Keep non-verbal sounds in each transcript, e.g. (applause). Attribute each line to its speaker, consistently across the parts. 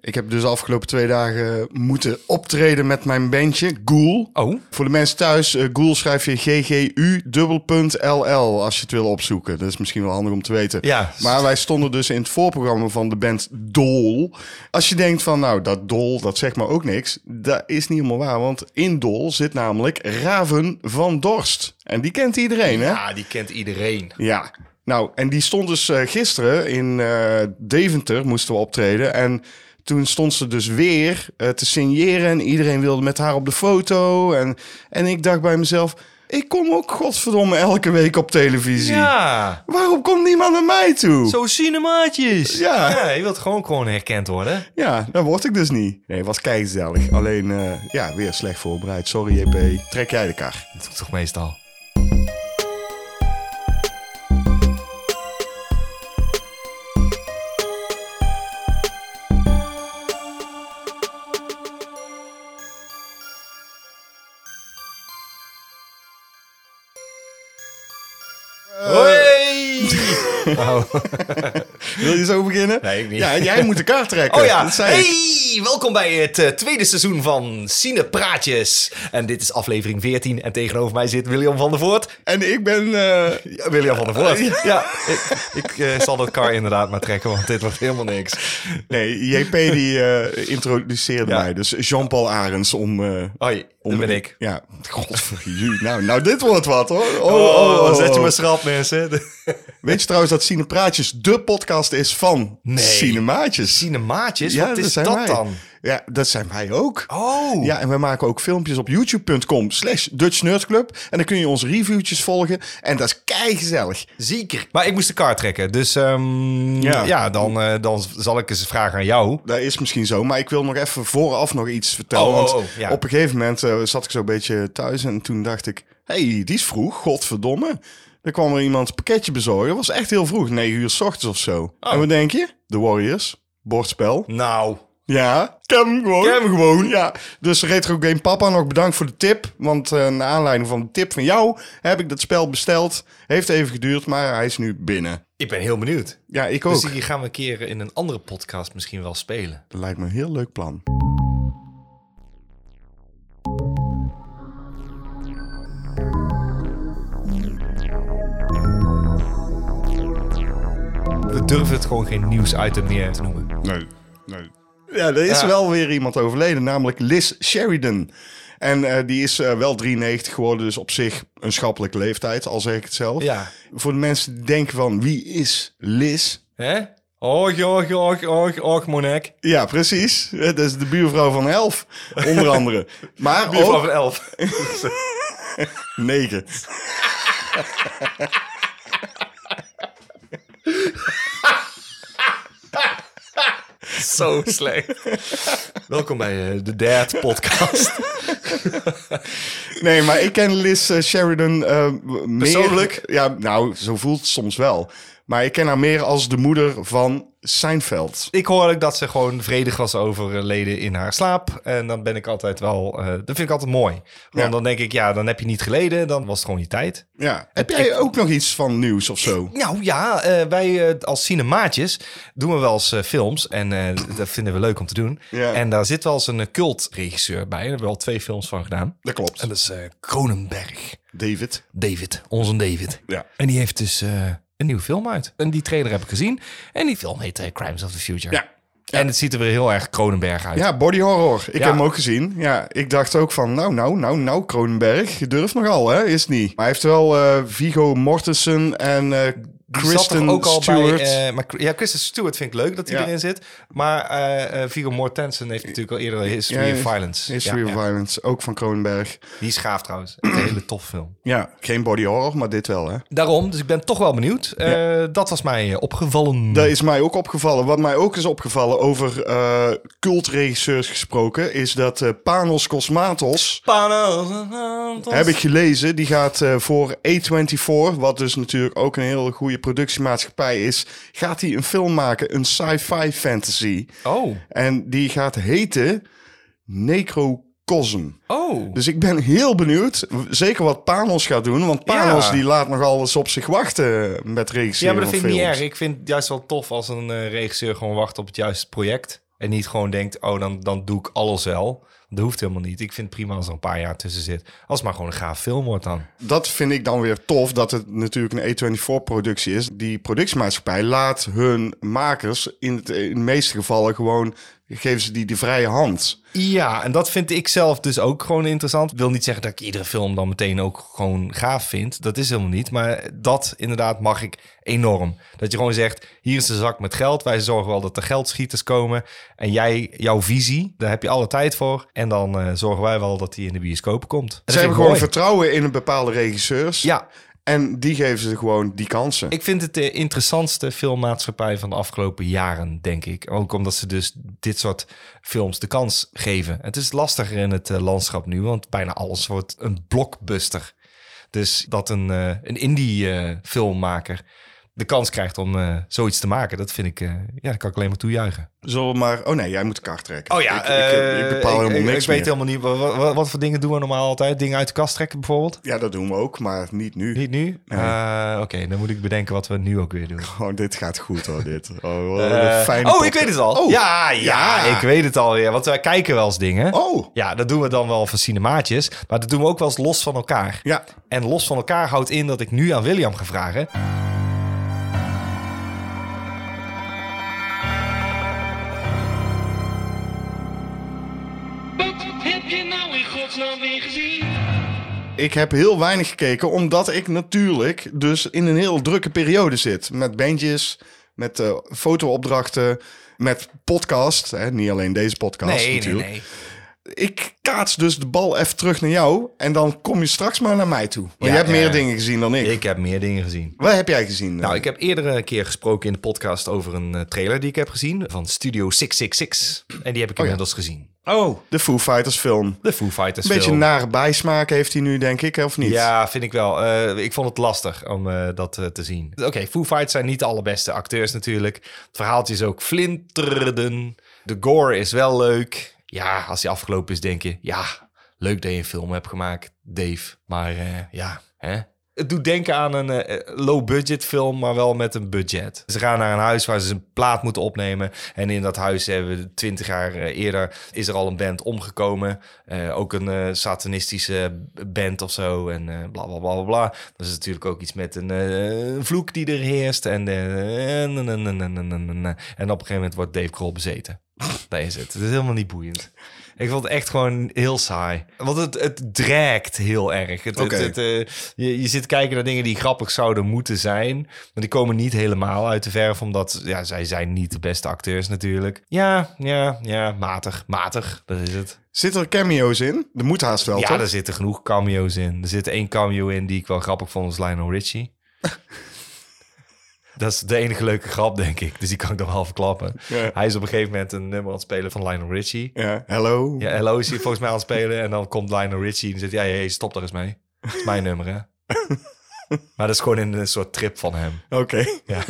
Speaker 1: Ik heb dus de afgelopen twee dagen moeten optreden met mijn bandje, Ghoul.
Speaker 2: Oh,
Speaker 1: Voor de mensen thuis, eh, Ghoul schrijf je ggu.ll als je het wil opzoeken. Dat is misschien wel handig om te weten.
Speaker 2: Ja.
Speaker 1: Maar wij stonden dus in het voorprogramma van de band Dol. Als je denkt van, nou, dat Dol, dat zegt maar ook niks. Dat is niet helemaal waar, want in Dol zit namelijk Raven van Dorst. En die kent iedereen, hè?
Speaker 2: ja, die kent iedereen.
Speaker 1: Ja. Nou, en die stond dus eh, gisteren in eh, Deventer, moesten we optreden. En toen stond ze dus weer eh, te signeren en iedereen wilde met haar op de foto. En, en ik dacht bij mezelf, ik kom ook godverdomme elke week op televisie.
Speaker 2: Ja,
Speaker 1: Waarom komt niemand naar mij toe?
Speaker 2: zo cinemaatjes.
Speaker 1: Ja.
Speaker 2: je wilt gewoon gewoon herkend worden.
Speaker 1: Ja, dat word ik dus niet. Nee, was keigezellig. Alleen, eh, ja, weer slecht voorbereid. Sorry JP, trek jij de kar.
Speaker 2: Dat doe ik toch meestal. Hoi! Oh.
Speaker 1: Wil je zo beginnen?
Speaker 2: Nee, ik niet.
Speaker 1: Ja, jij moet de kar trekken.
Speaker 2: Oh ja,
Speaker 1: Dat zei ik.
Speaker 2: hey, welkom bij het eh, tweede seizoen van Cinepraatjes. En dit is aflevering 14 en tegenover mij zit William van der Voort.
Speaker 1: En ik ben... eh,
Speaker 2: Ja, William van der Voort. ja, ik,
Speaker 1: (laughs)
Speaker 2: ik eh, zal dat kar inderdaad maar trekken, want dit wordt helemaal niks.
Speaker 1: Nee, JP die eh, introduceerde
Speaker 2: Ja.
Speaker 1: mij. Dus Jean-Paul Arends om... eh
Speaker 2: Hoi,
Speaker 1: om
Speaker 2: dat ben ik.
Speaker 1: Ja. Godverdomme. Nou, nou, dit wordt wat hoor. Oh,
Speaker 2: Oh,
Speaker 1: oh, oh.
Speaker 2: zet je me schrap, mensen.
Speaker 1: Weet je trouwens dat Cine Praatjes de podcast is van
Speaker 2: Nee.
Speaker 1: Cinemaatjes?
Speaker 2: (laughs) Cinemaatjes, wat is dat,
Speaker 1: zijn wij.
Speaker 2: dan?
Speaker 1: Ja, dat zijn wij ook.
Speaker 2: Oh,
Speaker 1: Ja, en we maken ook filmpjes op youtube.com slash Dutch Nerd Club. En dan kun je onze reviewtjes volgen. En dat is keigezellig.
Speaker 2: zeker. Maar ik moest de kar trekken, dus ehm, ja.
Speaker 1: Ja.
Speaker 2: dan, eh, dan zal ik eens vragen aan jou.
Speaker 1: Dat is misschien zo, maar ik wil nog even vooraf nog iets vertellen.
Speaker 2: Oh,
Speaker 1: want
Speaker 2: oh, oh, ja.
Speaker 1: op een gegeven moment eh, zat ik zo'n beetje thuis en toen dacht ik... hey, die is vroeg, godverdomme. Er kwam er iemand een pakketje bezorgen. was echt heel vroeg, 9 uur s ochtends of zo.
Speaker 2: Oh.
Speaker 1: En wat denk je? The Warriors, bordspel.
Speaker 2: Nou,
Speaker 1: Ja, ken hem gewoon.
Speaker 2: Ken hem gewoon.
Speaker 1: Ja, dus Retro Game Papa, nog bedankt voor de tip. Want eh naar aanleiding van de tip van jou heb ik dat spel besteld. Heeft even geduurd, maar hij is nu binnen.
Speaker 2: ik ben heel benieuwd.
Speaker 1: Ja, ik ook.
Speaker 2: Dus die gaan we een keer in een andere podcast misschien wel spelen.
Speaker 1: Dat lijkt me een heel leuk plan.
Speaker 2: We durven het gewoon geen nieuwsitem meer te noemen.
Speaker 1: Nee, nee. Ja, er is
Speaker 2: Ja.
Speaker 1: wel weer iemand overleden, namelijk Liz Sheridan. En eh, die is eh, wel 93 geworden, dus op zich een schappelijke leeftijd, al zeg ik het zelf.
Speaker 2: Ja.
Speaker 1: Voor de mensen die denken van, wie is Liz?
Speaker 2: Hè? Och, och, och, och, och, Monek.
Speaker 1: Ja, precies. Eh, Dat is de buurvrouw van Elf, (laughs) onder andere. Maar ook...
Speaker 2: van (laughs) elf.
Speaker 1: Negen.
Speaker 2: Zo slecht. Welkom bij eh, de Dad (laughs) Podcast.
Speaker 1: Nee, maar ik ken Liz eh, Sheridan eh, meer...
Speaker 2: Persoonlijk?
Speaker 1: Ja, nou, zo voelt het soms wel. Maar ik ken haar meer als de moeder van Seinfeld.
Speaker 2: ik hoorde ook dat ze gewoon vredig was overleden in haar slaap. En dan ben ik altijd wel... eh, dat vind ik altijd mooi. Want
Speaker 1: Ja.
Speaker 2: dan denk ik, ja, dan heb je niet geleden. Dan was het gewoon je tijd.
Speaker 1: Ja. Heb jij ook nog iets van nieuws of zo?
Speaker 2: Nou ja, eh, wij eh, als cinemaatjes doen we wel eens eh, films. En eh, dat vinden we leuk om te doen.
Speaker 1: Ja.
Speaker 2: En daar zit wel eens een eh, cultregisseur bij. Daar hebben we al twee films van gedaan.
Speaker 1: Dat klopt.
Speaker 2: En dat is eh, Kronenberg.
Speaker 1: David.
Speaker 2: David, onze David.
Speaker 1: Ja.
Speaker 2: En die heeft dus eh, een nieuwe film uit. En die trailer heb ik gezien. En die film heet eh, Crimes of the Future.
Speaker 1: Ja.
Speaker 2: En het ziet er weer heel erg Kronenberg uit.
Speaker 1: Ja, body horror. Ik
Speaker 2: Ja.
Speaker 1: heb hem ook gezien. Ja, ik dacht ook van, nou, nou, nou, nou, Kronenberg. Je durft nogal, hè? Is het niet. Maar hij heeft wel eh, Vigo Mortensen en eh
Speaker 2: Die zat toch
Speaker 1: Kristen
Speaker 2: ook al
Speaker 1: Stewart.
Speaker 2: Bij, eh, maar, ja, Kristen Stewart vind ik leuk dat hij
Speaker 1: Ja.
Speaker 2: erin zit. Maar eh eh, Viggo Mortensen heeft natuurlijk al eerder History
Speaker 1: Ja,
Speaker 2: of Violence.
Speaker 1: History
Speaker 2: Ja,
Speaker 1: of
Speaker 2: ja.
Speaker 1: Violence, ook van Kronenberg.
Speaker 2: Die is gaaf trouwens. Echt Een hele tof film.
Speaker 1: Ja, geen body horror, maar dit wel, hè?
Speaker 2: Daarom, dus ik ben toch wel benieuwd. Eh, Dat was mij eh, opgevallen.
Speaker 1: Dat is mij ook opgevallen. Wat mij ook is opgevallen over eh cultregisseurs gesproken... is dat eh, Panos Cosmatos... Heb ik gelezen. Die gaat eh, voor A24, wat dus natuurlijk ook een hele goede productiemaatschappij is, gaat hij een film maken, een sci-fi fantasy.
Speaker 2: Oh,
Speaker 1: En die gaat heten Necrocosm.
Speaker 2: oh.
Speaker 1: Dus ik ben heel benieuwd, w- zeker wat Panos gaat doen, want Panos
Speaker 2: Ja.
Speaker 1: die laat nog alles op zich wachten met regisseren
Speaker 2: Ja, maar dat
Speaker 1: van
Speaker 2: vind ik niet
Speaker 1: films.
Speaker 2: erg. Ik vind het juist wel tof als een eh, regisseur gewoon wacht op het juiste project. En niet gewoon denkt, oh, dan, dan doe ik alles wel. Dat hoeft helemaal niet. Ik vind het prima als er een paar jaar tussen zit. Als het maar gewoon een gaaf film wordt dan.
Speaker 1: Dat vind ik dan weer tof, dat het natuurlijk een A24-productie is. Die productiemaatschappij laat hun makers in, het, in de meeste gevallen gewoon... geven ze die de vrije hand.
Speaker 2: Ja, en dat vind ik zelf dus ook gewoon interessant. wil niet zeggen dat ik iedere film dan meteen ook gewoon gaaf vind. Dat is helemaal niet. Maar dat inderdaad mag ik enorm. Dat je gewoon zegt, hier is de zak met geld. Wij zorgen wel dat er geldschieters komen. En jij, jouw visie, daar heb je alle tijd voor. En dan eh, zorgen wij wel dat die in de bioscoop komt. En dat
Speaker 1: Ze
Speaker 2: vind
Speaker 1: hebben
Speaker 2: ik
Speaker 1: gewoon
Speaker 2: mooi.
Speaker 1: vertrouwen in een bepaalde regisseurs.
Speaker 2: Ja,
Speaker 1: En die geven ze gewoon die kansen.
Speaker 2: Ik vind het de interessantste filmmaatschappij van de afgelopen jaren, denk ik. Ook omdat ze dus dit soort films de kans geven. Het is lastiger in het eh, landschap nu, want bijna alles wordt een blockbuster. Dus dat een, eh, een indie-filmmaker de kans krijgt om eh, zoiets te maken, dat vind ik, eh, ja, dat kan ik alleen maar toejuichen.
Speaker 1: Zullen we maar... Oh nee, jij moet de kaart trekken.
Speaker 2: Oh ja,
Speaker 1: ik, eh, ik, ik bepaal helemaal niks
Speaker 2: Ik weet
Speaker 1: meer.
Speaker 2: helemaal niet, wa- wa- wa- wat, voor dingen doen we normaal altijd? Dingen uit de kast trekken bijvoorbeeld?
Speaker 1: Ja, dat doen we ook, maar niet nu.
Speaker 2: Niet nu?
Speaker 1: Nee.
Speaker 2: Eh, Oké, dan moet ik bedenken wat we nu ook weer doen.
Speaker 1: Oh, dit gaat goed hoor, dit. Oh, wat
Speaker 2: Eh,
Speaker 1: een fijne
Speaker 2: oh, ik
Speaker 1: podcast.
Speaker 2: weet het al.
Speaker 1: Oh.
Speaker 2: ja, ja,
Speaker 1: Ja.
Speaker 2: ik weet het alweer. Want wij kijken wel eens dingen.
Speaker 1: Oh,
Speaker 2: Ja, dat doen we dan wel van cinemaatjes. Maar dat doen we ook wel eens los van elkaar.
Speaker 1: ja.
Speaker 2: En los van elkaar houdt in dat ik nu aan William ga vragen.
Speaker 3: Wat heb je nou in godsnaam weer gezien?
Speaker 1: Ik heb heel weinig gekeken, omdat ik natuurlijk dus in een heel drukke periode zit. Met bandjes, met eh, fotoopdrachten, met podcast. Hè? Niet alleen deze podcast
Speaker 2: Nee, nee,
Speaker 1: natuurlijk.
Speaker 2: nee.
Speaker 1: Ik kaats dus de bal even terug naar jou en dan kom je straks maar naar mij toe. Want
Speaker 2: Ja,
Speaker 1: je hebt
Speaker 2: ja.
Speaker 1: meer dingen gezien dan ik.
Speaker 2: Ik heb meer dingen gezien.
Speaker 1: Wat heb jij gezien?
Speaker 2: Nou, ik heb eerder een keer gesproken in de podcast over een eh, trailer die ik heb gezien. Van Studio 666. En die heb ik inmiddels gezien.
Speaker 1: Oh, de Foo Fighters film. Een
Speaker 2: De Foo Fighters
Speaker 1: beetje
Speaker 2: film.
Speaker 1: nare bijsmaak heeft hij nu, denk ik, hè, of niet?
Speaker 2: Ja, vind ik wel. Eh, ik vond het lastig om eh, dat eh, te zien. Oké, Foo Fighters zijn niet de allerbeste acteurs natuurlijk. Het verhaaltje is ook flinterden. De gore is wel leuk. Ja, als die afgelopen is, denk je... Ja, leuk dat je een film hebt gemaakt, Dave. Maar eh, ja, hè? Het doet denken aan een eh, low-budget film, maar wel met een budget. Ze gaan naar een huis waar ze een plaat moeten opnemen. En in dat huis hebben we twintig jaar eh, eerder is er al een band omgekomen. Eh, ook een eh, satanistische band of zo. En eh, bla bla bla bla, bla. Dat is natuurlijk ook iets met een eh, een vloek die er heerst. En, eh, en, en, en, en, en, en, en, en op een gegeven moment wordt Dave Grohl bezeten. Daar is het. Het is helemaal niet boeiend. Ik vond het echt gewoon heel saai. Want het, het draagt heel erg. Het,
Speaker 1: Oké.
Speaker 2: het, het, eh, je, je zit kijken naar dingen die grappig zouden moeten zijn. Maar die komen niet helemaal uit de verf. Omdat ja, zij zijn niet de beste acteurs natuurlijk. Ja, ja, ja. Matig. Matig. Dat is het.
Speaker 1: Zitten er cameo's in? Er moet haast wel,
Speaker 2: ja,
Speaker 1: toch?
Speaker 2: er zitten genoeg cameo's in. Er zit één cameo in die ik wel grappig vond. was Lionel
Speaker 1: (laughs)
Speaker 2: Richie. Dat is de enige leuke grap, denk ik. Dus die kan ik dan wel verklappen.
Speaker 1: Ja.
Speaker 2: Hij is op een gegeven moment een nummer aan het spelen van Lionel Richie.
Speaker 1: Ja, hello.
Speaker 2: Ja, Hello is hier volgens mij aan het spelen. En dan komt Lionel Richie en zegt... Ja, hey, stop daar eens mee. Dat is mijn nummer, hè? maar dat is gewoon in een soort trip van hem.
Speaker 1: Oké. (laughs)
Speaker 2: Ja.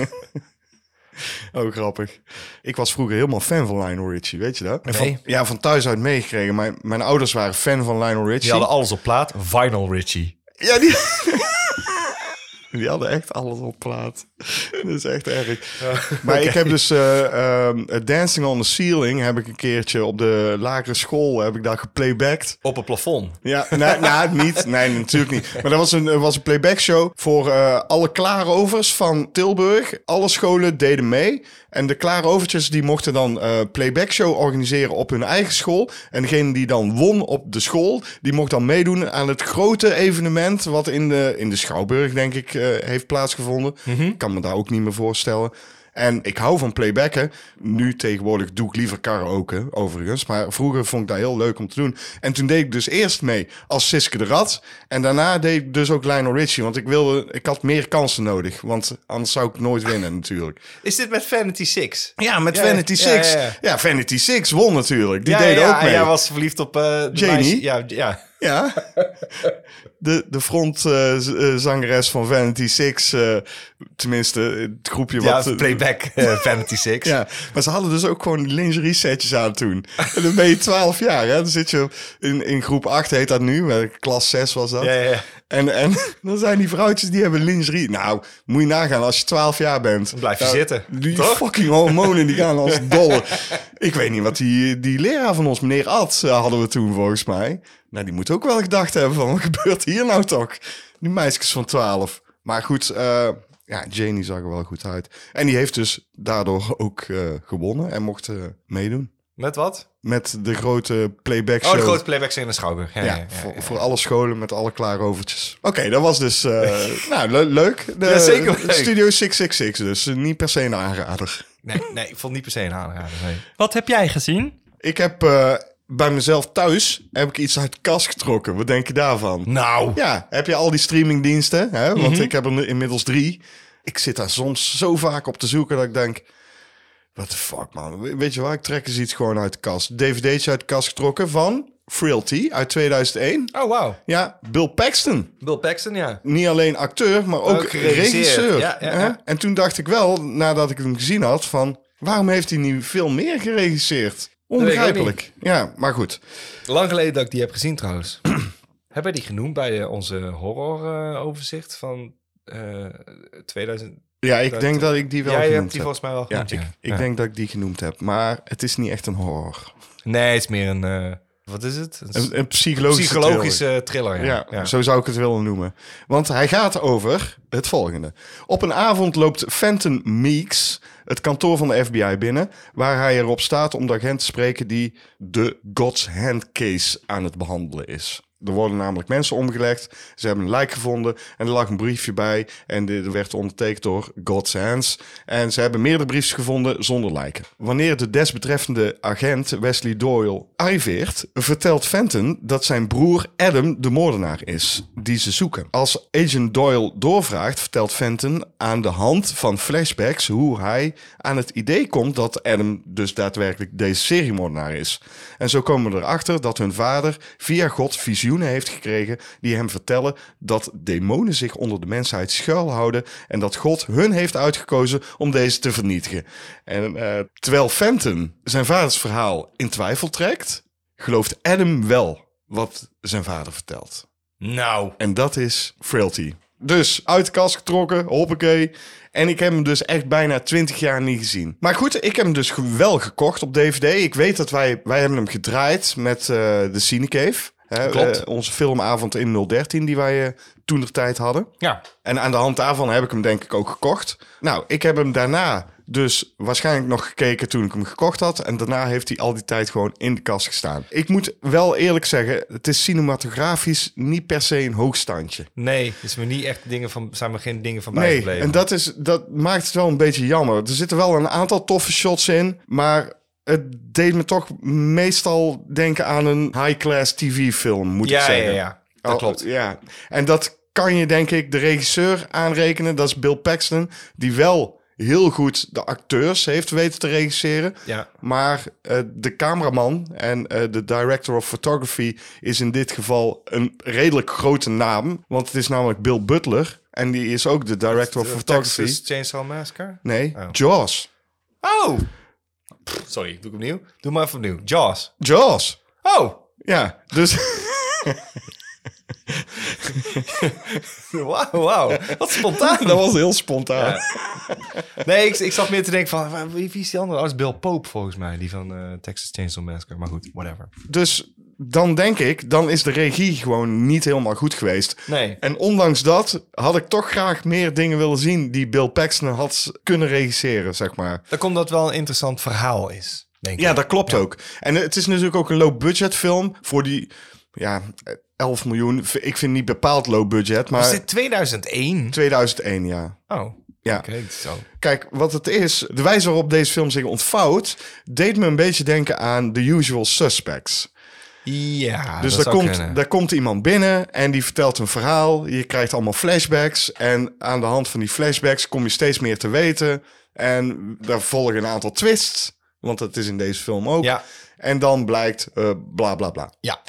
Speaker 1: Oh, grappig. Ik was vroeger helemaal fan van Lionel Richie, weet je dat? En
Speaker 2: Nee.
Speaker 1: Van, ja, van thuis uit meegekregen. Mijn, mijn ouders waren fan van Lionel
Speaker 2: Die
Speaker 1: Richie.
Speaker 2: hadden alles op plaat. Vinyl Richie.
Speaker 1: ja, die... (laughs) die hadden echt alles op plaat. Dat is echt erg. maar ik heb dus eh, ehm, Dancing on the Ceiling heb ik een keertje op de lagere school heb ik daar geplaybacked.
Speaker 2: Op het plafond.
Speaker 1: Ja, nee, nou, niet. Nee, natuurlijk niet. Maar dat was een, eh, was een playback show voor eh, alle klaarovers van Tilburg. Alle scholen deden mee. En de klaarovertjes die mochten dan eh playback show organiseren op hun eigen school. En degene die dan won op de school, die mocht dan meedoen aan het grote evenement wat in de, in de Schouwburg, denk ik, eh, heeft plaatsgevonden. Ik kan me daar ook niet meer voorstellen. En ik hou van playbacken. Nu tegenwoordig doe ik liever karaoke, overigens. Maar vroeger vond ik dat heel leuk om te doen. En toen deed ik dus eerst mee als Siske de Rat. En daarna deed ik dus ook Lionel Richie. Want ik, wilde, ik had meer kansen nodig. Want anders zou ik nooit winnen, natuurlijk.
Speaker 2: Is dit met Vanity Six?
Speaker 1: Ja, met
Speaker 2: Ja,
Speaker 1: Vanity
Speaker 2: ja,
Speaker 1: Six. Ja,
Speaker 2: ja, ja.
Speaker 1: Vanity Six won natuurlijk. Die deden
Speaker 2: ja,
Speaker 1: ook mee.
Speaker 2: Jij was verliefd op... eh, de
Speaker 1: Janie?
Speaker 2: meisje- Ja, ja.
Speaker 1: Ja. (laughs) De, de frontzangeres eh, van Vanity Six. eh, tenminste, het groepje
Speaker 2: ja
Speaker 1: wat...
Speaker 2: playback eh, Vanity Six.
Speaker 1: Ja, maar ze hadden dus ook gewoon lingerie setjes aan toen. En dan ben je 12 jaar, hè? Dan zit je in, in groep 8 heet dat nu, maar Eh, klas 6 was dat.
Speaker 2: ja, ja.
Speaker 1: En, en (laughs) dan zijn die vrouwtjes die hebben lingerie. Nou, moet je nagaan als je 12 jaar bent.
Speaker 2: blijf je
Speaker 1: Nou,
Speaker 2: zitten,
Speaker 1: Die
Speaker 2: toch?
Speaker 1: fucking hormonen die gaan als dolle. Ik weet niet wat die, die leraar van ons, meneer Ad, eh, hadden we toen volgens mij. Nou, die moet ook wel gedacht hebben van wat gebeurt hier nou toch? Die meisjes van 12. Maar goed, eh, ja, Janie zag er wel goed uit. En die heeft dus daardoor ook eh, gewonnen en mocht eh, meedoen.
Speaker 2: Met wat?
Speaker 1: Met de grote playback
Speaker 2: Oh,
Speaker 1: show.
Speaker 2: de grote playbacks in de Schouwburg. Ja,
Speaker 1: Ja,
Speaker 2: ja, ja,
Speaker 1: voor,
Speaker 2: ja.
Speaker 1: voor alle scholen met alle klaarovertjes. Oké, dat was dus
Speaker 2: (laughs)
Speaker 1: eh, nou, le- leuk. De,
Speaker 2: Ja, zeker leuk.
Speaker 1: Studio 666, dus eh, niet per se een aanrader.
Speaker 2: Nee, nee, ik vond niet per se een aanrader. nee.
Speaker 4: Wat heb jij gezien?
Speaker 1: Ik heb eh, bij mezelf thuis heb ik iets uit de kast getrokken. Wat denk je daarvan?
Speaker 2: Nou,
Speaker 1: Ja, heb je al die streamingdiensten? Hè? Want ik heb er nu inmiddels drie. Ik zit daar soms zo vaak op te zoeken dat ik denk... What the fuck, man? We- Weet je waar? Ik trek eens iets gewoon uit de kast. DVD's uit de kast getrokken van Frailty uit 2001.
Speaker 2: oh wauw.
Speaker 1: Ja, Bill Paxton.
Speaker 2: Bill Paxton, ja.
Speaker 1: niet alleen acteur, maar ook,
Speaker 2: Ook geregisseerd.
Speaker 1: regisseur.
Speaker 2: Ja, ja,
Speaker 1: hè?
Speaker 2: ja.
Speaker 1: En toen dacht ik wel, nadat ik hem gezien had, van waarom heeft hij nu veel meer geregisseerd?
Speaker 2: weet ik ook
Speaker 1: Onbegrijpelijk. Ja, maar goed.
Speaker 2: Lang geleden dat ik die heb gezien
Speaker 1: (clears throat)
Speaker 2: trouwens. Hebben wij die genoemd bij eh, onze horroroverzicht van eh 2000?
Speaker 1: Ja, ik
Speaker 2: Dat, eh,
Speaker 1: denk dat ik die wel
Speaker 2: Jij hebt
Speaker 1: genoemd
Speaker 2: die
Speaker 1: heb.
Speaker 2: volgens mij wel
Speaker 1: Ja,
Speaker 2: genoemd. Ja,
Speaker 1: ik, ik
Speaker 2: Ja.
Speaker 1: denk dat ik die genoemd heb. Maar het is niet echt een horror.
Speaker 2: Nee, het is meer een... eh, wat is het? Een,
Speaker 1: Een, een psychologische,
Speaker 2: psychologische thriller.
Speaker 1: thriller.
Speaker 2: ja.
Speaker 1: Ja, zo zou ik het willen noemen. Want hij gaat over het volgende. Op een avond loopt Fenton Meeks het kantoor van de FBI binnen... waar hij erop staat om de agent te spreken die de God's Hand case aan het behandelen is. Er worden namelijk mensen omgelegd, ze hebben een lijk gevonden... en er lag een briefje bij en dit werd ondertekend door God's Hands. En ze hebben meerdere briefjes gevonden zonder lijken. Wanneer de desbetreffende agent Wesley Doyle arriveert... vertelt Fenton dat zijn broer Adam de moordenaar is die ze zoeken. Als agent Doyle doorvraagt, vertelt Fenton aan de hand van flashbacks hoe hij aan het idee komt dat Adam dus daadwerkelijk deze seriemoordenaar is. En zo komen we erachter dat hun vader via God visioenen heeft gekregen die hem vertellen dat demonen zich onder de mensheid schuilhouden en dat God hun heeft uitgekozen om deze te vernietigen. En eh, terwijl Fenton zijn vaders verhaal in twijfel trekt, gelooft Adam wel wat zijn vader vertelt.
Speaker 2: Nou,
Speaker 1: En dat is Frailty. Dus uit de kast getrokken, hoppakee. En ik heb hem dus echt bijna 20 jaar niet gezien. Maar goed, ik heb hem dus ge- wel gekocht op DVD. Ik weet dat wij, wij hebben hem gedraaid met eh, de Cinecave. Hè,
Speaker 2: Klopt.
Speaker 1: eh, onze filmavond in 013 die wij eh, toen de tijd hadden.
Speaker 2: ja.
Speaker 1: En aan de hand daarvan heb ik hem denk ik ook gekocht. Nou, ik heb hem daarna dus waarschijnlijk nog gekeken toen ik hem gekocht had. En daarna heeft hij al die tijd gewoon in de kast gestaan. Ik moet wel eerlijk zeggen, het is cinematografisch niet per se een hoogstandje.
Speaker 2: Nee, is me niet echt dingen van, zijn me geen dingen van
Speaker 1: Nee,
Speaker 2: bijgebleven.
Speaker 1: en dat, is, dat maakt het wel een beetje jammer. Er zitten wel een aantal toffe shots in, maar het deed me toch meestal denken aan een high-class TV-film, moet ik
Speaker 2: ja, ja,
Speaker 1: zeggen.
Speaker 2: ja, ja. dat
Speaker 1: Oh,
Speaker 2: klopt.
Speaker 1: Ja. En dat kan je denk ik de regisseur aanrekenen. Dat is Bill Paxton, die wel heel goed de acteurs heeft weten te regisseren.
Speaker 2: Ja.
Speaker 1: Maar eh, de cameraman en eh, de director of photography is in dit geval een redelijk grote naam. Want het is namelijk Bill Butler. En die is ook de director of
Speaker 2: De
Speaker 1: photography.
Speaker 2: Eh, Texas Chainsaw Massacre?
Speaker 1: Nee,
Speaker 2: Oh.
Speaker 1: Jaws.
Speaker 2: Oh! Pff, Sorry, doe ik opnieuw? Doe maar even opnieuw. Jaws.
Speaker 1: Jaws.
Speaker 2: Oh! (laughs)
Speaker 1: Ja, dus...
Speaker 2: Wauw, wauw. Wat
Speaker 1: (laughs)
Speaker 2: spontaan.
Speaker 1: dat was heel spontaan.
Speaker 2: Nee, ik, ik zat meer te denken van, waar- wie wie is die andere? Oh, dat is Bill Pope volgens mij, die van eh, Texas Chainsaw Massacre. Maar goed, whatever.
Speaker 1: Dus dan denk ik, dan is de regie gewoon niet helemaal goed geweest.
Speaker 2: Nee.
Speaker 1: En ondanks dat had ik toch graag meer dingen willen zien die Bill Paxton had kunnen regisseren, zeg maar.
Speaker 2: Dan komt dat wel een interessant verhaal is, denk ik.
Speaker 1: Ja, dat klopt ook. En het is natuurlijk ook een low-budget film voor die, ja, 11 miljoen. Ik vind niet bepaald low-budget,
Speaker 2: Was
Speaker 1: maar
Speaker 2: dit 2001?
Speaker 1: 2001, ja.
Speaker 2: Oh,
Speaker 1: Ja.
Speaker 2: oké, zo.
Speaker 1: Kijk, wat het is, de wijze waarop deze film zich ontvouwt, deed me een beetje denken aan The Usual Suspects.
Speaker 2: Ja,
Speaker 1: Dus
Speaker 2: dat
Speaker 1: daar
Speaker 2: zou
Speaker 1: komt,
Speaker 2: kunnen.
Speaker 1: daar komt iemand binnen en die vertelt een verhaal. Je krijgt allemaal flashbacks. En aan de hand van die flashbacks kom je steeds meer te weten. En daar volgen een aantal twists. Want dat is in deze film ook.
Speaker 2: Ja.
Speaker 1: En dan blijkt eh, bla bla bla.
Speaker 2: Ja.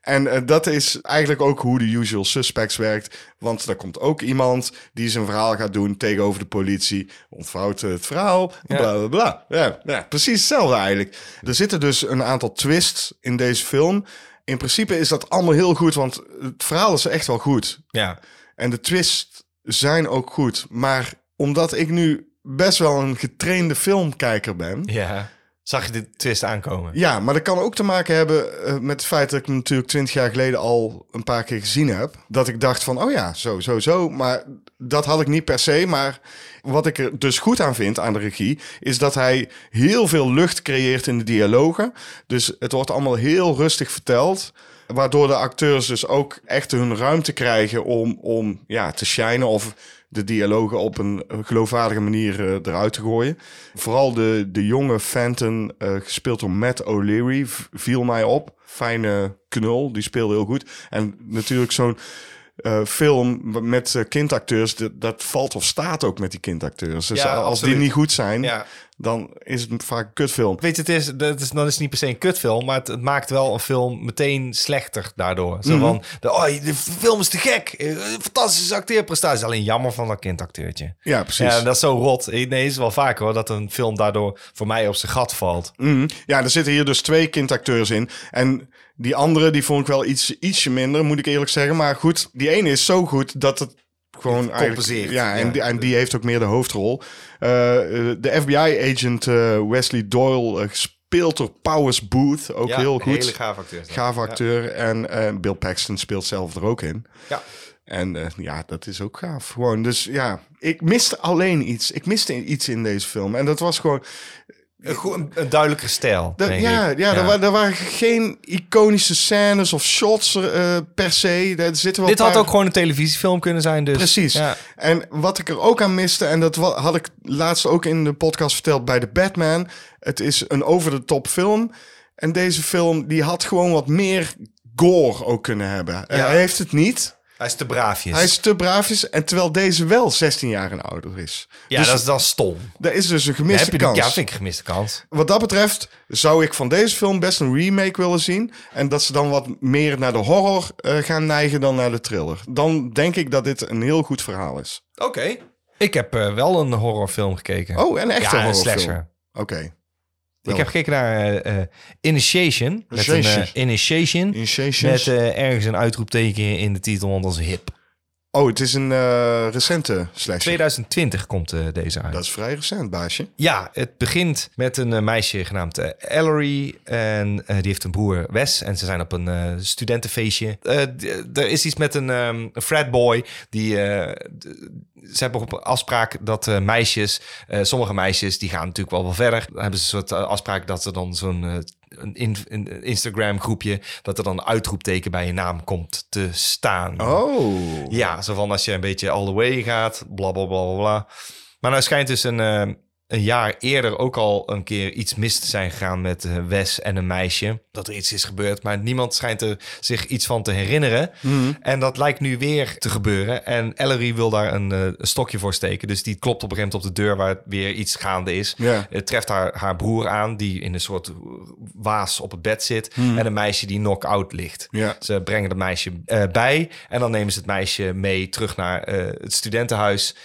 Speaker 1: En eh, dat is eigenlijk ook hoe de usual suspects werkt. Want daar komt ook iemand die zijn verhaal gaat doen tegenover de politie. Ontvouwt het verhaal, bla bla bla. Ja, ja, precies hetzelfde eigenlijk. Er zitten dus een aantal twists in deze film. In principe is dat allemaal heel goed, want het verhaal is echt wel goed.
Speaker 2: Ja.
Speaker 1: En de twists zijn ook goed. Maar omdat ik nu best wel een getrainde filmkijker ben.
Speaker 2: ja. Zag je de twist aankomen?
Speaker 1: Ja, maar dat kan ook te maken hebben eh, met het feit dat ik hem natuurlijk twintig jaar geleden al een paar keer gezien heb. Dat ik dacht van, oh ja, zo, zo, zo. Maar dat had ik niet per se. Maar wat ik er dus goed aan vind aan de regie, is dat hij heel veel lucht creëert in de dialogen. Dus het wordt allemaal heel rustig verteld. Waardoor de acteurs dus ook echt hun ruimte krijgen om, om ja, te shinen of de dialogen op een geloofwaardige manier eh, eruit te gooien. Vooral de, de jonge Fenton, eh, gespeeld door Matt O'Leary, v- viel mij op. Fijne knul, die speelde heel goed. En natuurlijk zo'n eh, film met eh, kindacteurs, dat, dat valt of staat ook met die kindacteurs. Dus
Speaker 2: Ja,
Speaker 1: als
Speaker 2: absoluut.
Speaker 1: die niet goed zijn,
Speaker 2: Ja.
Speaker 1: dan is het vaak een kutfilm.
Speaker 2: Weet je, het is, dat is, dan is het niet per se een kutfilm, maar het, het maakt wel een film meteen slechter daardoor.
Speaker 1: Mhm.
Speaker 2: Zo van, de, oh, de film is te gek. Eh, Fantastische acteerprestatie. Alleen jammer van dat kindacteurtje.
Speaker 1: Ja, precies.
Speaker 2: Ja, dat is zo rot. Nee, het is wel vaker hoor, dat een film daardoor voor mij op zijn gat valt.
Speaker 1: Mhm. Ja, er zitten hier dus twee kindacteurs in. En die andere, die vond ik wel iets, ietsje minder, moet ik eerlijk zeggen. Maar goed, die ene is zo goed dat het gewoon
Speaker 2: Het
Speaker 1: eigenlijk-
Speaker 2: compenseert.
Speaker 1: Ja, en,
Speaker 2: Ja.
Speaker 1: Die, en die heeft ook meer de hoofdrol. Eh, eh, de FBI-agent eh, Wesley Doyle, eh, gespeeld door Powers Booth, ook
Speaker 2: Ja,
Speaker 1: heel
Speaker 2: een
Speaker 1: goed.
Speaker 2: hele gaaf acteur is dat.
Speaker 1: Gaaf acteur. En eh, Bill Paxton speelt zelf er ook in.
Speaker 2: Ja.
Speaker 1: En eh, ja, dat is ook gaaf. Gewoon, dus ja, ik miste alleen iets. Ik miste iets in deze film. En dat was gewoon...
Speaker 2: Een, goe- een, een duidelijker stijl.
Speaker 1: Da-
Speaker 2: denk
Speaker 1: ja,
Speaker 2: ik.
Speaker 1: ja, Er, wa- er waren geen iconische scènes of shots eh, per se. Daar zitten wel
Speaker 2: Dit
Speaker 1: een
Speaker 2: had
Speaker 1: paar-
Speaker 2: ook gewoon een televisiefilm kunnen zijn, dus.
Speaker 1: Precies.
Speaker 2: Ja.
Speaker 1: En wat ik er ook aan miste, en dat wa- had ik laatst ook in de podcast verteld bij de Batman. Het is een over-de-top film. En deze film die had gewoon wat meer gore ook kunnen hebben. Eh,
Speaker 2: Ja.
Speaker 1: Hij heeft het niet.
Speaker 2: Hij is te braafjes.
Speaker 1: Hij is te braafjes. En terwijl deze wel 16 jaar en ouder is.
Speaker 2: ja,
Speaker 1: dus
Speaker 2: dat is dan stom.
Speaker 1: daar is dus een
Speaker 2: Heb
Speaker 1: gemiste
Speaker 2: je die-
Speaker 1: kans.
Speaker 2: ja, vind ik een gemiste kans.
Speaker 1: wat dat betreft zou ik van deze film best een remake willen zien. En dat ze dan wat meer naar de horror eh, gaan neigen dan naar de thriller. Dan denk ik dat dit een heel goed verhaal is.
Speaker 2: Oké. Ik heb eh, wel een horrorfilm gekeken.
Speaker 1: Oh, en echt
Speaker 2: ja,
Speaker 1: een
Speaker 2: een
Speaker 1: horrorfilm.
Speaker 2: slasher.
Speaker 1: Oké.
Speaker 2: Ik heb gekeken naar eh, eh, Initiation. Met een, eh, Initiation. Met
Speaker 1: Initiations.
Speaker 2: eh, ergens een uitroepteken in de titel, want dat is hip.
Speaker 1: oh, het is een eh, recente slasher.
Speaker 2: 2020 komt eh, deze uit.
Speaker 1: Dat is vrij recent, baasje.
Speaker 2: Ja, het begint met een eh, meisje genaamd eh, Ellery. En eh, die heeft een broer Wes. En ze zijn op een eh, studentenfeestje. Eh, d- er is iets met een ehm, een fratboy. Die, eh, d- ze hebben op afspraak dat eh, meisjes... eh, sommige meisjes, die gaan natuurlijk wel wel verder. Dan hebben ze een soort eh, afspraak dat ze dan zo'n... eh, een, in- een Instagram groepje, dat er dan een uitroepteken bij je naam komt te staan.
Speaker 1: Oh.
Speaker 2: Ja, zo van als je een beetje all the way gaat, bla bla bla bla, bla. Maar nou schijnt dus een, eh, een jaar eerder ook al een keer iets mis te zijn gegaan met eh, Wes en een meisje. Dat er iets is gebeurd, maar niemand schijnt er zich iets van te herinneren.
Speaker 1: Mhm.
Speaker 2: En dat lijkt nu weer te gebeuren. En Ellery wil daar een, eh, een stokje voor steken. Dus die klopt op een gegeven moment op de deur waar weer iets gaande is.
Speaker 1: Ja.
Speaker 2: Het treft haar, haar broer aan, die in een soort waas op het bed zit. En een meisje die knock-out ligt.
Speaker 1: Mhm. Ja.
Speaker 2: Ze brengen het meisje eh, bij en dan nemen ze het meisje mee terug naar eh, het studentenhuis.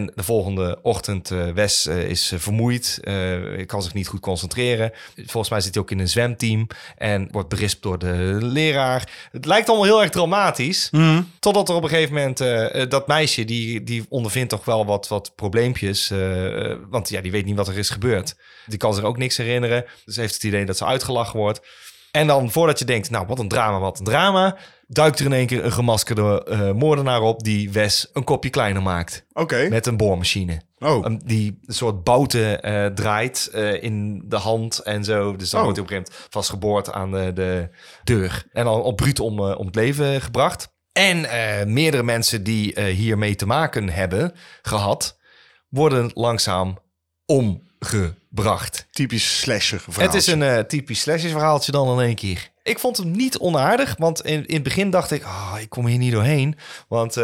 Speaker 2: En de volgende ochtend, eh Wes eh, is eh, vermoeid, eh, kan zich niet goed concentreren. Volgens mij zit hij ook in een zwemteam en wordt berispt door de leraar. Het lijkt allemaal heel erg dramatisch. Totdat er op een gegeven moment eh, eh, dat meisje, die, die ondervindt toch wel wat, wat probleempjes. eh, eh, want ja, die weet niet wat er is gebeurd. Die kan zich ook niks herinneren. Ze heeft het idee dat ze uitgelachen wordt. En dan voordat je denkt, nou wat een drama, wat een drama, duikt er in één keer een gemaskerde eh, moordenaar op die Wes een kopje kleiner maakt.
Speaker 1: Oké.
Speaker 2: Met een boormachine.
Speaker 1: Oh.
Speaker 2: Een- die een soort bouten eh, draait eh, in de hand en zo. Dus dan
Speaker 1: Oh.
Speaker 2: wordt hij op een gegeven moment vastgeboord aan de, de deur. En dan op bruut om, eh, om het leven gebracht. En eh, meerdere mensen die eh, hiermee te maken hebben gehad, worden langzaam omgebracht.
Speaker 1: Typisch slasher
Speaker 2: Het
Speaker 1: verhaaltje.
Speaker 2: is een eh, typisch slashes verhaaltje dan in één keer. Ik vond hem niet onaardig, want in, in het begin dacht ik... ah, ik kom hier niet doorheen, want eh,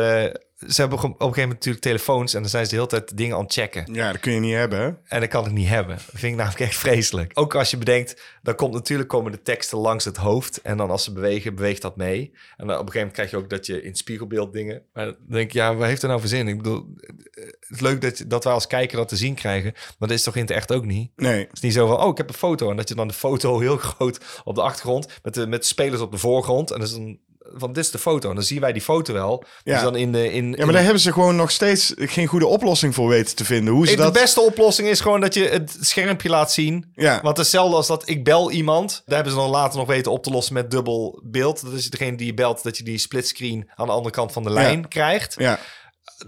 Speaker 2: ze hebben op een gegeven moment natuurlijk telefoons en dan zijn ze de hele tijd dingen aan het checken.
Speaker 1: Ja, dat kun je niet hebben, hè?
Speaker 2: En dat kan ik niet hebben. Dat vind ik namelijk echt vreselijk. Ook als je bedenkt, dan komt natuurlijk komen de teksten langs het hoofd. En dan als ze bewegen, beweegt dat mee. En dan op een gegeven moment krijg je ook dat je in het spiegelbeeld dingen. Maar dan denk ik, ja, wat heeft er nou voor zin? Ik bedoel, het is leuk dat, je- dat wij als kijker dat te zien krijgen. Maar dat is toch in het echt ook niet?
Speaker 1: Nee.
Speaker 2: Het is niet zo van, oh, ik heb een foto. En dat je dan de foto heel groot op de achtergrond. Met de, met de spelers op de voorgrond. En dat is dan van, dit is de foto. En dan zien wij die foto wel.
Speaker 1: Ja.
Speaker 2: Dus dan in de... In,
Speaker 1: Ja, maar daar hebben ze gewoon nog steeds geen goede oplossing voor weten te vinden. Hoe ze dat...
Speaker 2: De beste oplossing is gewoon dat je het schermpje laat zien.
Speaker 1: Ja.
Speaker 2: Want hetzelfde als dat ik bel iemand. Daar hebben ze dan later nog weten op te lossen met dubbel beeld. Dat is degene die je belt, dat je die splitscreen aan de andere kant van de lijn krijgt.
Speaker 1: Ja.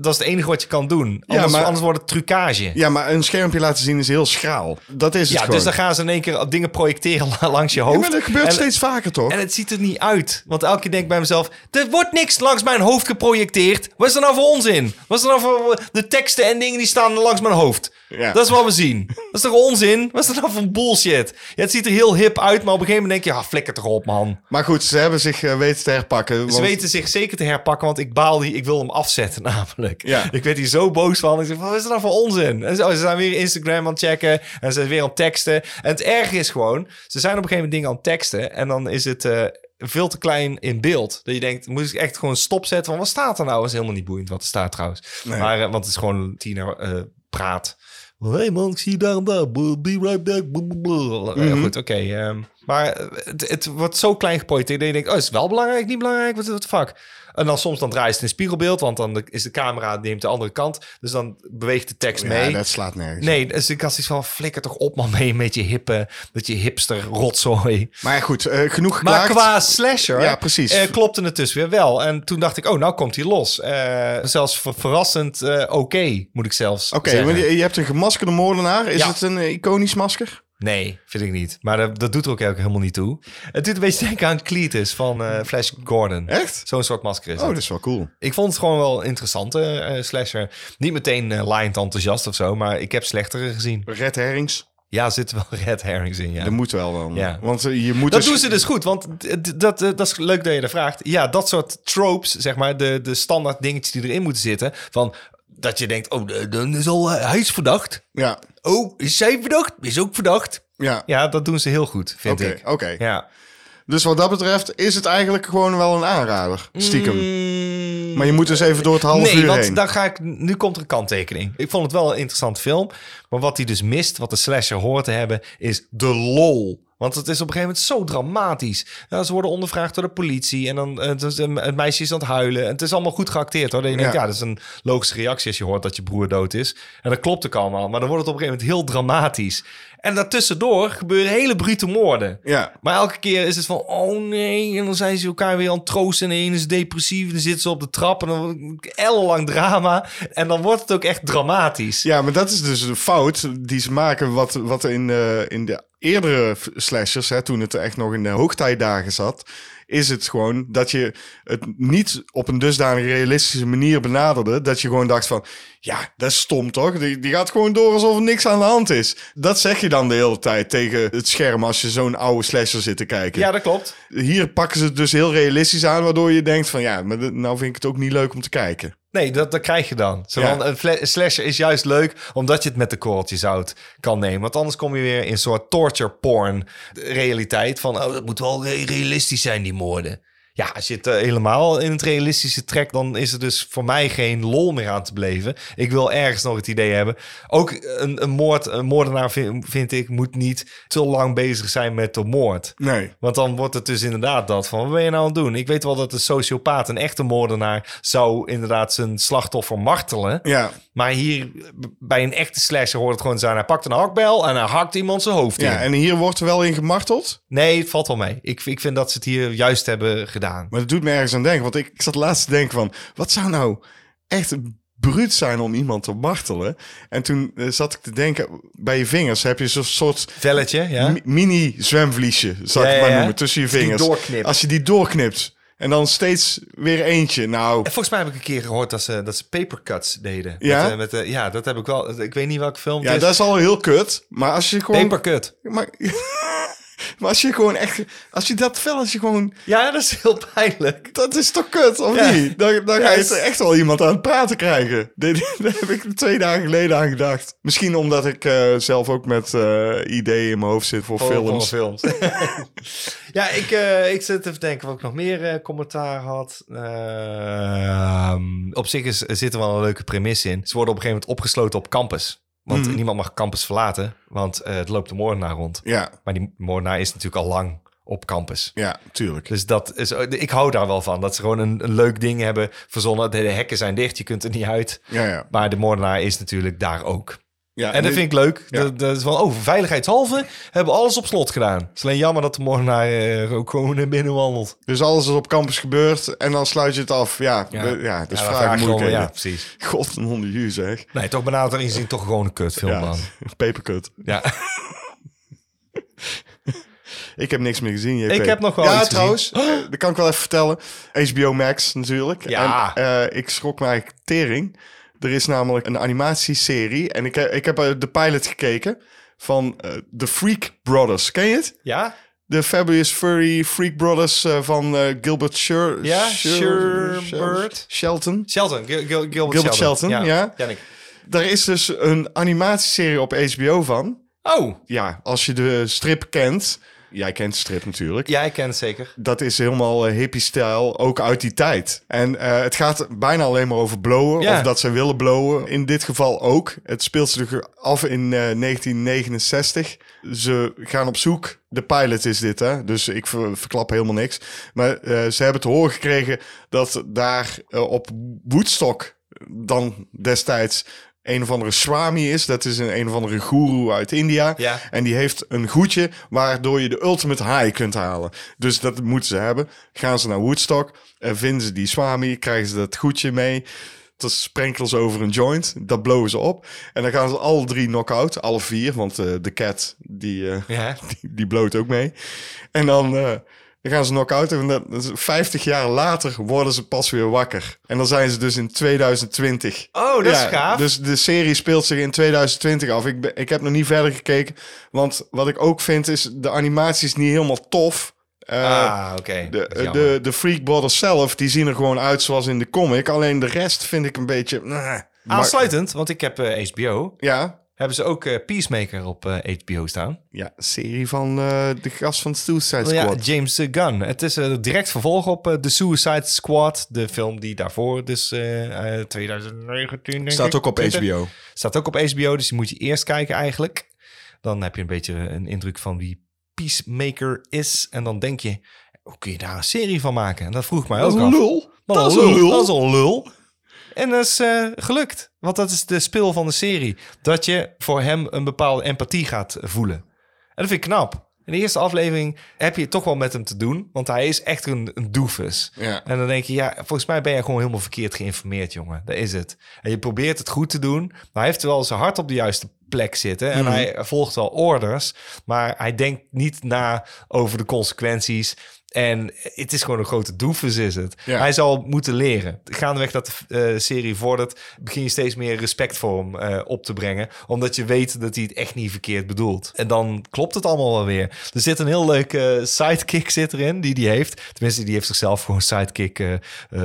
Speaker 2: Dat is het enige wat je kan doen. Anders,
Speaker 1: maar-
Speaker 2: anders wordt het trucage.
Speaker 1: ja, maar een schermpje laten zien is heel schraal. Dat is het
Speaker 2: Ja,
Speaker 1: gewoon.
Speaker 2: dus dan gaan ze in één keer dingen projecteren (laughs) la- langs je
Speaker 1: Ja,
Speaker 2: hoofd.
Speaker 1: maar dat gebeurt
Speaker 2: en,
Speaker 1: steeds vaker, toch?
Speaker 2: en het ziet er niet uit. Want elke keer denk ik bij mezelf... Er wordt niks langs mijn hoofd geprojecteerd. Wat is er nou voor onzin? Wat is er nou voor... De teksten en dingen die staan langs mijn hoofd.
Speaker 1: Ja.
Speaker 2: Dat is wat we zien. Dat is toch onzin? Wat is dat nou voor bullshit? Ja, het ziet er heel hip uit, maar op een gegeven moment denk je... Ja, flikker toch op, man.
Speaker 1: Maar goed, ze hebben zich eh, weten te herpakken.
Speaker 2: Ze
Speaker 1: want-
Speaker 2: weten zich zeker te herpakken, want ik baal die... Ik wil hem afzetten, (laughs) namelijk.
Speaker 1: Ja.
Speaker 2: Ik werd hier zo boos van. Ik zeg, wat is dat nou voor onzin? En zo, ze zijn weer Instagram aan het checken. En ze zijn weer aan het teksten. En het erge is gewoon... Ze zijn op een gegeven moment dingen aan het teksten. En dan is het... eh, veel te klein in beeld. Dat je denkt, moet ik echt gewoon stopzetten? Van wat staat er nou? Dat is helemaal niet boeiend wat er staat trouwens.
Speaker 1: Nee.
Speaker 2: Maar, eh, want het is gewoon Tina eh, praat. Hey man, ik zie je daar en daar. Be right back. Blablabla. Ja,
Speaker 1: Mhm.
Speaker 2: goed, oké. ehm, maar het, het wordt zo klein geprojecteerd dat je denkt, oh, is het wel belangrijk, niet belangrijk? Wat de fuck? En dan soms dan draait het in spiegelbeeld, want dan is de camera neemt de andere kant. Dus dan beweegt de tekst
Speaker 1: Ja,
Speaker 2: mee.
Speaker 1: dat slaat nergens. op.
Speaker 2: Nee, dus ik had zoiets van, flikker toch op man mee met je hippe, met je hipster rotzooi.
Speaker 1: Maar goed, eh, genoeg
Speaker 2: Maar
Speaker 1: geklaagd.
Speaker 2: qua slasher
Speaker 1: Ja, precies.
Speaker 2: eh, klopte het dus weer wel. En toen dacht ik, oh, nou komt hij los. Eh, zelfs ver- verrassend eh, oké, moet ik zelfs
Speaker 1: Oké,
Speaker 2: zeggen.
Speaker 1: want je, je hebt een gemaskerde moordenaar. Is
Speaker 2: Ja.
Speaker 1: het een eh, iconisch masker?
Speaker 2: Nee, vind ik niet. Maar eh, dat, dat doet er ook eigenlijk helemaal niet toe. Het doet een beetje denken aan Cletus van eh, Flash Gordon.
Speaker 1: Echt?
Speaker 2: Zo'n soort masker is
Speaker 1: Oh,
Speaker 2: het.
Speaker 1: dat is wel cool.
Speaker 2: Ik vond het gewoon wel een interessante eh, slasher. Niet meteen eh laaiend enthousiast of zo, maar ik heb slechtere gezien.
Speaker 1: Red herrings.
Speaker 2: Ja, er zitten wel (laughs) red herrings in, ja.
Speaker 1: Dat moet wel dan.
Speaker 2: Ja.
Speaker 1: Want eh, je moet
Speaker 2: Dat
Speaker 1: dus-
Speaker 2: doen ze dus goed, want d- d- dat, eh, dat is leuk dat je dat vraagt. Ja, dat soort tropes, zeg maar, de, de standaard dingetjes die erin moeten zitten. Van dat je denkt, oh, de- de- is al, eh, hij is verdacht.
Speaker 1: Ja,
Speaker 2: Oh, is zij verdacht? Is ook verdacht.
Speaker 1: ja.
Speaker 2: Ja, dat doen ze heel goed, vind
Speaker 1: Oké,
Speaker 2: ik.
Speaker 1: oké.
Speaker 2: Ja.
Speaker 1: Dus wat dat betreft is het eigenlijk gewoon wel een aanrader. Stiekem.
Speaker 2: Mm,
Speaker 1: Maar je moet dus even door het half
Speaker 2: nee,
Speaker 1: uur
Speaker 2: want
Speaker 1: heen.
Speaker 2: dan ga ik. Nu komt er een kanttekening. Ik vond het wel een interessant film. Maar wat hij dus mist, wat de slasher hoort te hebben, is de lol. Want het is op een gegeven moment zo dramatisch. Nou, ze worden ondervraagd door de politie. En dan eh, het, is- het meisje is aan het huilen. En het is allemaal goed geacteerd hoor. Dat je denkt,
Speaker 1: Ja.
Speaker 2: ja, dat is een logische reactie als je hoort dat je broer dood is. En dat klopt ook allemaal. Maar dan wordt het op een gegeven moment heel dramatisch. En daartussendoor gebeuren hele brute moorden.
Speaker 1: Ja,
Speaker 2: Maar elke keer is het van, oh nee. En dan zijn ze elkaar weer aan het troosten. En de ene is depressief. En dan zitten ze op de trap. En dan wordt het ellenlang drama. En dan wordt het ook echt dramatisch.
Speaker 1: ja, maar dat is dus de fout die ze maken. Wat, wat in, eh, in de eerdere f- slashers, hè, toen het echt nog in de hoogtijdagen zat... is het gewoon dat je het niet op een dusdanig realistische manier benaderde... dat je gewoon dacht van, ja, dat is stom toch? Die, die gaat gewoon door alsof er niks aan de hand is. Dat zeg je dan de hele tijd tegen het scherm... als je zo'n oude slasher zit te kijken.
Speaker 2: Ja, dat klopt.
Speaker 1: Hier pakken ze het dus heel realistisch aan... waardoor je denkt van, ja, maar dit- nou vind ik het ook niet leuk om te kijken.
Speaker 2: Nee, dat, dat krijg je dan. Zo
Speaker 1: Ja.
Speaker 2: van, een fle- een slasher is juist leuk omdat je het met de korreltjes zout kan nemen. Want anders kom je weer in een soort torture porn realiteit. Van, oh, dat moet wel re- realistisch zijn, die moorden. Ja, als je het eh, helemaal in het realistische trekt, dan is er dus voor mij geen lol meer aan te beleven. Ik wil ergens nog het idee hebben. Ook een, een, moord, een moordenaar vind, vind ik moet niet te lang bezig zijn met de moord.
Speaker 1: Nee.
Speaker 2: Want dan wordt het dus inderdaad dat van, wat ben je nou aan het doen? Ik weet wel dat een sociopaat, een echte moordenaar, zou inderdaad zijn slachtoffer martelen.
Speaker 1: Ja,
Speaker 2: Maar hier, b- bij een echte slasher hoort het gewoon zijn, hij pakt een hakbel en hij hakt iemand zijn hoofd in.
Speaker 1: ja, en hier wordt er wel in gemarteld.
Speaker 2: Nee, het valt wel mee. Ik, ik vind dat ze het hier juist hebben gedaan.
Speaker 1: Maar dat doet me ergens aan denken. Want ik, ik zat laatst te denken van... wat zou nou echt bruut zijn om iemand te martelen? En toen eh, zat ik te denken... bij je vingers heb je zo'n soort
Speaker 2: Velletje, ja?
Speaker 1: mi- mini-zwemvliesje... zou ik het
Speaker 2: Ja, ja,
Speaker 1: maar
Speaker 2: ja.
Speaker 1: noemen, tussen je
Speaker 2: Als je die
Speaker 1: vingers.
Speaker 2: doorknipt.
Speaker 1: Als je die doorknipt. En dan steeds weer eentje. Nou,
Speaker 2: En Volgens mij heb ik een keer gehoord dat ze, dat ze papercuts deden.
Speaker 1: Ja?
Speaker 2: Met, eh, met, eh, ja, dat heb ik wel. Ik weet niet welke film
Speaker 1: ja,
Speaker 2: het
Speaker 1: dat is al heel kut. (laughs) Maar als je
Speaker 2: is.
Speaker 1: gewoon...
Speaker 2: Papercut.
Speaker 1: Maar, Maar als je gewoon echt... Als je dat fel, als je gewoon...
Speaker 2: Ja, dat is heel pijnlijk.
Speaker 1: Dat is toch kut, of
Speaker 2: Ja.
Speaker 1: niet? Dan, dan
Speaker 2: Ja,
Speaker 1: ga je
Speaker 2: is-
Speaker 1: toch echt wel iemand aan het praten krijgen. (laughs) Dit- Daar heb ik twee dagen geleden aan gedacht. Misschien omdat ik eh, zelf ook met eh, ideeën in mijn hoofd zit
Speaker 2: Oh,
Speaker 1: voor films.
Speaker 2: films. (laughs) ja, ik, eh, ik zit even te denken of ik nog meer eh, commentaar had. Ehm, op zich is, zit er wel een leuke premisse in. Ze worden op een gegeven moment opgesloten op campus. Want
Speaker 1: Mhm.
Speaker 2: niemand mag campus verlaten, want eh, het loopt de moordenaar rond.
Speaker 1: Ja,
Speaker 2: Maar die moordenaar is natuurlijk al lang op campus.
Speaker 1: ja, tuurlijk.
Speaker 2: Dus dat is, ik hou daar wel van. Dat ze gewoon een, een leuk ding hebben verzonnen. De, de hekken zijn dicht, je kunt er niet uit.
Speaker 1: Ja, ja.
Speaker 2: Maar de moordenaar is natuurlijk daar ook.
Speaker 1: ja dus-
Speaker 2: En dat
Speaker 1: dit-
Speaker 2: vind ik leuk.
Speaker 1: Ja.
Speaker 2: Dat, dat is van, oh, veiligheidshalve hebben we alles op slot gedaan. Het is alleen jammer dat de moordenaar eh, ook gewoon naar binnen wandelt.
Speaker 1: Dus alles wat op campus gebeurt en dan sluit je het af. Ja, we- ja. dus
Speaker 2: dan
Speaker 1: vragen
Speaker 2: gewoon,
Speaker 1: moeilijk.
Speaker 2: Ja,
Speaker 1: Ja.
Speaker 2: precies.
Speaker 1: (laughs) God, een honderd uur zeg.
Speaker 2: Nee, toch benaderd erin zien, toch gewoon een kutfilm,
Speaker 1: Ja,
Speaker 2: man.
Speaker 1: (laughs) papercut.
Speaker 2: Ja.
Speaker 1: Ik heb niks meer gezien, JP.
Speaker 2: Ik heb nog wel
Speaker 1: Ja,
Speaker 2: iets
Speaker 1: trouwens, eh, dat kan ik wel even vertellen. HBO Max natuurlijk.
Speaker 2: Ja.
Speaker 1: En, eh, ik schrok mij tering. Er is namelijk een animatieserie. En ik, he- ik heb eh, de pilot gekeken van eh, The Freak Brothers. Ken je het?
Speaker 2: (laughs) Ja?
Speaker 1: De Fabulous Furry Freak Brothers eh, van eh, Gilbert Sher
Speaker 2: Ja,
Speaker 1: Sher-
Speaker 2: Sherbert.
Speaker 1: Shelton.
Speaker 2: Shelton, Gil- Gil- Gilbert,
Speaker 1: Gilbert Shelton, ja.
Speaker 2: Jannik.
Speaker 1: Daar is dus een animatieserie op HBO van.
Speaker 2: Oh,
Speaker 1: Ja, als je de strip kent. Jij kent de strip natuurlijk.
Speaker 2: jij kent zeker.
Speaker 1: Dat is helemaal eh, hippie-stijl, ook uit die tijd. En eh, het gaat bijna alleen maar over blowen,
Speaker 2: Ja.
Speaker 1: of dat ze willen blowen. In dit geval ook. Het speelt zich af in eh, 1969. Ze gaan op zoek. De pilot is dit, hè? dus ik ver- verklap helemaal niks. Maar eh, ze hebben te horen gekregen dat daar eh, op Woodstock dan destijds een of andere swami is. Dat is een, een of andere guru uit India.
Speaker 2: Ja.
Speaker 1: En die heeft een goedje waardoor je de ultimate high kunt halen. Dus dat moeten ze hebben. Gaan ze naar Woodstock, eh, vinden ze die Swami, krijgen ze dat goedje mee. Dat sprenkelen ze over een joint, dat blowen ze op. En dan gaan ze alle drie knock-out, alle vier, want eh, de cat die, eh,
Speaker 2: Ja.
Speaker 1: die, die bloot ook mee. En dan, eh, dan gaan ze knock-out en dat, dat is 50 jaar later worden ze pas weer wakker. En dan zijn ze dus in 2020.
Speaker 2: Oh, dat is gaaf.
Speaker 1: Dus de serie speelt zich in 2020 af. Ik, ben- ik heb nog niet verder gekeken. Want wat ik ook vind is, de animatie is niet helemaal tof. Eh,
Speaker 2: ah, oké.
Speaker 1: de, eh,
Speaker 2: Dat is jammer.
Speaker 1: de, de Freak Brothers zelf, die zien er gewoon uit zoals in de comic. Alleen de rest vind ik een beetje... nah. Maar-
Speaker 2: Aansluitend, want ik heb eh, HBO.
Speaker 1: Ja,
Speaker 2: Hebben ze ook eh, Peacemaker op eh, HBO staan?
Speaker 1: ja, serie van eh, de gast van Suicide
Speaker 2: Wel Ja,
Speaker 1: Squad.
Speaker 2: James eh, Gunn. Het is eh, direct vervolg op eh, The Suicide Squad. De film die daarvoor, dus eh, eh, 2019 denk ik, 20. Staat ook op HBO, dus die moet je eerst kijken eigenlijk. Dan heb je een beetje een indruk van wie Peacemaker is. En dan denk je, hoe kun je daar een serie van maken? En dat vroeg ik mij
Speaker 1: Dat is
Speaker 2: ook
Speaker 1: een
Speaker 2: af.
Speaker 1: lul.
Speaker 2: Wat
Speaker 1: Dat is een lul.
Speaker 2: Dat is een lul. En dat is eh, gelukt. Want dat is de spil van de serie. Dat je voor hem een bepaalde empathie gaat voelen. En dat vind ik knap. In de eerste aflevering heb je het toch wel met hem te doen. Want hij is echt een, een doofus.
Speaker 1: Ja.
Speaker 2: En dan denk je, ja, volgens mij ben je gewoon helemaal verkeerd geïnformeerd, jongen. Dat is het. En je probeert het goed te doen. Maar hij heeft wel zijn hart op de juiste plek zitten.
Speaker 1: Mhm.
Speaker 2: En hij volgt wel orders. Maar hij denkt niet na over de consequenties. En het is gewoon een grote doefus, is het.
Speaker 1: Ja.
Speaker 2: Hij zal moeten leren. Gaandeweg dat de eh, serie vordert, begin je steeds meer respect voor hem eh, op te brengen. Omdat je weet dat hij het echt niet verkeerd bedoelt. En dan klopt het allemaal wel weer. Er zit een heel leuke eh, sidekick zit erin, die die heeft. Tenminste, die heeft zichzelf gewoon sidekick eh, eh,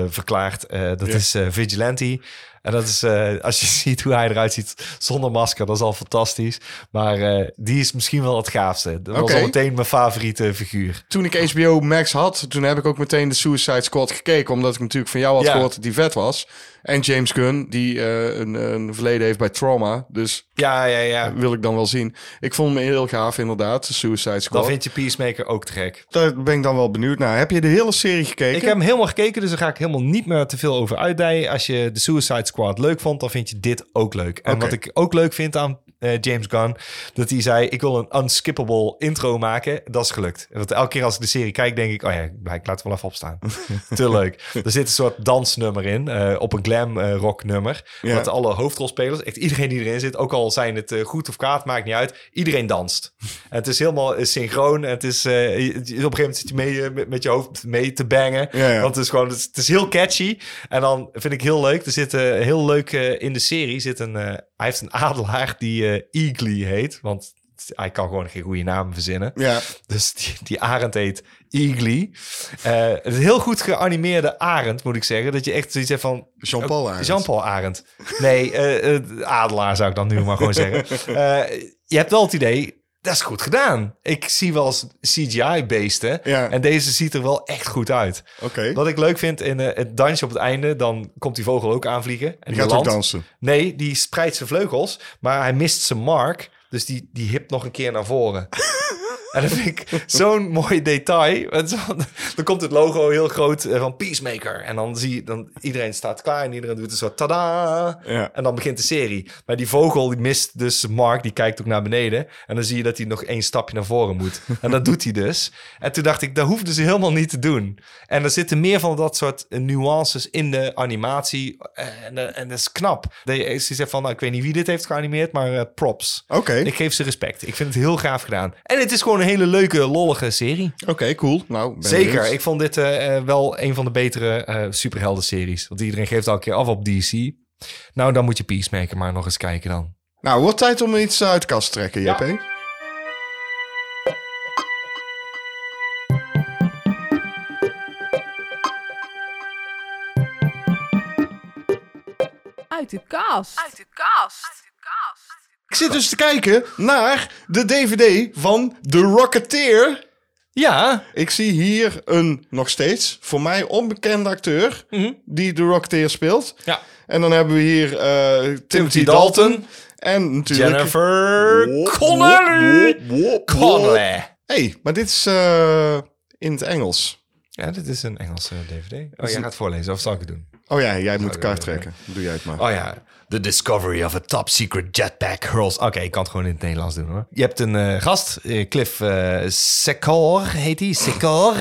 Speaker 2: verklaard. Eh, dat
Speaker 1: Ja.
Speaker 2: is eh, Vigilante. En dat is, eh, als je (laughs) ziet hoe hij eruit ziet zonder masker, dat is al fantastisch. Maar eh, die is misschien wel het gaafste. Dat was
Speaker 1: Oké.
Speaker 2: al meteen mijn favoriete figuur.
Speaker 1: Toen ik HBO Max had, toen heb ik ook meteen de Suicide Squad gekeken. Omdat ik natuurlijk van jou had
Speaker 2: Ja.
Speaker 1: gehoord dat die vet was. En James Gunn, die eh, een, een verleden heeft bij Trauma. Dus
Speaker 2: Ja, ja, ja.
Speaker 1: wil ik dan wel zien. Ik vond hem heel gaaf inderdaad, de Suicide Squad.
Speaker 2: Dan vind je Peacemaker ook te gek.
Speaker 1: Daar ben ik dan wel benieuwd naar. Heb je de hele serie gekeken?
Speaker 2: Ik heb hem helemaal gekeken, dus daar ga ik helemaal niet meer te veel over uitdijen. Als je de Suicide Squad leuk vond, dan vind je dit ook leuk. En
Speaker 1: Oké.
Speaker 2: wat ik ook leuk vind aan eh, James Gunn, dat hij zei: Ik wil een unskippable intro maken. Dat is gelukt. Want elke keer als ik de serie kijk, denk ik: Oh ja, ik laat het wel even
Speaker 1: (laughs)
Speaker 2: opstaan. Te leuk. Er zit een soort dansnummer in, eh, op een glam eh, rock nummer.
Speaker 1: Ja.
Speaker 2: Met alle hoofdrolspelers, echt iedereen die erin zit, ook al zijn het eh, goed of kwaad, maakt niet uit. Iedereen
Speaker 1: (laughs)
Speaker 2: danst. En het is helemaal eh, synchroon. En het is, eh, je- je- op een gegeven moment zit je mee, eh, met- met je hoofd mee te bangen.
Speaker 1: Ja, ja.
Speaker 2: Want het is gewoon, het is, het is heel catchy. En dan vind ik heel leuk. Er zit eh, heel leuk eh, in de serie zit een. eh, hij heeft een adelaar die eh Eagly heet. Want het- hij kan gewoon geen goede naam verzinnen.
Speaker 1: Ja.
Speaker 2: Dus die, die arend heet Eagly. Eh, het is een heel goed geanimeerde arend, moet ik zeggen. Dat je echt zoiets hebt van...
Speaker 1: Jean-Paul Arend.
Speaker 2: Jean-Paul Arend. Nee, eh, eh, adelaar zou ik dan nu maar gewoon
Speaker 1: (laughs)
Speaker 2: zeggen. Eh, je hebt wel het idee, dat is goed gedaan. Ik zie wel eens CGI-beesten.
Speaker 1: Ja.
Speaker 2: En deze ziet er wel echt goed uit.
Speaker 1: Oké.
Speaker 2: Wat ik leuk vind in eh, het dansje op het einde, dan komt die vogel ook aanvliegen. En
Speaker 1: Die gaat ook
Speaker 2: landt.
Speaker 1: dansen.
Speaker 2: Nee, die spreidt zijn vleugels, maar hij mist zijn mark. Dus die, die hipt nog een keer naar voren. (laughs) en dat vind ik zo'n mooi detail. Want zo- Dan komt het logo heel groot eh, van Peacemaker. En dan zie je, dan, iedereen staat klaar en iedereen doet een soort tada.
Speaker 1: Ja.
Speaker 2: En dan begint de serie. Maar die vogel die mist dus zijn mark, die kijkt ook naar beneden. En dan zie je dat hij nog één stapje naar voren moet. En dat doet hij dus. En toen dacht ik, dat hoefden ze helemaal niet te doen. En er zitten meer van dat soort eh, nuances in de animatie. En, eh, en dat is knap. Dat je echt zegt van, nou, ik weet niet wie dit heeft geanimeerd, maar eh, props.
Speaker 1: Oké.
Speaker 2: Ik geef ze respect. Ik vind het heel gaaf gedaan. En het is gewoon een hele leuke, lollige serie.
Speaker 1: Oké, cool. Nou, ben
Speaker 2: Zeker.
Speaker 1: benieuwd.
Speaker 2: Ik vond dit eh, eh, wel een van de betere eh superhelden-series. Want iedereen geeft al een keer af op DC. Nou, dan moet je Peacemaker maar nog eens kijken dan.
Speaker 1: Nou, wordt tijd om iets uit de kast te trekken, JP.
Speaker 4: Uit de kast.
Speaker 1: Ik zit dus te kijken naar de DVD van The Rocketeer.
Speaker 2: Ja,
Speaker 1: Ik zie hier een nog steeds voor mij onbekende acteur die The Rocketeer speelt.
Speaker 2: Mhm. Ja.
Speaker 1: En dan hebben we hier eh, Timothy,
Speaker 2: Timothy
Speaker 1: Dalton.
Speaker 2: Dalton.
Speaker 1: En natuurlijk...
Speaker 2: Jennifer
Speaker 1: Wop,
Speaker 2: Connelly.
Speaker 1: wop, wop, wop.
Speaker 2: Connelly.
Speaker 1: hey, maar dit is eh, in het Engels.
Speaker 2: Ja, dit is een Engelse DVD. Oh, jij gaat voorlezen, of zal ik het doen?
Speaker 1: Oh ja, jij moet de
Speaker 2: ja,
Speaker 1: kaart
Speaker 2: ja,
Speaker 1: trekken. Doe jij het maar.
Speaker 2: Oh ja. The discovery of a top secret jetpack hurls... Oké, ik kan het gewoon in het Nederlands doen hoor. Je hebt een eh, gast, eh, Cliff eh Secor heet hij. Secor.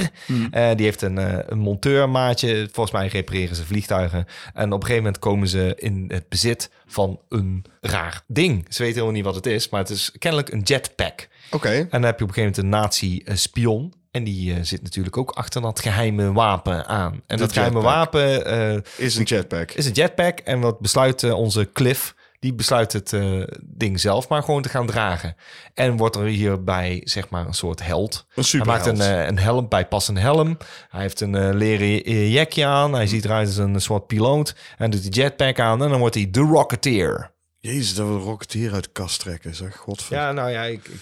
Speaker 2: Eh, die heeft een, eh, een monteurmaatje. Volgens mij repareren ze vliegtuigen. En op een gegeven moment komen ze in het bezit van een raar ding. Ze weten helemaal niet wat het is, maar het is kennelijk een jetpack.
Speaker 1: Oké.
Speaker 2: En dan heb je op een gegeven moment een nazi-spion. En die eh, zit natuurlijk ook achter dat geheime wapen aan. En dat geheime
Speaker 1: jetpack.
Speaker 2: wapen eh,
Speaker 1: Is een jetpack.
Speaker 2: is een jetpack. En wat besluit eh, onze Cliff? Die besluit het eh, ding zelf maar gewoon te gaan dragen. En wordt er hierbij zeg maar een soort held.
Speaker 1: Een
Speaker 2: Hij maakt
Speaker 1: superheld.
Speaker 2: een, eh, een helm, bijpassende helm. Hij heeft een eh, leren eh, jekje aan. Hij ziet eruit als een soort piloot. En doet die jetpack aan. En dan wordt hij de Rocketeer.
Speaker 1: Jezus, dat we de Rocketeer uit de kast trekken, zeg. Godver.
Speaker 2: Ja, nou ja, ik... ik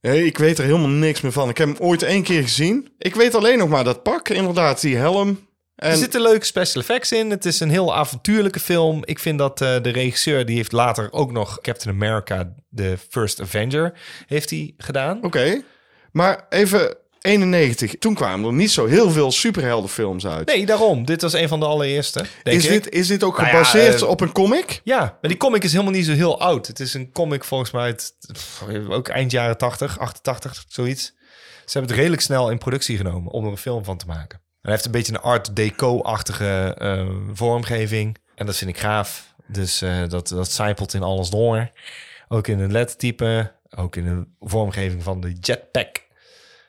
Speaker 1: Hey, ik weet er helemaal niks meer van. Ik heb hem ooit één keer gezien. Ik weet alleen nog maar dat pak, inderdaad, die helm. En
Speaker 2: Er zitten leuke special effects in. Het is een heel avontuurlijke film. Ik vind dat eh, de regisseur, die heeft later ook nog Captain America, The First Avenger, heeft hij gedaan.
Speaker 1: Oké. Maar even 91. Toen kwamen er niet zo heel veel superheldenfilms uit.
Speaker 2: Nee, daarom. Dit was een van de allereerste, denk
Speaker 1: is,
Speaker 2: ik.
Speaker 1: dit, is dit ook
Speaker 2: Nou ja,
Speaker 1: gebaseerd
Speaker 2: eh,
Speaker 1: op een comic?
Speaker 2: Ja, maar die comic is helemaal niet zo heel oud. Het is een comic volgens mij uit, pff, ook eind jaren 80, 88, zoiets. Ze hebben het redelijk snel in productie genomen om er een film van te maken. En hij heeft een beetje een art deco-achtige eh, vormgeving. En dat vind ik gaaf. Dus eh, dat, dat zijpelt in alles door. Ook in het lettertype, ook in de vormgeving van de jetpack.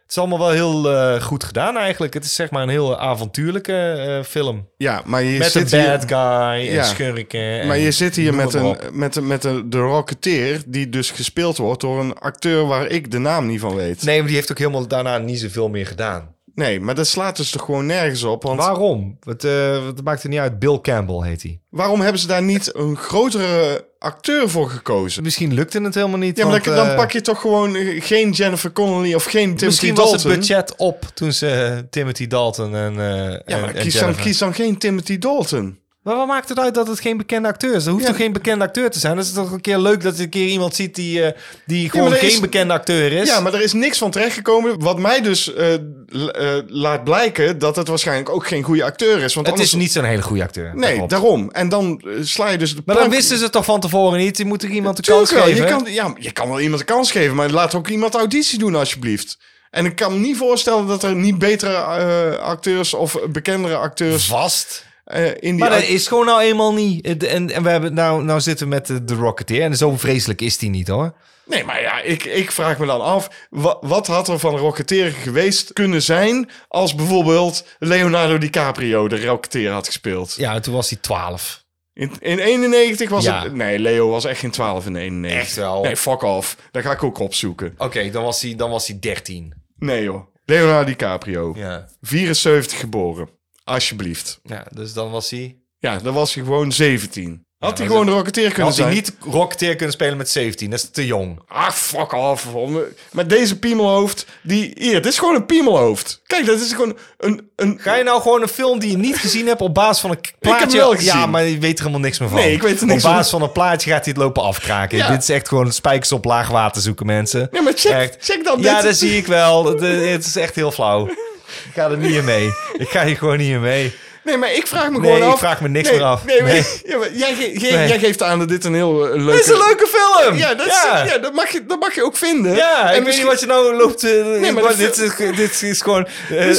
Speaker 2: Het is allemaal wel heel eh, goed gedaan eigenlijk. Het is zeg maar een heel avontuurlijke eh, film.
Speaker 1: Ja, maar je
Speaker 2: Met een
Speaker 1: zit
Speaker 2: bad
Speaker 1: hier...
Speaker 2: guy en
Speaker 1: Ja.
Speaker 2: schurken. en
Speaker 1: Maar je zit hier
Speaker 2: noem
Speaker 1: met,
Speaker 2: het maar
Speaker 1: een,
Speaker 2: op.
Speaker 1: met, een, met een, de Rocketeer, die dus gespeeld wordt door een acteur waar ik de naam niet van weet.
Speaker 2: Nee, maar die heeft ook helemaal daarna niet zoveel meer gedaan.
Speaker 1: Nee, maar dat slaat dus toch gewoon nergens op. Want
Speaker 2: Waarom? Het, eh, het maakt er niet uit. Bill Campbell heet hij.
Speaker 1: waarom hebben ze daar niet een grotere acteur voor gekozen?
Speaker 2: Misschien lukte het helemaal niet.
Speaker 1: Ja, maar
Speaker 2: want,
Speaker 1: dan, dan
Speaker 2: eh,
Speaker 1: pak je toch gewoon eh, geen Jennifer Connelly of geen Timothy
Speaker 2: Misschien
Speaker 1: Dalton.
Speaker 2: was het budget op toen ze eh, Timothy Dalton en. eh
Speaker 1: Ja, maar
Speaker 2: en, en
Speaker 1: kies, dan,
Speaker 2: Jennifer-
Speaker 1: kies dan geen Timothy Dalton.
Speaker 2: Maar wat maakt het uit dat het geen bekende acteur is? Er hoeft
Speaker 1: Ja.
Speaker 2: toch geen bekende acteur te zijn? Dat is toch een keer leuk dat je een keer iemand ziet die, eh, die gewoon
Speaker 1: maar er
Speaker 2: geen
Speaker 1: is-
Speaker 2: bekende acteur is?
Speaker 1: Ja, maar er is niks van terechtgekomen. Wat mij dus eh, l- eh, laat blijken dat het waarschijnlijk ook geen goede acteur is. Want
Speaker 2: het
Speaker 1: anders...
Speaker 2: is niet zo'n hele goede acteur.
Speaker 1: Nee,
Speaker 2: daarop.
Speaker 1: daarom. En dan eh, sla je dus de
Speaker 2: Maar dan
Speaker 1: plank-
Speaker 2: wisten ze het toch van tevoren niet? Je moet toch iemand de
Speaker 1: Tuurlijk
Speaker 2: kans
Speaker 1: wel.
Speaker 2: geven?
Speaker 1: Je kan, ja, je kan wel iemand een kans geven, maar laat ook iemand auditie doen alsjeblieft. En ik kan me niet voorstellen dat er niet betere eh, acteurs of bekendere acteurs
Speaker 2: Vast.
Speaker 1: eh, in die...
Speaker 2: Maar dat
Speaker 1: act-
Speaker 2: is gewoon nou eenmaal niet. Het- En, en we hebben, nou, nou zitten we met de, de Rocketeer. En zo vreselijk is die niet hoor.
Speaker 1: Nee, maar ja, ik, ik vraag me dan af, wa- wat had er van Rocketeer geweest kunnen zijn als bijvoorbeeld Leonardo DiCaprio de Rocketeer had gespeeld?
Speaker 2: Ja, en toen was hij 12.
Speaker 1: In, in 91 was
Speaker 2: Ja.
Speaker 1: het... Nee, Leo was echt geen 12 in 91.
Speaker 2: Echt wel.
Speaker 1: Nee, fuck off. Dat ga ik ook opzoeken.
Speaker 2: Oké, dan, was hij- dan was hij 13.
Speaker 1: Nee joh. Leonardo DiCaprio.
Speaker 2: Ja.
Speaker 1: 74 geboren. Alsjeblieft.
Speaker 2: ja, dus dan was hij...
Speaker 1: Ja, dan was hij gewoon 17. Had hij
Speaker 2: dat-
Speaker 1: gewoon de rocketeer kunnen
Speaker 2: Had
Speaker 1: zijn.
Speaker 2: hij niet rocketeer kunnen spelen met 17, dat is te jong.
Speaker 1: Ah, fuck off. om- Met deze piemelhoofd. Die... Hier, dit is gewoon een piemelhoofd. Kijk, dat is gewoon een... een...
Speaker 2: Ga je nou gewoon een film die je niet gezien hebt op basis van een k- plaatje...
Speaker 1: hem wel gezien.
Speaker 2: Ja, maar je weet er helemaal niks meer van.
Speaker 1: Nee, ik weet er niks
Speaker 2: Op basis van een plaatje gaat hij het lopen afkraken.
Speaker 1: Ja.
Speaker 2: Dit is echt gewoon spijkers op laag water zoeken, mensen.
Speaker 1: Ja, maar check-
Speaker 2: Echt.
Speaker 1: check dan
Speaker 2: Ja,
Speaker 1: dit.
Speaker 2: dat zie ik wel. Het, eh, het is echt heel flauw. Ik ga er niet in mee. Ik ga hier gewoon niet in mee.
Speaker 1: Nee, maar ik vraag me
Speaker 2: Nee,
Speaker 1: gewoon af...
Speaker 2: ik vraag me niks
Speaker 1: nee,
Speaker 2: meer af.
Speaker 1: Nee, maar-
Speaker 2: Nee.
Speaker 1: ja, maar jij, ge- jij-
Speaker 2: Nee.
Speaker 1: jij geeft aan dat dit een heel eh, leuke...
Speaker 2: Dit is een leuke film!
Speaker 1: Ja, dat, is- ja, dat, mag, je, dat mag je ook vinden.
Speaker 2: Ja, ik
Speaker 1: en
Speaker 2: weet niet
Speaker 1: misschien-
Speaker 2: wat je nou loopt. eh,
Speaker 1: maar
Speaker 2: gewoon-
Speaker 1: dat
Speaker 2: dit, is, dit is gewoon eh,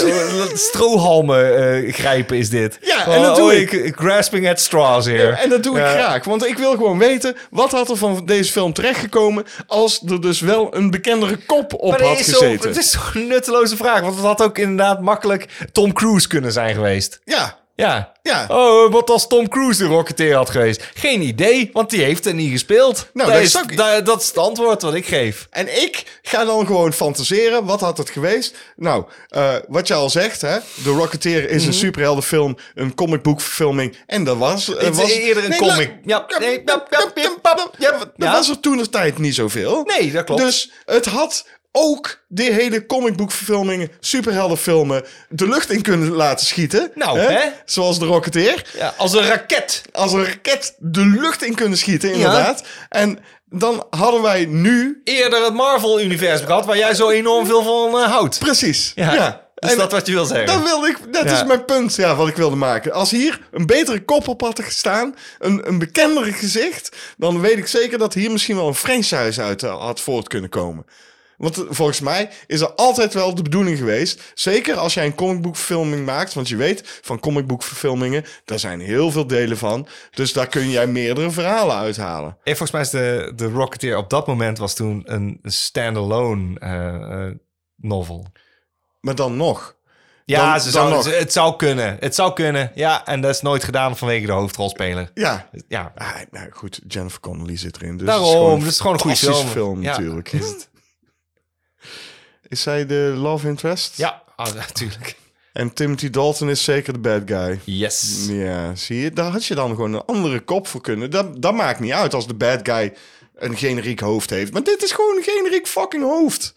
Speaker 2: strohalmen eh, grijpen is dit.
Speaker 1: Ja,
Speaker 2: Gewoon,
Speaker 1: en dat doe
Speaker 2: oh,
Speaker 1: ik.
Speaker 2: Grasping at straws here.
Speaker 1: En dat doe ik
Speaker 2: Ja.
Speaker 1: graag, want ik wil gewoon weten... wat had er van deze film terechtgekomen... als er dus wel een bekendere kop op
Speaker 2: Maar dat
Speaker 1: had
Speaker 2: is zo,
Speaker 1: gezeten?
Speaker 2: het is zo'n nutteloze vraag, want het had ook inderdaad makkelijk Tom Cruise kunnen zijn geweest.
Speaker 1: Ja,
Speaker 2: Ja.
Speaker 1: Ja.
Speaker 2: Oh, eh, wat als Tom Cruise de Rocketeer had geweest? Geen idee, want die heeft er niet gespeeld.
Speaker 1: Nou,
Speaker 2: dat,
Speaker 1: dat
Speaker 2: is,
Speaker 1: is ook-
Speaker 2: da- dat is het antwoord wat ik geef.
Speaker 1: En ik ga dan gewoon fantaseren. Wat had het geweest? Nou, eh, wat je al zegt, hè? The Rocketeer is
Speaker 2: Mhm.
Speaker 1: een superheldenfilm, een comicboekverfilming. En dat was. eh,
Speaker 2: Het is
Speaker 1: was
Speaker 2: eerder een
Speaker 1: Nee,
Speaker 2: comic.
Speaker 1: la-
Speaker 2: Ja, nee, ja, ja, ja, ja,
Speaker 1: Dat
Speaker 2: ja.
Speaker 1: was er toen de tijd niet zoveel.
Speaker 2: Nee, dat klopt.
Speaker 1: Dus het had ook die hele comicboekverfilmingen, superheldenfilmen, de lucht in kunnen laten schieten.
Speaker 2: Nou, hè?
Speaker 1: Zoals de Rocketeer
Speaker 2: Ja, als een raket.
Speaker 1: als een raket de lucht in kunnen schieten, inderdaad. En dan hadden wij nu...
Speaker 2: Eerder het Marvel-universum gehad, waar jij zo enorm veel van eh, houdt.
Speaker 1: Precies.
Speaker 2: Ja, is
Speaker 1: En
Speaker 2: dat wat je wil zeggen?
Speaker 1: Dat, wilde ik, dat
Speaker 2: Ja.
Speaker 1: is mijn punt ja, wat ik wilde maken. Als hier een betere kop op had gestaan, een, een bekendere gezicht... dan weet ik zeker dat hier misschien wel een franchise uit eh, had voort kunnen komen. Want eh, volgens mij is er altijd wel de bedoeling geweest... zeker als jij een comicboekverfilming maakt... want je weet, van comicboekverfilmingen, daar zijn heel veel delen van... dus daar kun jij meerdere verhalen uithalen.
Speaker 2: En volgens mij is de, de Rocketeer op dat moment was toen een standalone eh, eh, novel.
Speaker 1: Maar dan nog.
Speaker 2: Ja,
Speaker 1: Dan-
Speaker 2: ze
Speaker 1: dan
Speaker 2: zou,
Speaker 1: nog.
Speaker 2: ze- het zou kunnen. Het zou kunnen. Ja, en dat is nooit gedaan vanwege de hoofdrolspeler.
Speaker 1: Ja.
Speaker 2: Ja,
Speaker 1: Ah, nou goed, Jennifer Connelly zit erin. Dus
Speaker 2: daarom.
Speaker 1: Het is gewoon
Speaker 2: dat is gewoon een goede
Speaker 1: fantastische
Speaker 2: film.
Speaker 1: film,
Speaker 2: Ja. (laughs)
Speaker 1: natuurlijk. Is, zij de love interest?
Speaker 2: Ja, ah, natuurlijk.
Speaker 1: En Timothy Dalton is zeker de bad guy.
Speaker 2: Yes.
Speaker 1: Ja, zie je? Daar had je dan gewoon een andere kop voor kunnen. Dat, dat maakt niet uit als de bad guy een generiek hoofd heeft. Maar dit is gewoon een generiek fucking hoofd.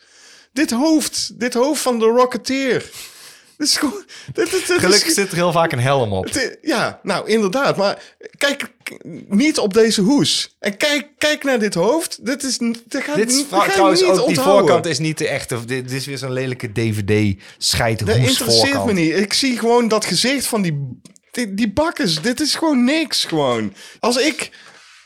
Speaker 1: Dit hoofd. Dit hoofd van de Rocketeer. Dit is gewoon... Dit, dit, dit
Speaker 2: Gelukkig
Speaker 1: is,
Speaker 2: zit er heel vaak een helm op.
Speaker 1: Het i- Ja, nou inderdaad. Maar kijk k- niet op deze hoes. En kijk, kijk naar dit hoofd. Dit is, n- dit gaat,
Speaker 2: Dit is
Speaker 1: niet-
Speaker 2: va-
Speaker 1: dit ga je
Speaker 2: trouwens ook,
Speaker 1: niet
Speaker 2: die
Speaker 1: onthouden.
Speaker 2: voorkant is niet de echte. Dit, dit is weer zo'n lelijke
Speaker 1: Dat
Speaker 2: DVD-scheidhoes
Speaker 1: interesseert
Speaker 2: voorkant.
Speaker 1: me niet. Ik zie gewoon dat gezicht van die, die, die bakkers. Dit is gewoon niks gewoon. Als ik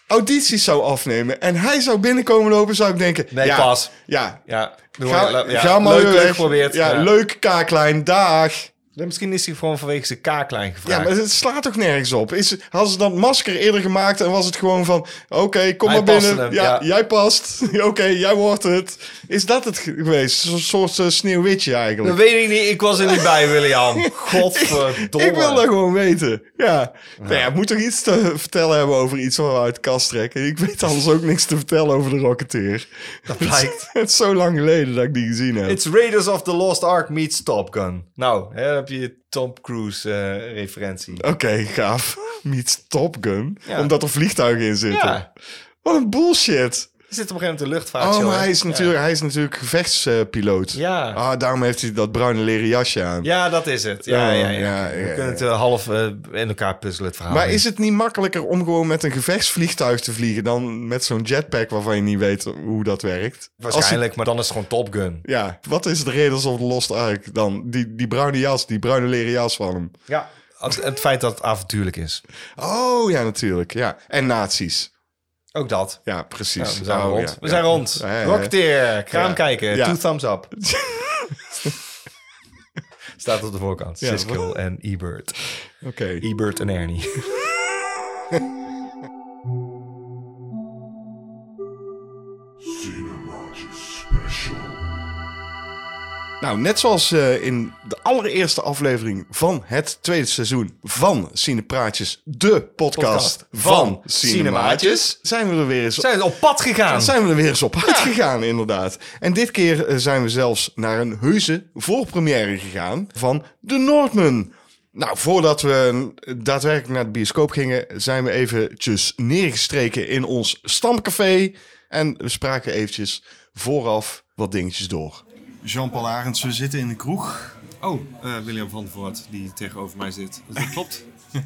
Speaker 1: audities zou afnemen en hij zou binnenkomen lopen, zou ik denken...
Speaker 2: Nee,
Speaker 1: ja,
Speaker 2: pas.
Speaker 1: Ja,
Speaker 2: Ja, doe
Speaker 1: ga,
Speaker 2: maar- ja,
Speaker 1: ga maar
Speaker 2: leuk,
Speaker 1: weer
Speaker 2: leuk
Speaker 1: weg.
Speaker 2: geprobeerd.
Speaker 1: Ja,
Speaker 2: Ja.
Speaker 1: leuk kaaklijn, dag.
Speaker 2: Misschien is hij gewoon vanwege zijn kaaklijn gevraagd.
Speaker 1: Ja, maar het slaat toch nergens op? Is, hadden ze dan masker eerder gemaakt en was het gewoon van... Oké, kom
Speaker 2: Hij
Speaker 1: maar binnen.
Speaker 2: paste hem,
Speaker 1: ja,
Speaker 2: ja.
Speaker 1: jij past. (laughs) Oké, jij wordt het. Is dat het ge- geweest? Zo'n soort eh, sneeuwwitje eigenlijk.
Speaker 2: Dat weet ik niet. Ik was er niet
Speaker 1: (laughs)
Speaker 2: bij, William. Godverdomme.
Speaker 1: Ik wil dat gewoon weten. Ja. Nou ja, ik moet toch iets te vertellen hebben over iets wat we uit de kast trekken. Ik weet anders ook niks te vertellen over de Rocketeer. Dat
Speaker 2: blijkt.
Speaker 1: (laughs) het is zo lang geleden dat ik die gezien heb.
Speaker 2: It's Raiders of the Lost Ark meets Top Gun. Nou, hè, dan heb je Tom Cruise eh, referentie.
Speaker 1: Oké, gaaf. Meets Top Gun.
Speaker 2: Ja.
Speaker 1: Omdat er vliegtuigen in zitten.
Speaker 2: Ja.
Speaker 1: Wat een bullshit.
Speaker 2: Er zit op een gegeven moment een luchtvaart.
Speaker 1: Oh, maar hij is natuurlijk, hij is natuurlijk gevechtspiloot.
Speaker 2: Ja.
Speaker 1: Ah, daarom heeft hij dat bruine leren jasje aan.
Speaker 2: Ja, dat is het. Ja, ja, ja.
Speaker 1: Oh, ja, ja,
Speaker 2: We
Speaker 1: ja.
Speaker 2: kunnen het eh, half eh, in elkaar puzzelen, het verhaal.
Speaker 1: Maar is het niet makkelijker om gewoon met een gevechtsvliegtuig te vliegen dan met zo'n jetpack waarvan je niet weet hoe dat werkt? Als hij-
Speaker 2: Waarschijnlijk, maar dan is het gewoon Top Gun.
Speaker 1: ja, wat is de Raiders of the Lost Ark dan? Die, die bruine jas, die bruine leren jas van hem.
Speaker 2: Ja. Het, het feit dat het avontuurlijk is.
Speaker 1: Oh ja, natuurlijk. Ja. En nazi's.
Speaker 2: Ook dat.
Speaker 1: Ja,
Speaker 2: Ja,
Speaker 1: precies.
Speaker 2: we zijn
Speaker 1: Oh,
Speaker 2: rond.
Speaker 1: ja,
Speaker 2: we
Speaker 1: ja.
Speaker 2: zijn rond.
Speaker 1: Ja, ja, ja.
Speaker 2: Rocketeer. Kraam
Speaker 1: Ja.
Speaker 2: kijken.
Speaker 1: Ja.
Speaker 2: Two thumbs up. Staat op de voorkant.
Speaker 1: Ja.
Speaker 2: Siskel en Ebert.
Speaker 1: (laughs) Oké.
Speaker 2: Ebert en Ernie.
Speaker 1: Nou, Nou, net zoals eh, in de allereerste aflevering van het tweede seizoen van Cinepraatjes, de podcast,
Speaker 2: Podcast
Speaker 1: van
Speaker 2: van
Speaker 1: Cinemaatjes,
Speaker 2: Cinemaatjes,
Speaker 1: zijn we er weer eens
Speaker 2: Zijn we op pad gegaan?
Speaker 1: Dan zijn we er weer eens op uitgegaan, inderdaad. En dit keer eh, zijn we zelfs naar een heuse voorpremière gegaan van The Northman. Nou, voordat we eh, daadwerkelijk naar de bioscoop gingen, zijn we eventjes neergestreken in ons stamcafé. En we spraken eventjes vooraf wat dingetjes door. Jean-Paul Arends, we zitten in de kroeg.
Speaker 4: Oh, eh, William van der Voort, die tegenover mij zit. Dus dat klopt.
Speaker 1: Dat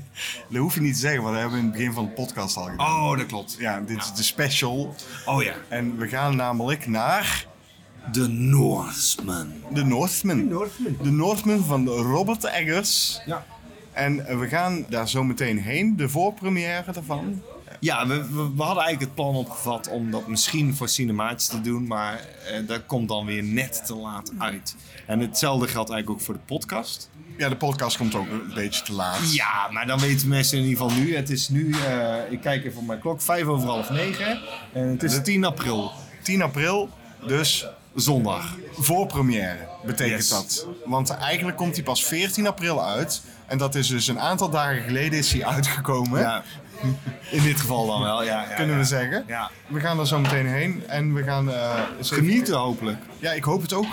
Speaker 1: hoef je niet te zeggen, want dat hebben we in het begin van de podcast al gedaan.
Speaker 4: Oh, dat klopt.
Speaker 1: Ja, dit is de special.
Speaker 4: Oh ja.
Speaker 1: En we gaan namelijk naar
Speaker 4: De Norseman.
Speaker 1: The Northman.
Speaker 4: Norseman.
Speaker 1: De Northman van Robert Eggers.
Speaker 4: Ja.
Speaker 1: En eh, we gaan daar zo meteen heen, de voorpremière daarvan.
Speaker 4: Ja, we, we, we hadden eigenlijk het plan opgevat om dat misschien voor cinemaatjes te doen, maar eh, dat komt dan weer net te laat uit. En hetzelfde geldt eigenlijk ook voor de podcast.
Speaker 1: Ja, de podcast komt ook een beetje te laat.
Speaker 4: Ja, maar dan weten mensen in ieder geval nu. Het is nu, eh, ik kijk even op mijn klok, vijf over half negen. En het is 10 april,
Speaker 1: 10 april, dus
Speaker 4: zondag.
Speaker 1: voorpremière betekent
Speaker 4: Yes.
Speaker 1: dat. Want eigenlijk komt die pas 14 april uit. En dat is dus een aantal dagen geleden is die uitgekomen,
Speaker 4: Ja. In dit geval dan wel, ja. ja,
Speaker 1: kunnen
Speaker 4: ja.
Speaker 1: we zeggen.
Speaker 4: Ja.
Speaker 1: We gaan daar zo meteen heen en we gaan... eh, eens even-
Speaker 4: Genieten hopelijk.
Speaker 1: Ja, ik hoop het ook.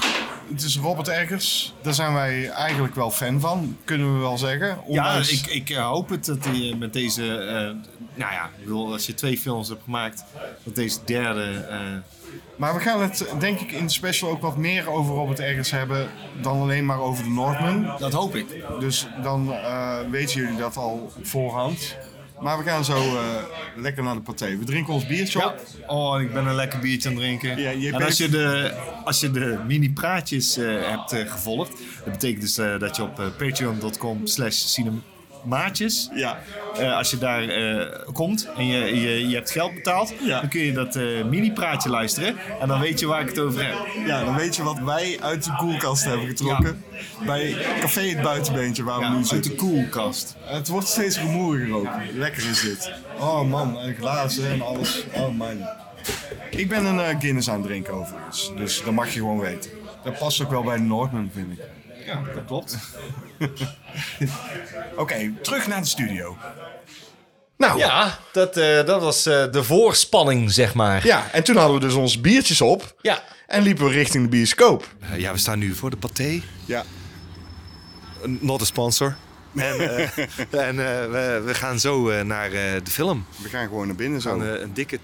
Speaker 1: Het is Robert Eggers. Daar zijn wij eigenlijk wel fan van, kunnen we wel zeggen.
Speaker 4: Ja,
Speaker 1: Ondanks-
Speaker 4: ik, ik eh, hoop het dat hij eh, met deze. eh, nou ja, ik bedoel, als je twee films hebt gemaakt, dat deze derde. eh,
Speaker 1: Maar we gaan het denk ik in de special ook wat meer over Robert Eggers hebben dan alleen maar over de Northman.
Speaker 4: dat hoop ik.
Speaker 1: Dus dan eh, weten jullie dat al op voorhand. Maar we gaan zo eh, lekker naar de partij. We drinken ons biertje
Speaker 4: Ja.
Speaker 1: op.
Speaker 4: Oh, en ik ben een lekker biertje aan het drinken.
Speaker 1: Ja, je bent-
Speaker 4: en Nou, als je de, als je de mini-praatjes eh, hebt eh, gevolgd, dat betekent dus eh, dat je op eh, patreon.com slash cinemaatjes,
Speaker 1: Ja.
Speaker 4: eh, als je daar eh, komt en je, je, je hebt geld betaald,
Speaker 1: Ja.
Speaker 4: dan kun je dat eh, mini-praatje luisteren en dan weet je waar ik het over heb.
Speaker 1: ja, dan weet je wat wij uit de koelkast hebben getrokken. Bij Café Het Buitenbeentje, waar we
Speaker 4: Ja,
Speaker 1: nu
Speaker 4: uit
Speaker 1: zitten.
Speaker 4: de koelkast.
Speaker 1: Het wordt steeds rumoeriger ook. Lekker is dit. Oh man, en glazen en alles. Oh man. Ik ben een eh, Guinness aan het drinken overigens. Dus dat mag je gewoon weten. Dat past ook wel bij de Noordman, vind ik.
Speaker 4: Ja, dat klopt.
Speaker 1: (laughs) Oké, terug naar de studio.
Speaker 2: Nou, ja, dat, eh, dat was eh, de voorspanning, zeg maar.
Speaker 1: Ja, en toen hadden we dus onze biertjes op.
Speaker 2: Ja.
Speaker 1: En liepen we richting de bioscoop.
Speaker 4: Eh, ja, we staan nu voor de paté.
Speaker 1: Ja.
Speaker 4: Not a sponsor. En, eh, (laughs) en eh, we, we gaan zo eh, naar eh, de film.
Speaker 1: We gaan gewoon naar binnen zo.
Speaker 4: Een, eh, een dikke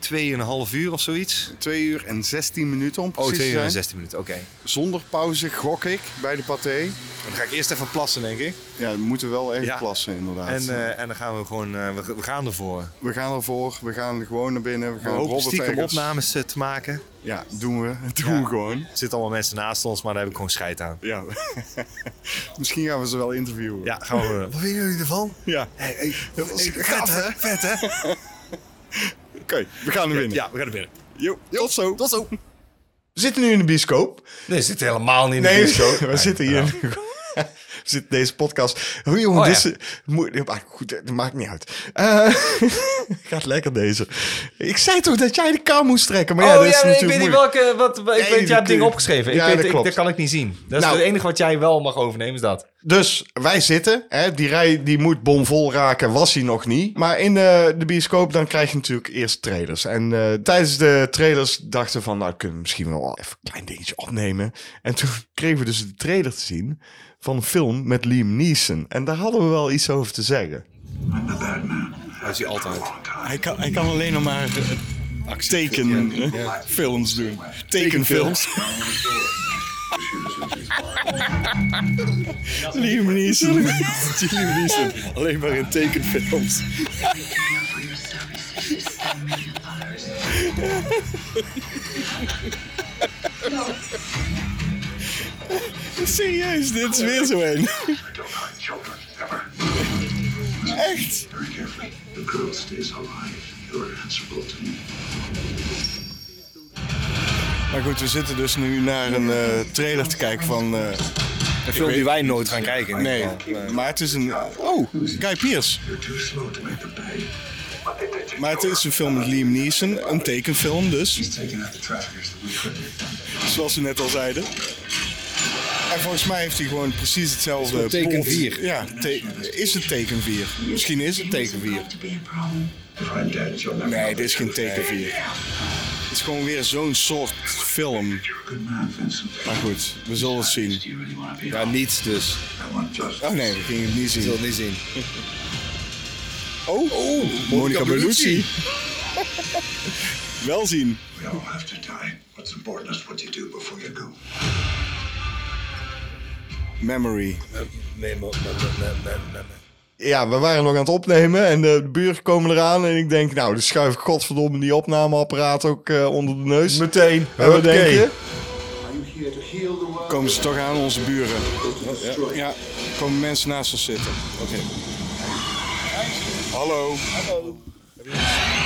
Speaker 4: 2,5 uur of zoiets.
Speaker 1: Twee uur en 16 minuten om
Speaker 4: Oh,
Speaker 1: precies
Speaker 4: 2
Speaker 1: te
Speaker 4: uur en
Speaker 1: zijn.
Speaker 4: 16 minuten, oké.
Speaker 1: Zonder pauze gok ik bij de paté.
Speaker 4: Dan ga ik eerst even plassen, denk ik.
Speaker 1: Ja, we moeten wel echt
Speaker 4: Ja.
Speaker 1: plassen inderdaad.
Speaker 4: En, eh, en dan gaan we gewoon, eh, we, we gaan ervoor.
Speaker 1: we gaan ervoor, we gaan gewoon naar binnen. We
Speaker 4: We
Speaker 1: gaan
Speaker 4: hopen
Speaker 1: Robert
Speaker 4: stiekem
Speaker 1: Eggers-
Speaker 4: opnames eh, te maken.
Speaker 1: Ja, doen we. (laughs) Doen
Speaker 4: Ja.
Speaker 1: we gewoon.
Speaker 4: Er zitten allemaal mensen naast ons, maar daar heb ik gewoon scheid aan.
Speaker 1: Ja. (laughs) Misschien gaan we ze wel interviewen.
Speaker 4: Ja, gaan we. Wat vinden jullie ervan?
Speaker 1: Ja. Dat was gaaf, hè?
Speaker 4: Vet, hè?
Speaker 1: (laughs) Oké, we gaan naar binnen.
Speaker 4: (laughs) Ja, we gaan er binnen.
Speaker 1: Jo, tot zo. Tot zo. We zitten nu in de bioscoop.
Speaker 2: Nee, Oh zit helemaal niet in
Speaker 1: Nee,
Speaker 2: de (laughs) bioscoop.
Speaker 1: (laughs) we zitten hier. (laughs) We zitten deze podcast. Hoe jongen,
Speaker 2: Oh,
Speaker 1: dit
Speaker 2: ja.
Speaker 1: is- moe- ah, goed, dat maakt niet uit. Eh, (laughs) gaat lekker deze. Ik zei toch dat jij de kou moest trekken, maar ja,
Speaker 2: oh
Speaker 1: dat is
Speaker 2: ja, ik
Speaker 1: natuurlijk
Speaker 2: weet niet
Speaker 1: moeilijk.
Speaker 2: welke. Wat, ik weet, jij
Speaker 1: die
Speaker 2: hebt dingen
Speaker 1: kun-
Speaker 2: opgeschreven. Ik
Speaker 1: Ja,
Speaker 2: weet,
Speaker 1: dat
Speaker 2: ik-
Speaker 1: klopt.
Speaker 2: dat kan ik niet zien. Dat is
Speaker 1: Nou.
Speaker 2: het enige wat jij wel mag overnemen, is dat.
Speaker 1: Dus wij zitten. Hè, die rij die moet bomvol raken, was hij nog niet. Maar in eh, de, de bioscoop dan krijg je natuurlijk eerst trailers. En eh, tijdens de trailers dachten we van, nou kunnen we misschien wel even een klein dingetje opnemen. En toen (laughs) kregen we dus de trailer te zien van een film met Liam Neeson. En daar hadden we wel iets over te zeggen.
Speaker 4: Dat is hij altijd.
Speaker 1: Hij kan, hij kan alleen nog maar tekenfilms doen. Tekenfilms. Liam
Speaker 5: (laughs)
Speaker 1: Neeson. Liam Neeson. Alleen maar in tekenfilms. Serieus, dit is weer zo een.
Speaker 6: Don't hurt children, ever.
Speaker 1: Echt.
Speaker 6: Very carefully. The girl stays alive. You're answerable to me.
Speaker 1: Maar goed, we zitten dus nu naar een eh, trailer te kijken van... eh,
Speaker 4: Een film die wij nooit gaan kijken.
Speaker 1: Nee, maar het is een. Oh, Guy Pearce.
Speaker 6: You're too slow to make the pay. What they did to
Speaker 1: Maar het
Speaker 6: Dora.
Speaker 1: is een film met Liam Neeson, een tekenfilm dus,
Speaker 6: He's taking out the traffickers that we couldn't have done.
Speaker 1: zoals we net al zeiden. maar volgens mij heeft hij gewoon precies hetzelfde.
Speaker 5: Het is gewoon teken
Speaker 1: plot.
Speaker 5: vier.
Speaker 1: Ja, te- is het teken 4. (laughs) Misschien is het teken 4.
Speaker 6: To be a problem. If I'm dead, you'll never
Speaker 1: Nee,
Speaker 6: know
Speaker 1: dit is geen teken 4. Het is gewoon weer zo'n soort film.
Speaker 6: You're a good man, Vincent.
Speaker 1: Maar goed, we zullen het zien.
Speaker 6: Do you really want to be
Speaker 5: Ja,
Speaker 6: off?
Speaker 5: niets dus.
Speaker 6: I want justice.
Speaker 1: Oh nee, we gingen het niet
Speaker 5: Ik wil
Speaker 1: zien.
Speaker 5: het niet zien.
Speaker 1: Oh, Monica Bellucci.
Speaker 5: (laughs)
Speaker 1: Wel zien.
Speaker 6: We all have to die. What's important is what you do before you go.
Speaker 1: Memory.
Speaker 5: Nee, maar... maar- maar- maar- maar- maar- maar.
Speaker 1: Ja, we waren nog aan het opnemen en de buren komen eraan. En ik denk, nou, dan schuif ik godverdomme die opnameapparaat ook eh, onder de neus.
Speaker 2: Meteen.
Speaker 1: En we
Speaker 2: Huppakee.
Speaker 1: denken... Komen ze toch aan, onze buren? Ja, ja. komen mensen naast ons zitten. Oké. Hallo.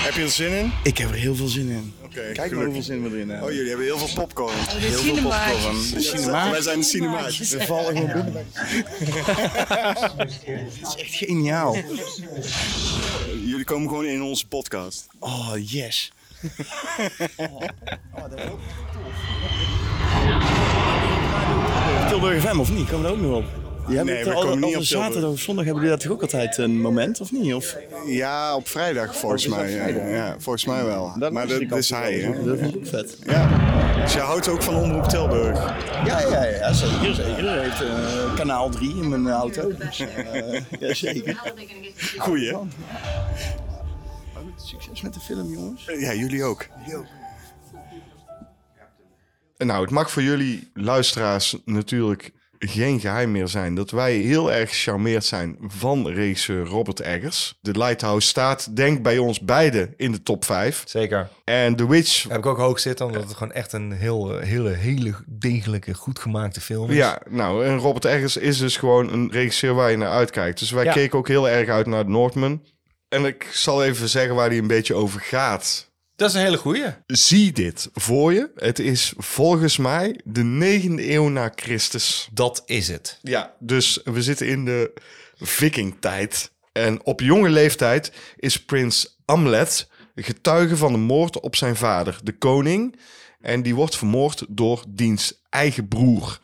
Speaker 1: Heb je er zin in?
Speaker 5: Ik heb er heel veel zin in.
Speaker 1: Oké,
Speaker 5: Kijk maar hoeveel zin we erin hebben.
Speaker 1: Oh, jullie hebben heel veel popcorn.
Speaker 7: Oh, De cinemaatjes.
Speaker 1: De cinema. Wij zijn de cinemaatjes.
Speaker 5: We vallen gewoon binnen.
Speaker 1: (laughs)
Speaker 5: Het is echt geniaal.
Speaker 1: Jullie komen gewoon in onze podcast.
Speaker 5: Oh, yes. Tilburg FM of niet? Komen we er ook nog op? Ja,
Speaker 1: Nee, we komen niet op Tilburg.
Speaker 5: zaterdag of zondag hebben jullie dat toch ook altijd een moment, of niet? Of,
Speaker 1: Ja, op vrijdag volgens
Speaker 5: Oh, is dat
Speaker 1: mij. Ja,
Speaker 5: vrijdag?
Speaker 1: ja, volgens mij wel.
Speaker 5: Dat
Speaker 1: maar
Speaker 5: wist
Speaker 1: dat
Speaker 5: ik al
Speaker 1: is hij,
Speaker 5: vroeger.
Speaker 1: hè?
Speaker 5: Dat vond ik vet.
Speaker 1: Ja. Dus je houdt ook van Omroep Tilburg?
Speaker 5: Ja, ja, ja, zeker, zeker. Hij heeft eh, kanaal 3 in mijn auto. Dus, eh, ja, zeker.
Speaker 1: Goeie.
Speaker 5: Maar goed, Succes met de film, jongens.
Speaker 1: Ja, jullie ook. Nou, het mag voor jullie luisteraars natuurlijk geen geheim meer zijn dat wij heel erg gecharmeerd zijn van regisseur Robert Eggers. De Lighthouse staat, denk bij ons beiden, in de top 5.
Speaker 2: Zeker.
Speaker 1: En The Witch,
Speaker 2: Heb ik ook hoog zitten, omdat het gewoon echt een heel, eh, hele, hele degelijke, goed gemaakte film is.
Speaker 1: ja, nou, en Robert Eggers is dus gewoon een regisseur waar je naar uitkijkt. Dus wij
Speaker 2: Ja.
Speaker 1: keken ook heel erg uit naar The Northman. En ik zal even zeggen waar hij een beetje over gaat.
Speaker 2: Dat is een hele goeie.
Speaker 1: Zie dit voor je. Het is volgens mij de negende eeuw na Christus.
Speaker 2: Dat is het.
Speaker 1: Ja, dus we zitten in de vikingtijd. En op jonge leeftijd is prins Amlet getuige van de moord op zijn vader, de koning. En die wordt vermoord door diens eigen broer.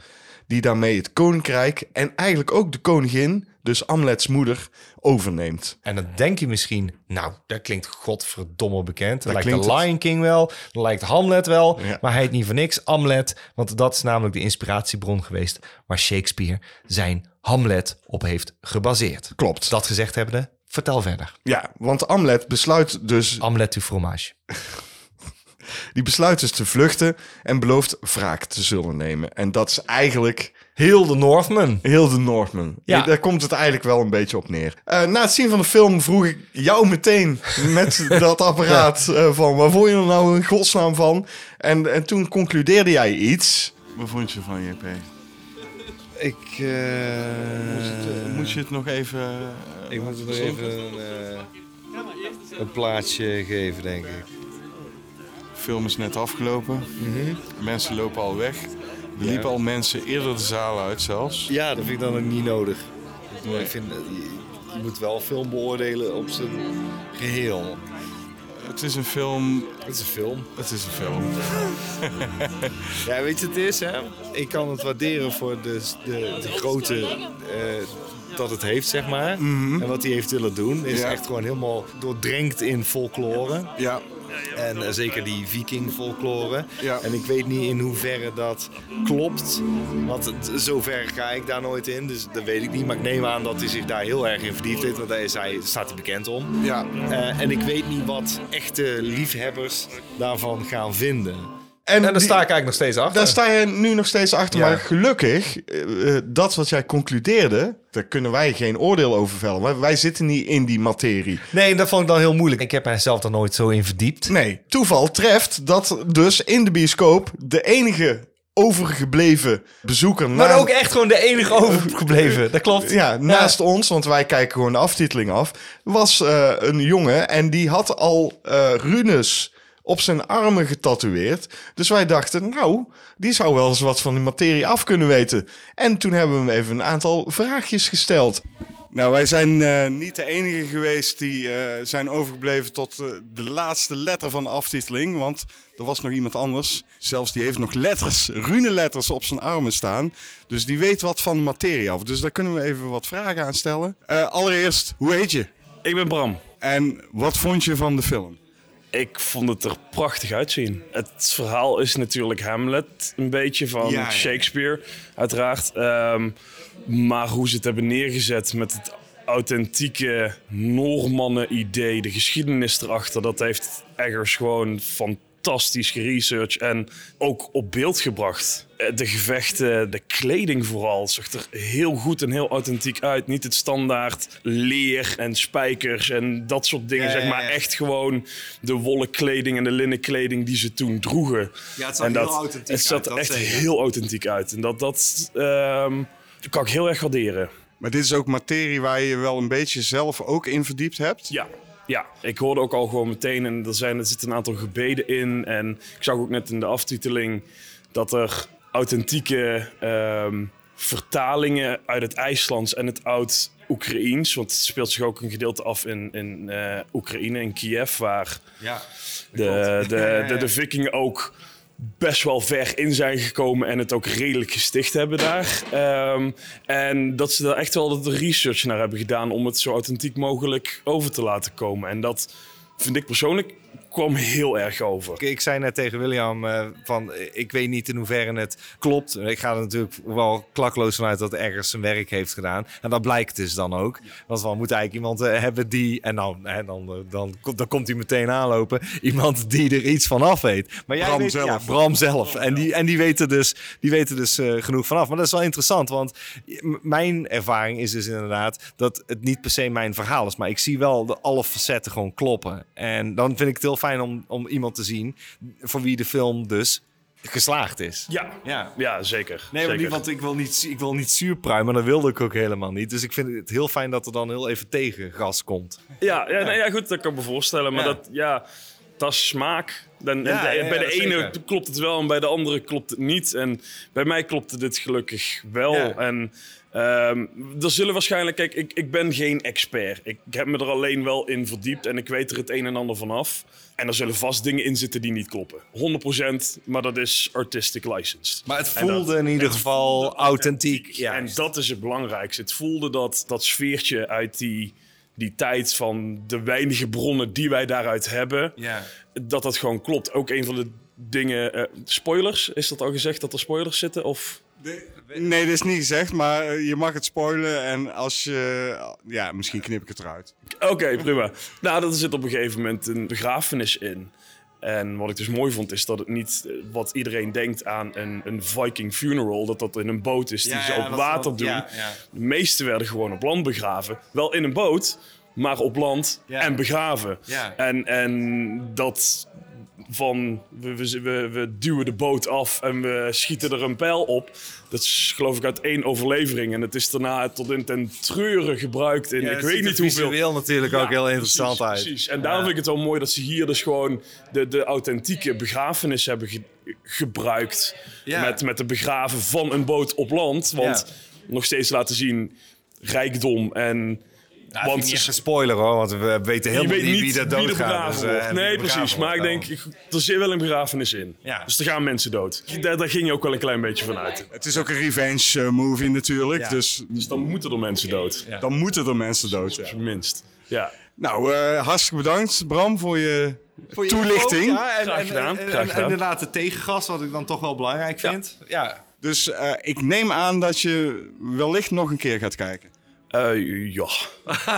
Speaker 1: Die daarmee het koninkrijk en eigenlijk ook de koningin, dus Amlets moeder, overneemt.
Speaker 2: En dan denk je misschien, nou, dat klinkt godverdomme bekend. Dat, lijkt
Speaker 1: klinkt
Speaker 2: de
Speaker 1: het.
Speaker 2: Lion King wel, dat lijkt Hamlet wel.
Speaker 1: Ja.
Speaker 2: Maar hij heet niet voor niks Hamlet, want dat is namelijk de inspiratiebron geweest... waar Shakespeare zijn Hamlet op heeft gebaseerd.
Speaker 1: Klopt.
Speaker 2: Dat gezegd hebbende, vertel verder.
Speaker 1: Ja, want Amlet besluit dus
Speaker 2: Hamlet to fromage.
Speaker 1: Die besluit dus te vluchten en belooft wraak te zullen nemen. En dat is eigenlijk heel
Speaker 2: The Northman.
Speaker 1: Heel de Northman.
Speaker 2: Ja.
Speaker 1: Daar komt het eigenlijk wel een beetje op neer. Eh, na het zien van de film vroeg ik jou meteen met dat apparaat eh, van... waar vond je er nou in godsnaam van? En, en toen concludeerde jij iets. Wat vond je van JP?
Speaker 5: Ik... eh,
Speaker 1: Moet je het nog even...
Speaker 5: Ik eh, moet nog even een, eh, een plaatsje geven, denk ik.
Speaker 1: De film is net afgelopen. Mensen lopen al weg. Er liepen al mensen eerder de zaal uit zelfs.
Speaker 5: Ja, dat vind ik dan ook niet nodig. Ik bedoel, Ik vind, eh, je, je moet wel film beoordelen op zijn geheel.
Speaker 1: Het is een film...
Speaker 5: Het is een film.
Speaker 1: Het is een film.
Speaker 5: (laughs) Ja, weet je, het is hè. Ik kan het waarderen voor de, de, de grote eh, dat het heeft, zeg maar. En wat hij heeft willen doen, is
Speaker 1: Mhm. Ja.
Speaker 5: echt gewoon helemaal doordrenkt in folklore.
Speaker 1: Ja,
Speaker 5: En eh, zeker die viking-folklore.
Speaker 1: Ja.
Speaker 5: En ik weet niet in hoeverre dat klopt. Want het- zover ga ik daar nooit in. Dus dat weet ik niet. Maar ik neem aan dat hij zich daar heel erg in verdiept heeft. Want daar is hij, staat hij bekend om.
Speaker 1: ja.
Speaker 5: Eh, en ik weet niet wat echte liefhebbers daarvan gaan vinden.
Speaker 2: En, daar
Speaker 1: die-
Speaker 2: sta ik eigenlijk nog steeds achter.
Speaker 1: Daar sta je nu nog steeds achter.
Speaker 2: Ja.
Speaker 1: Maar gelukkig, eh, eh, dat wat jij concludeerde, daar kunnen wij geen oordeel over vellen. Wij, wij zitten niet in die materie.
Speaker 2: Nee, dat vond ik dan heel moeilijk. Ik heb mijzelf er nooit zo in verdiept.
Speaker 1: Nee, toeval treft dat dus in de bioscoop de enige overgebleven bezoeker
Speaker 2: Maar
Speaker 1: na-
Speaker 2: ook echt gewoon de enige overgebleven. Dat klopt.
Speaker 1: Ja, naast ons, want wij kijken gewoon de aftiteling af, was eh, een jongen en die had al eh, runes op zijn armen getatoeëerd. Dus wij dachten, nou, die zou wel eens wat van die materie af kunnen weten. En toen hebben we hem even een aantal vraagjes gesteld. Nou, wij zijn eh, niet de enige geweest die eh, zijn overgebleven tot eh, de laatste letter van de aftiteling. Want er was nog iemand anders. Zelfs die heeft nog letters, runeletters op zijn armen staan. Dus die weet wat van de materie af. Dus daar kunnen we even wat vragen aan stellen. Eh, allereerst, hoe heet je?
Speaker 7: Ik ben Bram.
Speaker 1: En wat vond je van de film?
Speaker 7: Ik vond het er prachtig uitzien. Het verhaal is natuurlijk Hamlet, een beetje van
Speaker 1: Ja, ja.
Speaker 7: Shakespeare, uiteraard. Ehm, maar hoe ze het hebben neergezet met het authentieke Noormannen-idee, de geschiedenis erachter, dat heeft Eggers gewoon fantastisch geresearched en ook op beeld gebracht. Eh, De gevechten, de kleding vooral, zag er heel goed en heel authentiek uit. Niet het standaard leer en spijkers en dat soort dingen,
Speaker 4: Ja,
Speaker 7: zeg
Speaker 4: ja,
Speaker 7: maar.
Speaker 4: ja.
Speaker 7: Echt gewoon de wollen kleding en de linnen kleding die ze toen droegen.
Speaker 4: Ja, het zag
Speaker 7: En
Speaker 4: heel authentiek
Speaker 7: Het zag
Speaker 4: uit,
Speaker 7: er
Speaker 4: dat
Speaker 7: echt
Speaker 4: zeker.
Speaker 7: heel authentiek uit. En dat, dat ehm, kan ik heel erg waarderen.
Speaker 1: Maar dit is ook materie waar je je wel een beetje zelf ook in verdiept hebt.
Speaker 7: Ja. Ja, ik hoorde ook al gewoon meteen, en er, zijn, er zitten een aantal gebeden in. En ik zag ook net in de aftiteling dat er authentieke ehm, vertalingen uit het IJslands en het Oud-Oekraïens. Want het speelt zich ook een gedeelte af in, in eh, Oekraïne, in Kiev, waar
Speaker 4: Ja.
Speaker 7: de, de, de, de vikingen ook best wel ver in zijn gekomen en het ook redelijk gesticht hebben daar. Ehm, en dat ze daar echt wel de research naar hebben gedaan om het zo authentiek mogelijk over te laten komen. En dat vind ik persoonlijk kwam heel erg over.
Speaker 2: Ik, ik zei net tegen William eh, van eh, ik weet niet in hoeverre het klopt. Ik ga er natuurlijk wel klakloos vanuit dat ergens zijn werk heeft gedaan. En dat blijkt dus dan ook. Want we moeten eigenlijk iemand eh, hebben die. En dan, en dan, eh, dan, komt- dan komt hij meteen aanlopen. Iemand die er iets van af weet. Maar jij
Speaker 1: Bram
Speaker 2: weet,
Speaker 1: zelf.
Speaker 2: Ja, Bram zelf. En die, en die weten dus, die weten dus eh, genoeg vanaf. Maar dat is wel interessant. Want m- mijn ervaring is dus inderdaad dat het niet per se mijn verhaal is. Maar ik zie wel de alle facetten gewoon kloppen. En dan vind ik het heel fijn om, om iemand te zien voor wie de film dus geslaagd is.
Speaker 7: Ja,
Speaker 2: Ja.
Speaker 7: ja zeker.
Speaker 2: Nee, maar
Speaker 7: zeker.
Speaker 2: niet, want ik wil niet, zu- ik wil niet zuurpruimen. Dat wilde ik ook helemaal niet. Dus ik vind het heel fijn dat er dan heel even tegengas komt.
Speaker 7: Ja, ja, nee, ja, goed, dat kan ik me voorstellen. Maar
Speaker 2: Ja.
Speaker 7: dat, ja, dat is smaak. Dan,
Speaker 2: Ja,
Speaker 7: en de-
Speaker 2: ja, ja,
Speaker 7: bij de
Speaker 2: dat
Speaker 7: ene
Speaker 2: zeker.
Speaker 7: klopt het wel en bij de andere klopt het niet. En bij mij klopte dit gelukkig wel.
Speaker 2: Ja.
Speaker 7: En ehm, er zullen waarschijnlijk... Kijk, ik, ik ben geen expert. Ik, ik heb me er alleen wel in verdiept en ik weet er het een en ander vanaf. En er zullen vast dingen in zitten die niet kloppen. 100%, maar dat is artistic licensed.
Speaker 2: Maar het
Speaker 7: En dat-
Speaker 2: voelde in ieder geval authentiek. Ja.
Speaker 7: en dat is het belangrijkste. Het voelde dat, dat sfeertje uit die, die tijd van de weinige bronnen die wij daaruit hebben,
Speaker 2: Eh,
Speaker 7: dat dat gewoon klopt. Ook een van de dingen, eh, spoilers, is dat al gezegd dat er spoilers zitten? Of
Speaker 1: Nee, dat is niet gezegd, maar eh, je mag het spoilen. En als je. Ja, misschien knip ik het eruit.
Speaker 7: Oké,
Speaker 2: (laughs)
Speaker 7: prima. Nou, er zit op een gegeven moment een begrafenis in. En wat ik dus mooi vond, is dat het niet eh, wat iedereen denkt aan een, een Viking funeral. Dat dat in een boot is die
Speaker 4: Ja,
Speaker 7: ze
Speaker 4: ja,
Speaker 7: op
Speaker 4: dat-
Speaker 7: water
Speaker 4: dat-
Speaker 7: doen.
Speaker 4: ja, ja.
Speaker 7: De meesten werden gewoon op land begraven. Wel in een boot, maar op land
Speaker 4: Ja.
Speaker 7: en begraven.
Speaker 4: Ja.
Speaker 7: En, en dat van we, we, we, we duwen de boot af en we schieten er een pijl op. Dat is geloof ik uit één overlevering. En het is daarna tot in ten treuren gebruikt in ik
Speaker 2: het ziet
Speaker 7: weet
Speaker 2: er
Speaker 7: niet hoeveel
Speaker 2: Visueel natuurlijk ook heel interessant
Speaker 7: precies,
Speaker 2: uit.
Speaker 7: Precies. En daarom vind ik het wel mooi dat ze hier dus gewoon de, de authentieke begrafenis hebben ge- gebruikt. Met, met het begraven van een boot op land. Want nog steeds laten zien rijkdom en.
Speaker 2: Want het is een spoiler hoor, want we weten
Speaker 7: je
Speaker 2: helemaal
Speaker 7: weet
Speaker 2: niet
Speaker 7: niet
Speaker 2: wie dat
Speaker 7: wie er
Speaker 2: doodgaat.
Speaker 7: begraven
Speaker 2: dus, eh,
Speaker 7: wordt.
Speaker 2: en wie
Speaker 7: nee,
Speaker 2: er
Speaker 7: precies.
Speaker 2: begraven
Speaker 7: Maar ik
Speaker 2: wordt
Speaker 7: denk, ik- er zit wel een begrafenis in.
Speaker 2: Ja.
Speaker 7: Dus er gaan mensen dood. Daar, daar ging je ook wel een klein beetje van uit.
Speaker 1: Het is ook een revenge eh, movie natuurlijk.
Speaker 2: Ja.
Speaker 1: Dus
Speaker 7: Dus dan moeten er mensen dood. Ja.
Speaker 1: dan moeten er mensen dood. ja.
Speaker 7: Minst.
Speaker 2: (laughs)
Speaker 7: Ja.
Speaker 1: Nou, eh, hartstikke bedankt Bram voor je
Speaker 2: Voor je
Speaker 1: toelichting.
Speaker 2: info, ja, en,
Speaker 7: Graag
Speaker 2: en-
Speaker 7: gedaan,
Speaker 2: en-
Speaker 7: graag
Speaker 2: en- en
Speaker 7: gedaan.
Speaker 2: inderdaad het tegengas, wat ik dan toch wel belangrijk vind. Ja.
Speaker 1: Dus eh, ik neem aan dat je wellicht nog een keer gaat kijken.
Speaker 7: Eh, ja.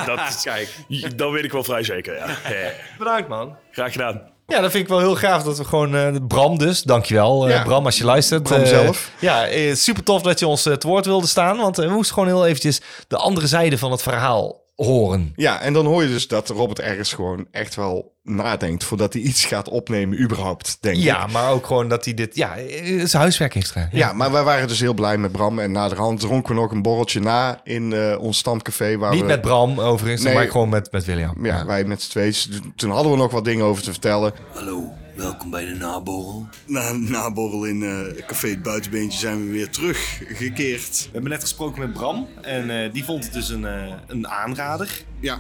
Speaker 7: Dat, Kijk. Dat weet ik wel vrij zeker. Ja. Ja.
Speaker 2: Bedankt man.
Speaker 7: Graag gedaan.
Speaker 2: Ja, dat vind ik wel heel gaaf dat we gewoon... eh, Bram dus, dankjewel eh
Speaker 1: Ja.
Speaker 2: Bram als je luistert.
Speaker 1: Bram
Speaker 2: Eh,
Speaker 1: zelf.
Speaker 2: Ja, eh, super tof dat je ons eh, het woord wilde staan. Want eh, we moesten gewoon heel eventjes de andere zijde van het verhaal horen.
Speaker 1: Ja, en dan hoor je dus dat Robert ergens gewoon echt wel nadenkt voordat hij iets gaat opnemen, überhaupt, denk ik.
Speaker 2: Ja, maar ook gewoon dat hij dit... Ja, eh, zijn huiswerk heeft gedaan.
Speaker 1: Ja, maar wij waren dus heel blij met Bram. En naderhand dronken we nog een borreltje na in eh, ons stamcafé. Waar
Speaker 2: Niet
Speaker 1: we,
Speaker 2: met Bram overigens,
Speaker 1: Nee.
Speaker 2: maar gewoon met, met William.
Speaker 1: Dus Ja, wij met z'n tweeën. Toen hadden we nog wat dingen over te vertellen.
Speaker 6: Hallo,
Speaker 1: Welkom bij de naborrel.
Speaker 5: Na een naborrel in eh, Café Het Buitenbeentje zijn we weer teruggekeerd.
Speaker 4: We hebben net gesproken met Bram en eh, die vond het dus een, eh, een aanrader.
Speaker 5: Ja,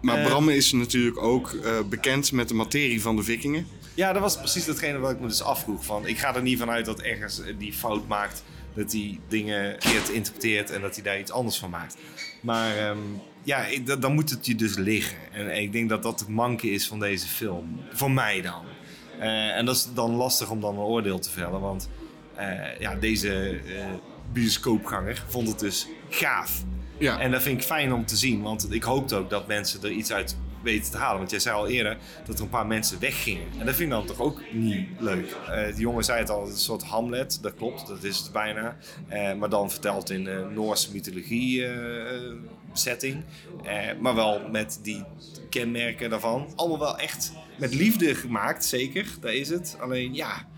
Speaker 5: maar
Speaker 2: Eh.
Speaker 5: Bram is natuurlijk ook eh, bekend met de materie van de vikingen.
Speaker 4: Ja, dat was precies datgene wat ik me dus afvroeg. Van, ik ga er niet vanuit dat ergens eh, die fout maakt, dat hij dingen verkeerd interpreteert en dat hij daar iets anders van maakt. Maar ehm, ja, ik- da- dan moet het je dus liggen. En ik denk dat dat het manke is van deze film. Voor mij dan. Eh, en dat is dan lastig om dan een oordeel te vellen, want eh, ja, deze eh, bioscoopganger vond het dus gaaf.
Speaker 5: Ja.
Speaker 4: En dat vind ik fijn om te zien, want ik hoopte ook dat mensen er iets uit weten te halen. Want jij zei al eerder dat er een paar mensen weggingen. En dat vind ik dan toch ook niet leuk. Eh die jongen zei het al, een soort Hamlet, dat klopt, dat is het bijna. Eh, maar dan verteld in eh Noorse mythologie eh, eh, setting. Eh, maar wel met die kenmerken daarvan. Allemaal wel echt met liefde gemaakt, zeker, daar is het. Alleen ja,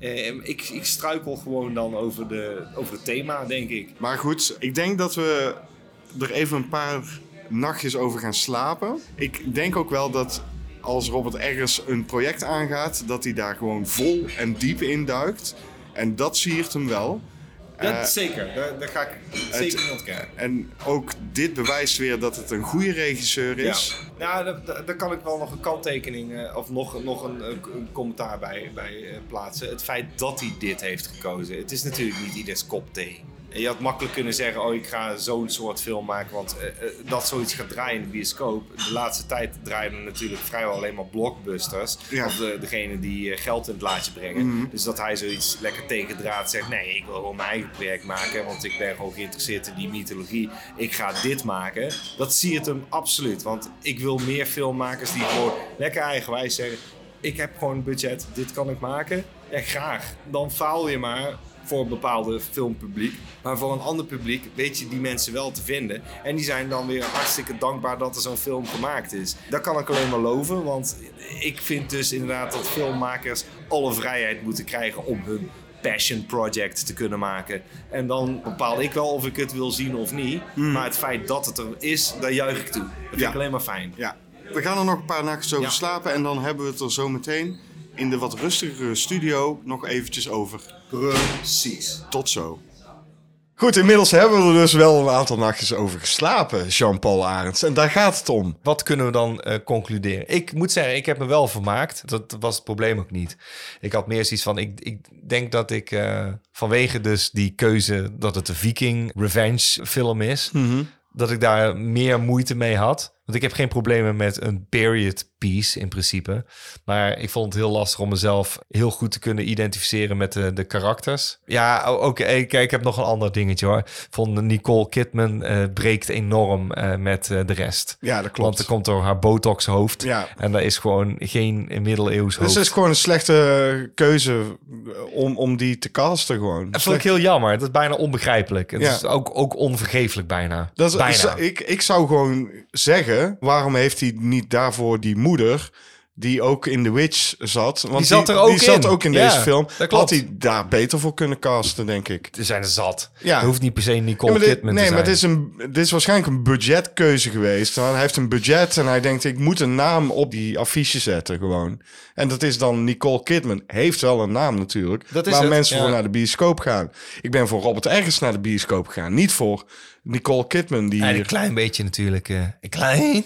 Speaker 4: eh, ik, ik struikel gewoon dan over, de, over het thema, denk ik.
Speaker 5: Maar goed, ik denk dat we er even een paar nachtjes over gaan slapen. Ik denk ook wel dat als Robert ergens een project aangaat, dat hij daar gewoon vol en diep in duikt. En dat siert hem wel.
Speaker 4: Dat
Speaker 5: Eh,
Speaker 4: zeker, daar, daar ga ik zeker niet ontkennen.
Speaker 5: En ook dit bewijst weer dat het een goede regisseur is.
Speaker 4: Nou, daar- daar daar kan ik wel nog een kanttekening eh, of nog, nog een, eh, k- een commentaar bij, bij eh, plaatsen. Het feit dat hij dit heeft gekozen. Het is natuurlijk niet ieders kop thee. En Je had makkelijk kunnen zeggen, oh ik ga zo'n soort film maken, want eh, eh, dat zoiets gaat draaien in de bioscoop. De laatste tijd draaiden natuurlijk vrijwel alleen maar blockbusters.
Speaker 5: Ja.
Speaker 4: Of de, degene die eh, geld in het laadje brengen. Dus dat hij zoiets lekker tegendraad zegt, nee ik wil gewoon mijn eigen project maken, want ik ben gewoon geïnteresseerd in die mythologie. Ik ga dit maken. Dat zie het hem absoluut, want ik wil meer filmmakers die gewoon lekker eigenwijs zeggen, ik heb gewoon een budget, dit kan ik maken. Ja, graag. Dan faal je maar voor een bepaalde filmpubliek. Maar voor een ander publiek weet je die mensen wel te vinden. En die zijn dan weer hartstikke dankbaar dat er zo'n film gemaakt is. Dat kan ik alleen maar loven, want ik vind dus inderdaad dat filmmakers alle vrijheid moeten krijgen om hun passion project te kunnen maken. En dan bepaal ik wel of ik het wil zien of niet. Maar het feit dat het er is, daar juich ik toe. Dat vind
Speaker 5: Ja.
Speaker 4: ik alleen maar fijn.
Speaker 5: Ja. We gaan er nog een paar nachtjes over
Speaker 4: Ja.
Speaker 5: slapen. En dan hebben we het er zo meteen in de wat rustigere studio nog eventjes over.
Speaker 4: Precies.
Speaker 5: Tot zo. Goed, inmiddels hebben we er dus wel een aantal nachtjes over geslapen, Jean-Paul Arends. En daar gaat het om.
Speaker 2: Wat kunnen we dan eh, concluderen? Ik moet zeggen, ik heb me wel vermaakt. Dat was het probleem ook niet. Ik had meer zoiets van, ik, ik denk dat ik eh, vanwege dus die keuze dat het een Viking revenge film is, dat ik daar meer moeite mee had. Want ik heb geen problemen met een period piece in principe. Maar ik vond het heel lastig om mezelf heel goed te kunnen identificeren met de, de karakters. Ja, o- oké, kijk, ik heb nog een ander dingetje hoor. Ik vond Nicole Kidman eh, breekt enorm eh, met eh, de rest.
Speaker 5: Ja, dat
Speaker 2: Want er komt door haar botox hoofd.
Speaker 5: Ja.
Speaker 2: En daar is gewoon geen middeleeuws
Speaker 5: Dus
Speaker 2: hoofd.
Speaker 5: het is gewoon een slechte keuze om, om die te casten gewoon.
Speaker 2: dat vond ik heel jammer. Dat is bijna onbegrijpelijk. Het
Speaker 5: Ja.
Speaker 2: is ook, ook onvergeeflijk bijna.
Speaker 5: Dat is-
Speaker 2: bijna.
Speaker 5: ik, ik zou gewoon zeggen, waarom heeft hij niet daarvoor die moeder die ook in The Witch zat? Want
Speaker 2: Die zat er ook
Speaker 5: die zat
Speaker 2: in.
Speaker 5: ook in
Speaker 2: Ja,
Speaker 5: deze film.
Speaker 2: dat klopt.
Speaker 5: Had hij daar beter voor kunnen casten, denk ik.
Speaker 2: Er zijn er zat.
Speaker 5: Ja.
Speaker 2: Er hoeft niet per se Nicole
Speaker 5: Ja, maar dit-
Speaker 2: Kidman
Speaker 5: nee,
Speaker 2: te zijn.
Speaker 5: maar dit is, een, dit is waarschijnlijk een budgetkeuze geweest. Want hij heeft een budget en hij denkt, ik moet een naam op die affiche zetten gewoon. En dat is dan Nicole Kidman. Heeft wel een naam natuurlijk.
Speaker 2: Dat is
Speaker 5: waar
Speaker 2: het,
Speaker 5: mensen
Speaker 2: ja.
Speaker 5: voor naar de bioscoop gaan. Ik ben voor Robert Ergens naar de bioscoop gegaan. Niet voor Nicole Kidman. Die
Speaker 2: Ja,
Speaker 5: hier-
Speaker 2: een klein beetje natuurlijk. eh, een klein,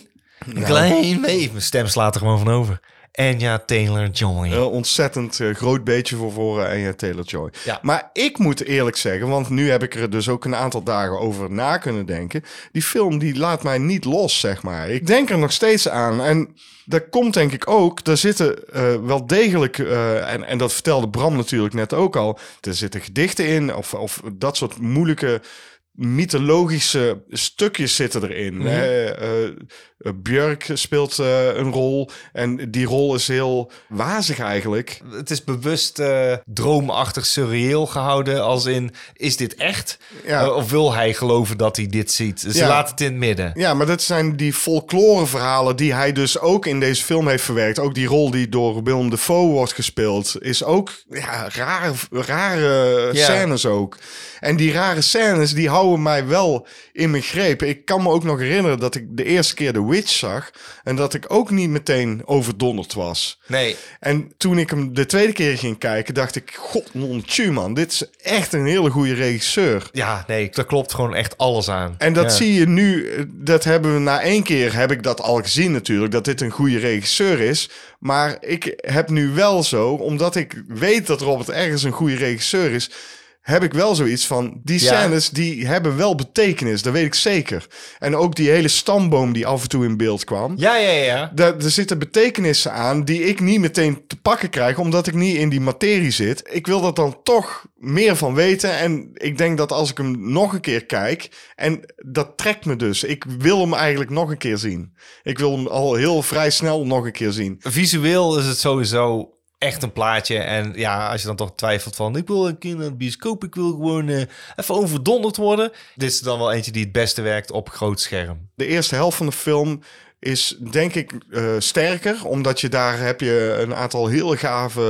Speaker 2: een klein beetje. Mijn stem slaat er gewoon van over. En ja, Taylor Joy.
Speaker 5: Een ontzettend eh, groot beetje voor voren en ja, Taylor Joy.
Speaker 2: Ja.
Speaker 5: Maar ik moet eerlijk zeggen, want nu heb ik er dus ook een aantal dagen over na kunnen denken. Die film die laat mij niet los, zeg maar. Ik denk er nog steeds aan. En dat komt denk ik ook, er zitten eh, wel degelijk, eh, en, en dat vertelde Bram natuurlijk net ook al, er zitten gedichten in of, of dat soort moeilijke mythologische stukjes zitten erin. hè. Eh, eh, Björk speelt eh, een rol en die rol is heel wazig eigenlijk.
Speaker 2: Het is bewust eh, droomachtig surreëel gehouden. Als in, is dit echt?
Speaker 5: Ja.
Speaker 2: Eh, of wil hij geloven dat hij dit ziet? Ze
Speaker 5: Ja.
Speaker 2: laat het in het midden.
Speaker 5: Ja, maar dat zijn die folkloreverhalen die hij dus ook in deze film heeft verwerkt. Ook die rol die door Willem Dafoe wordt gespeeld is ook ja, rare, rare
Speaker 2: Ja.
Speaker 5: scènes ook. En die rare scènes die houden houden mij wel in mijn greep. Ik kan me ook nog herinneren dat ik de eerste keer The Witch zag. En dat ik ook niet meteen overdonderd was.
Speaker 2: Nee,
Speaker 5: En toen ik hem de tweede keer ging kijken, dacht ik... God, non man, dit is echt een hele goede regisseur.
Speaker 2: ja, nee, daar klopt gewoon echt alles aan.
Speaker 5: En dat
Speaker 2: Ja.
Speaker 5: zie je nu, eh, dat hebben we na één keer, heb ik dat al gezien natuurlijk, dat dit een goede regisseur is. Maar ik heb nu wel zo, omdat ik weet dat Robert ergens een goede regisseur is, heb ik wel zoiets van, die
Speaker 2: Ja.
Speaker 5: scènes die hebben wel betekenis, dat weet ik zeker. En ook die hele stamboom die af en toe in beeld kwam.
Speaker 2: Ja, ja, ja.
Speaker 5: Daar, er zitten betekenissen aan die ik niet meteen te pakken krijg, omdat ik niet in die materie zit. Ik wil dat dan toch meer van weten. En ik denk dat als ik hem nog een keer kijk, en dat trekt me dus. Ik wil hem eigenlijk nog een keer zien. Ik wil hem al heel vrij snel nog een keer zien.
Speaker 2: Visueel is het sowieso echt een plaatje. En ja, als je dan toch twijfelt van... ik wil een keer naar de bioscoop, ik wil gewoon eh, even overdonderd worden. Dit is dan wel eentje die het beste werkt op groot scherm.
Speaker 5: De eerste helft van de film is denk ik eh, sterker, omdat je daar heb je een aantal heel gave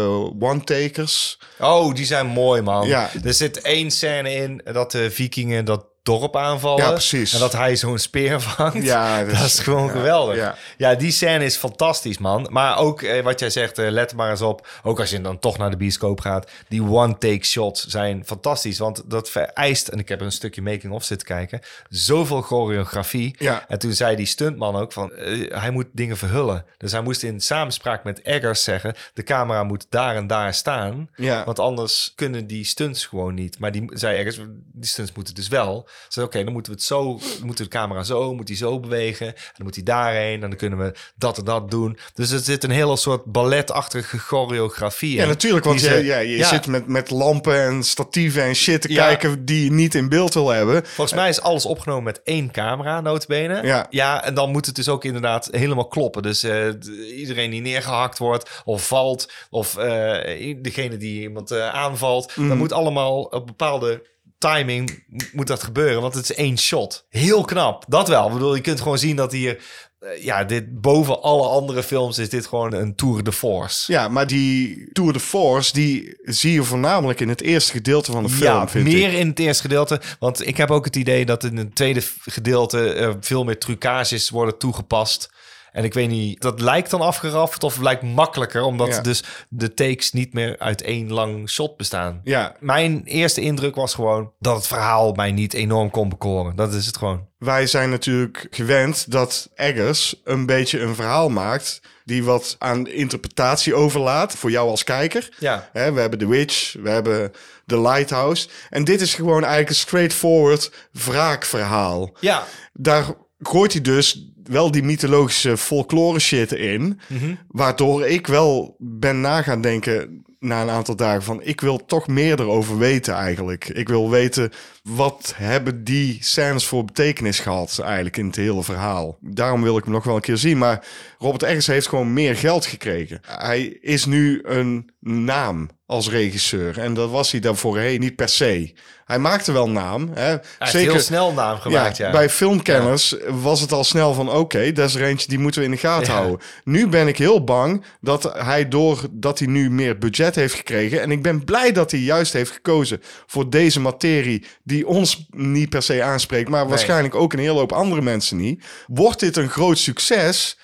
Speaker 5: one-takers.
Speaker 2: Oh, die zijn mooi, man.
Speaker 5: Ja.
Speaker 2: Er zit één scène in dat de vikingen dat dorp aanvallen.
Speaker 5: Ja, precies.
Speaker 2: En dat hij zo'n speer (laughs) vangt.
Speaker 5: Ja,
Speaker 2: dat, is gewoon
Speaker 5: ja,
Speaker 2: geweldig.
Speaker 5: ja.
Speaker 2: Ja. die scène is fantastisch, man. Maar ook eh, wat jij zegt, eh, let er maar eens op. Ook als je dan toch naar de bioscoop gaat. Die one-take shots zijn fantastisch. Want dat vereist, en ik heb een stukje making-of zitten kijken... zoveel choreografie.
Speaker 5: Ja.
Speaker 2: En toen zei die stuntman ook van... eh, hij moet dingen verhullen. Dus hij moest in samenspraak met Eggers zeggen... de camera moet daar en daar staan.
Speaker 5: Ja.
Speaker 2: Want anders kunnen die stunts gewoon niet. Maar die zei ergens, die stunts moeten dus wel. Ze zei, oké, dan moeten we het zo, dan moeten we de camera zo, moet die zo bewegen. En dan moet die daarheen, en dan kunnen we dat en dat doen. Dus er zit een hele soort balletachtige choreografie in.
Speaker 5: Ja, natuurlijk, want
Speaker 2: Die
Speaker 5: je,
Speaker 2: ze-
Speaker 5: ja, je
Speaker 2: ja,
Speaker 5: zit met, met lampen en statieven en shit te
Speaker 2: Ja.
Speaker 5: kijken die je niet in beeld wil hebben.
Speaker 2: Volgens mij is alles opgenomen met één camera, notabene.
Speaker 5: Ja.
Speaker 2: ja, en dan moet het dus ook inderdaad helemaal kloppen. Dus eh, d- iedereen die neergehakt wordt of valt... of eh, i- degene die iemand eh, aanvalt... dan moet allemaal op bepaalde timing m- moet dat gebeuren. Want het is één shot. Heel knap, dat wel. Ik bedoel, je kunt gewoon zien dat hier... eh, ja, dit boven alle andere films is dit gewoon een tour de force.
Speaker 5: Ja, maar die Tour de Force, die zie je voornamelijk in het eerste gedeelte van de film,
Speaker 2: ja,
Speaker 5: vind
Speaker 2: meer
Speaker 5: ik.
Speaker 2: in het eerste gedeelte. Want ik heb ook het idee dat in het tweede f- gedeelte eh, veel meer trucages worden toegepast. En ik weet niet, dat lijkt dan afgeraffeld of lijkt makkelijker, omdat
Speaker 5: Ja.
Speaker 2: dus de takes niet meer uit één lang shot bestaan.
Speaker 5: Ja,
Speaker 2: Mijn eerste indruk was gewoon dat het verhaal mij niet enorm kon bekoren. Dat is het gewoon.
Speaker 5: wij zijn natuurlijk gewend dat Eggers een beetje een verhaal maakt... die wat aan interpretatie overlaat voor jou als kijker.
Speaker 2: Ja.
Speaker 5: Hè, we hebben The Witch, we hebben The Lighthouse. En dit is gewoon eigenlijk een straightforward wraakverhaal.
Speaker 2: Ja,
Speaker 5: daar gooit hij dus wel die mythologische folklore shit in.
Speaker 2: Mhm.
Speaker 5: Waardoor ik wel ben na gaan denken na een aantal dagen van... ik wil toch meer erover weten eigenlijk. Ik wil weten wat hebben die scènes voor betekenis gehad eigenlijk in het hele verhaal. Daarom wil ik hem nog wel een keer zien. Maar Robert Eggers heeft gewoon meer geld gekregen. Hij is nu een naam als regisseur. En dat was hij daar voorheen niet per se. Hij maakte wel naam. Hè?
Speaker 2: hij heeft heel snel naam gemaakt. Ja,
Speaker 5: Bij filmkenners was het al snel van... oké, dat is er eentje, die moeten we in de gaten
Speaker 2: Ja.
Speaker 5: houden. Nu ben ik heel bang dat hij doordat hij nu meer budget heeft gekregen... en ik ben blij dat hij juist heeft gekozen voor deze materie... die ons niet per se aanspreekt... maar waarschijnlijk ook een hele hoop andere mensen niet. Wordt dit een groot succes...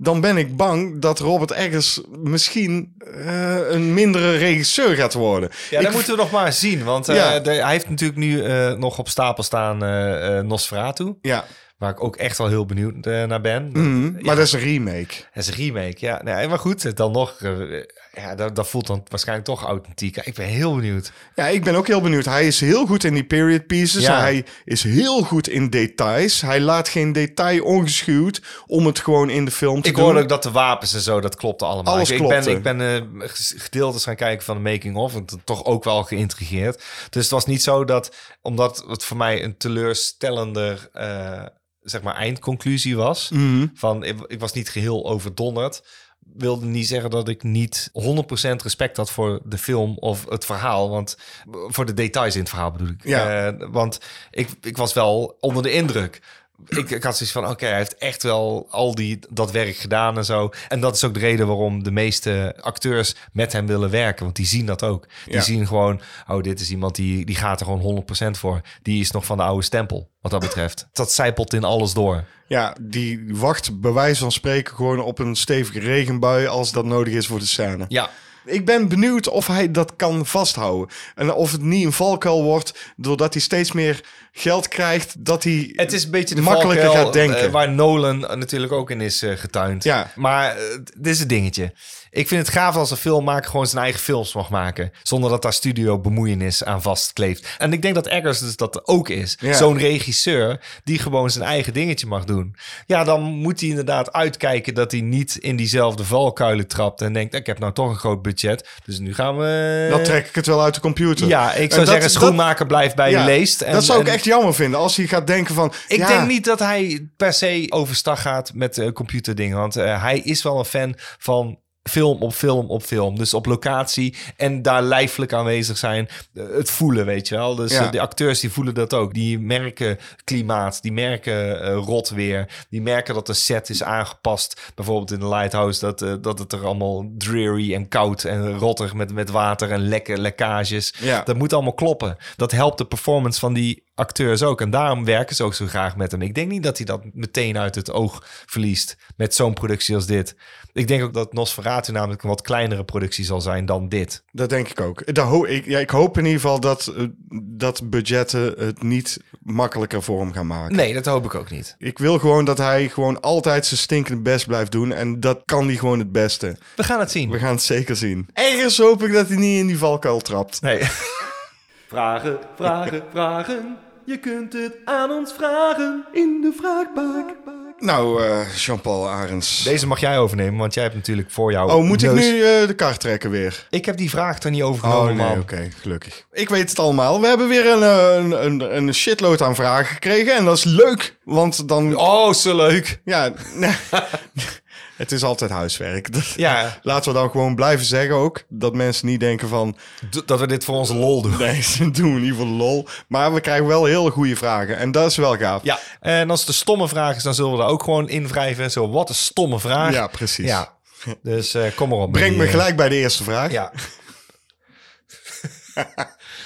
Speaker 5: Dan ben ik bang dat Robert Eggers misschien eh, een mindere regisseur gaat worden.
Speaker 2: Ja, dat
Speaker 5: Ik-
Speaker 2: moeten we nog maar zien. Want eh,
Speaker 5: Ja.
Speaker 2: de- hij heeft natuurlijk nu eh, nog op stapel staan eh, eh, Nosferatu.
Speaker 5: ja.
Speaker 2: Waar ik ook echt wel heel benieuwd eh, naar ben.
Speaker 5: Mhm, maar dat is een remake.
Speaker 2: Het is een remake, ja. Nee, maar goed, dan nog. eh, ja, dat, dat voelt dan waarschijnlijk toch authentiek. Ik ben heel benieuwd.
Speaker 5: Ja, ik ben ook heel benieuwd. Hij is heel goed in die period pieces.
Speaker 2: Ja.
Speaker 5: Hij is heel goed in details. Hij laat geen detail ongeschuwd om het gewoon in de film te
Speaker 2: Ik
Speaker 5: doen.
Speaker 2: hoorde ook dat de wapens en zo, dat klopte allemaal.
Speaker 5: Alles
Speaker 2: ik,
Speaker 5: klopte.
Speaker 2: ik ben, ik ben eh, ges- gedeeltes gaan kijken van de making-of. En t- toch ook wel geïntrigeerd. Dus het was niet zo dat, omdat het voor mij een teleurstellender... eh, zeg maar eindconclusie was.
Speaker 5: Mhm.
Speaker 2: Van ik, ik was niet geheel overdonderd. Wilde niet zeggen dat ik niet 100% respect had voor de film of het verhaal. Want voor de details in het verhaal bedoel ik.
Speaker 5: Ja.
Speaker 2: Eh, want ik, ik was wel onder de indruk. ik, ik had zoiets van, oké, hij heeft echt wel al die, dat werk gedaan en zo. En dat is ook de reden waarom de meeste acteurs met hem willen werken. Want die zien dat ook. Die
Speaker 1: Ja.
Speaker 2: zien gewoon, oh, dit is iemand die, die gaat er gewoon 100% voor. Die is nog van de oude stempel, wat dat betreft. Dat zijpelt in alles door.
Speaker 1: Ja, die wacht bij wijze van spreken gewoon op een stevige regenbui als dat nodig is voor de scène.
Speaker 2: Ja,
Speaker 1: Ik ben benieuwd of hij dat kan vasthouden. En of het niet een valkuil wordt doordat hij steeds meer geld krijgt. Dat hij...
Speaker 2: Het is een beetje de
Speaker 1: Makkelijker
Speaker 2: valkuil,
Speaker 1: gaat denken.
Speaker 2: eh, waar Nolan natuurlijk ook in is eh, getuind.
Speaker 1: Ja.
Speaker 2: Maar eh, dit is het dingetje. Ik vind het gaaf als een filmmaker gewoon zijn eigen films mag maken. Zonder dat daar studio bemoeienis aan vastkleeft. En ik denk dat Eggers dus dat ook is.
Speaker 1: Ja.
Speaker 2: Zo'n regisseur die gewoon zijn eigen dingetje mag doen. Ja, dan moet hij inderdaad uitkijken dat hij niet in diezelfde valkuilen trapt. En denkt, ik heb nou toch een groot budget. Dus nu gaan we...
Speaker 1: Dan trek ik het wel uit de computer.
Speaker 2: Ja, ik
Speaker 1: En
Speaker 2: zou
Speaker 1: dat-
Speaker 2: zeggen, schoenmaker blijft bij
Speaker 1: ja,
Speaker 2: je leest. En,
Speaker 1: dat zou ik
Speaker 2: en-
Speaker 1: echt jammer vinden. Als hij gaat denken van...
Speaker 2: ik
Speaker 1: ja,
Speaker 2: denk niet dat hij per se overstag gaat met eh, computerdingen. Want eh, hij is wel een fan van film op film op film. Dus op locatie en daar lijfelijk aanwezig zijn. Eh, het voelen, weet je wel. Dus
Speaker 1: Ja.
Speaker 2: eh, de acteurs die voelen dat ook. Die merken klimaat, die merken eh rot weer. Die merken dat de set is aangepast. Bijvoorbeeld in de Lighthouse dat, eh, dat het er allemaal dreary en koud en rottig met, met water en lekke lekkages.
Speaker 1: Ja.
Speaker 2: Dat moet allemaal kloppen. Dat helpt de performance van die acteurs ook. En daarom werken ze ook zo graag met hem. Ik denk niet dat hij dat meteen uit het oog verliest met zo'n productie als dit. Ik denk ook dat Nosferatu namelijk een wat kleinere productie zal zijn dan dit.
Speaker 1: Dat denk ik ook. Dat ho- ik, ja, ik hoop in ieder geval dat, eh, dat budgetten het niet makkelijker voor hem gaan maken.
Speaker 2: Nee, dat hoop ik ook niet.
Speaker 1: Ik wil gewoon dat hij gewoon altijd zijn stinkende best blijft doen. En dat kan hij gewoon het beste.
Speaker 2: We gaan het zien.
Speaker 1: We gaan het zeker zien. Ergens hoop ik dat hij niet in die valkuil trapt.
Speaker 2: Nee.
Speaker 8: Vragen, vragen, vragen. Je kunt het aan ons vragen in de vraagbak.
Speaker 1: Nou, eh, Jean-Paul Arends.
Speaker 2: Deze mag jij overnemen, want jij hebt natuurlijk voor jou.
Speaker 1: Oh, moet ik nu
Speaker 2: neus-
Speaker 1: eh, de kaart trekken weer?
Speaker 2: Ik heb die vraag er niet over
Speaker 1: Oh,
Speaker 2: genomen,
Speaker 1: nee,
Speaker 2: man.
Speaker 1: oké, gelukkig. Ik weet het allemaal. We hebben weer een, eh, een, een, een shitload aan vragen gekregen. En dat is leuk, want dan...
Speaker 2: Oh, zo leuk.
Speaker 1: Ja, nee. (laughs) het is altijd huiswerk. Dat-
Speaker 2: Ja,
Speaker 1: Laten we dan gewoon blijven zeggen ook. Dat mensen niet denken van...
Speaker 2: d- dat we dit voor onze lol doen.
Speaker 1: Nee, (laughs) ze doen in ieder geval lol. Maar we krijgen wel heel goede vragen. En dat is wel gaaf.
Speaker 2: Ja, en als het een stomme vraag is, dan zullen we daar ook gewoon in wrijven. Zo, wat een stomme vraag.
Speaker 1: Ja, precies.
Speaker 2: Ja, dus eh, kom maar op.
Speaker 1: Breng
Speaker 2: met
Speaker 1: me
Speaker 2: die, eh,
Speaker 1: gelijk bij de eerste vraag.
Speaker 2: Ja.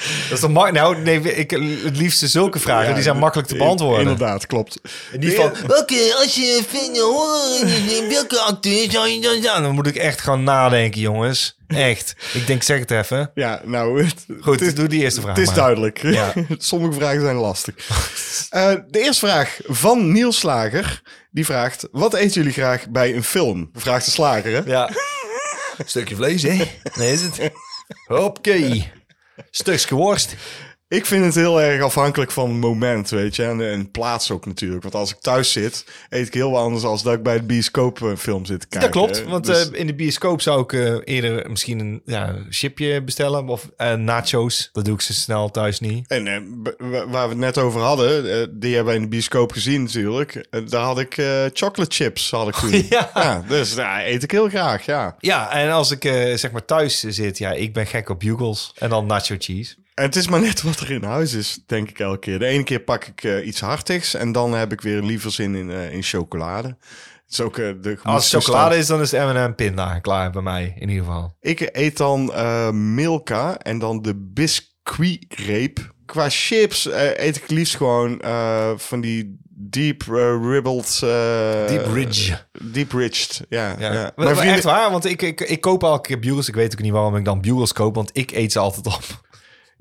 Speaker 2: dat is toch ma- Nou, nee, ik, het liefste zulke vragen.
Speaker 1: Ja,
Speaker 2: die zijn makkelijk te beantwoorden.
Speaker 1: in- Inderdaad, klopt.
Speaker 2: En die van, welke, als je vindt, eh, hoor, welke acteur zou je dan zijn? Dan moet ik echt gaan nadenken, jongens. Echt. Ik denk, zeg het even.
Speaker 1: Ja, nou, (laughs) het,
Speaker 2: Goed,
Speaker 1: het is,
Speaker 2: doe die eerste vraag
Speaker 1: het is
Speaker 2: maar.
Speaker 1: duidelijk.
Speaker 2: Ja.
Speaker 1: (laughs) Sommige vragen zijn
Speaker 2: (laughs)
Speaker 1: lastig. Eh, de eerste vraag van Niels Slager. Die vraagt, wat eten jullie graag bij een film? Vraagt de slager, hè?
Speaker 2: Ja. Stukje vlees, hè? Nee, is het? Hoppakee. Stukje worst.
Speaker 1: Ik vind het heel erg afhankelijk van het moment, weet je. En, en plaats ook natuurlijk. Want als ik thuis zit, eet ik heel wat anders dan dat ik bij het bioscoop eh, film zit te kijken.
Speaker 2: Dat klopt,
Speaker 1: hè.
Speaker 2: want
Speaker 1: Dus-
Speaker 2: eh, in de bioscoop zou ik eh, eerder misschien een ja, chipje bestellen of eh, nacho's. Dat doe ik zo snel thuis niet.
Speaker 1: En eh, b- wa- waar we het net over hadden, eh, die hebben we in de bioscoop gezien natuurlijk. Eh, daar had ik eh, chocolate chips, had ik toen.
Speaker 2: (laughs) Ja.
Speaker 1: dus nou, eet ik heel graag, ja.
Speaker 2: Ja, en als ik eh, zeg maar thuis zit, ja, ik ben gek op bugles en dan nacho cheese.
Speaker 1: En het is maar net wat er in huis is, denk ik elke keer. De ene keer pak ik eh, iets hartigs en dan heb ik weer liever zin in, eh, in chocolade. Het is ook eh, de
Speaker 2: Als
Speaker 1: gemoedstoestand.
Speaker 2: het chocolade is, dan is het M&M pinda klaar bij mij in ieder geval.
Speaker 1: Ik eet dan eh, Milka en dan de biscuitreep. Qua chips eh, eet ik liefst gewoon eh, van die deep eh, ribbled... eh,
Speaker 2: Deep ridge.
Speaker 1: Deep ridged, ja. ja.
Speaker 2: Ja.
Speaker 1: Mijn
Speaker 2: Maar
Speaker 1: vrienden-
Speaker 2: Echt waar, want ik, ik, ik koop elke keer bugles. Ik weet ook niet waarom ik dan bugles koop, want ik eet ze altijd op. (laughs)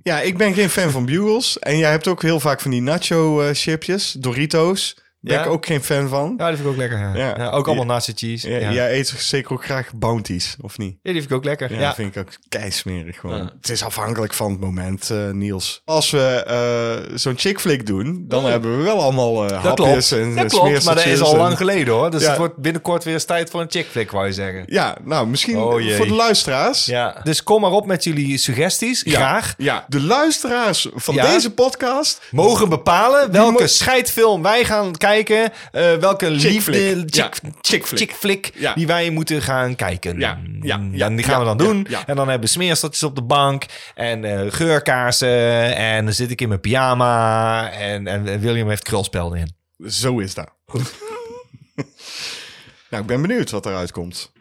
Speaker 1: Ja, ik ben geen fan van Bugles. En jij hebt ook heel vaak van die nacho eh, chipjes, Doritos. Ben
Speaker 2: Ja.
Speaker 1: ik ook geen fan van.
Speaker 2: Ja, die vind ik ook lekker. Ja.
Speaker 1: Ja.
Speaker 2: Ja, ook allemaal nacho cheese.
Speaker 1: Ja,
Speaker 2: Ja. Ja.
Speaker 1: Jij eet zeker ook graag bounties, of niet?
Speaker 2: die vind ik ook lekker.
Speaker 1: Ja,
Speaker 2: Ja,
Speaker 1: dat vind ik ook keismerig gewoon. Het is afhankelijk van het moment, eh, Niels. Als we eh, zo'n chick flick doen, dan hebben we wel allemaal eh,
Speaker 2: Oh. Dat
Speaker 1: hapjes
Speaker 2: klopt,
Speaker 1: en
Speaker 2: dat
Speaker 1: eh,
Speaker 2: klopt maar dat is
Speaker 1: smeerseltjes
Speaker 2: al
Speaker 1: en-
Speaker 2: lang geleden hoor. Dus
Speaker 1: Ja.
Speaker 2: het wordt binnenkort weer eens tijd voor een chick flick, wou je zeggen.
Speaker 1: Ja, nou, misschien
Speaker 2: Oh, jee.
Speaker 1: voor de luisteraars.
Speaker 2: Ja. Dus kom maar op met jullie suggesties, graag.
Speaker 1: Ja, de luisteraars van
Speaker 2: Ja.
Speaker 1: deze podcast
Speaker 2: Mogen bepalen welke
Speaker 1: mo-
Speaker 2: scheidfilm wij gaan kijken. eh, welke liefde,
Speaker 1: flick.
Speaker 2: chick,
Speaker 1: Ja,
Speaker 2: chick flick,
Speaker 1: Ja.
Speaker 2: die wij moeten gaan kijken.
Speaker 1: Ja, ja,
Speaker 2: Mm,
Speaker 1: ja,
Speaker 2: en die gaan we
Speaker 1: ja,
Speaker 2: dan doen.
Speaker 1: ja, ja.
Speaker 2: En dan hebben we smeerstadjes op de bank. En eh, geurkaarsen. En dan zit ik in mijn pyjama. En, en William heeft krulspel in.
Speaker 1: Zo is dat. (laughs) nou, ik ben benieuwd wat eruit komt.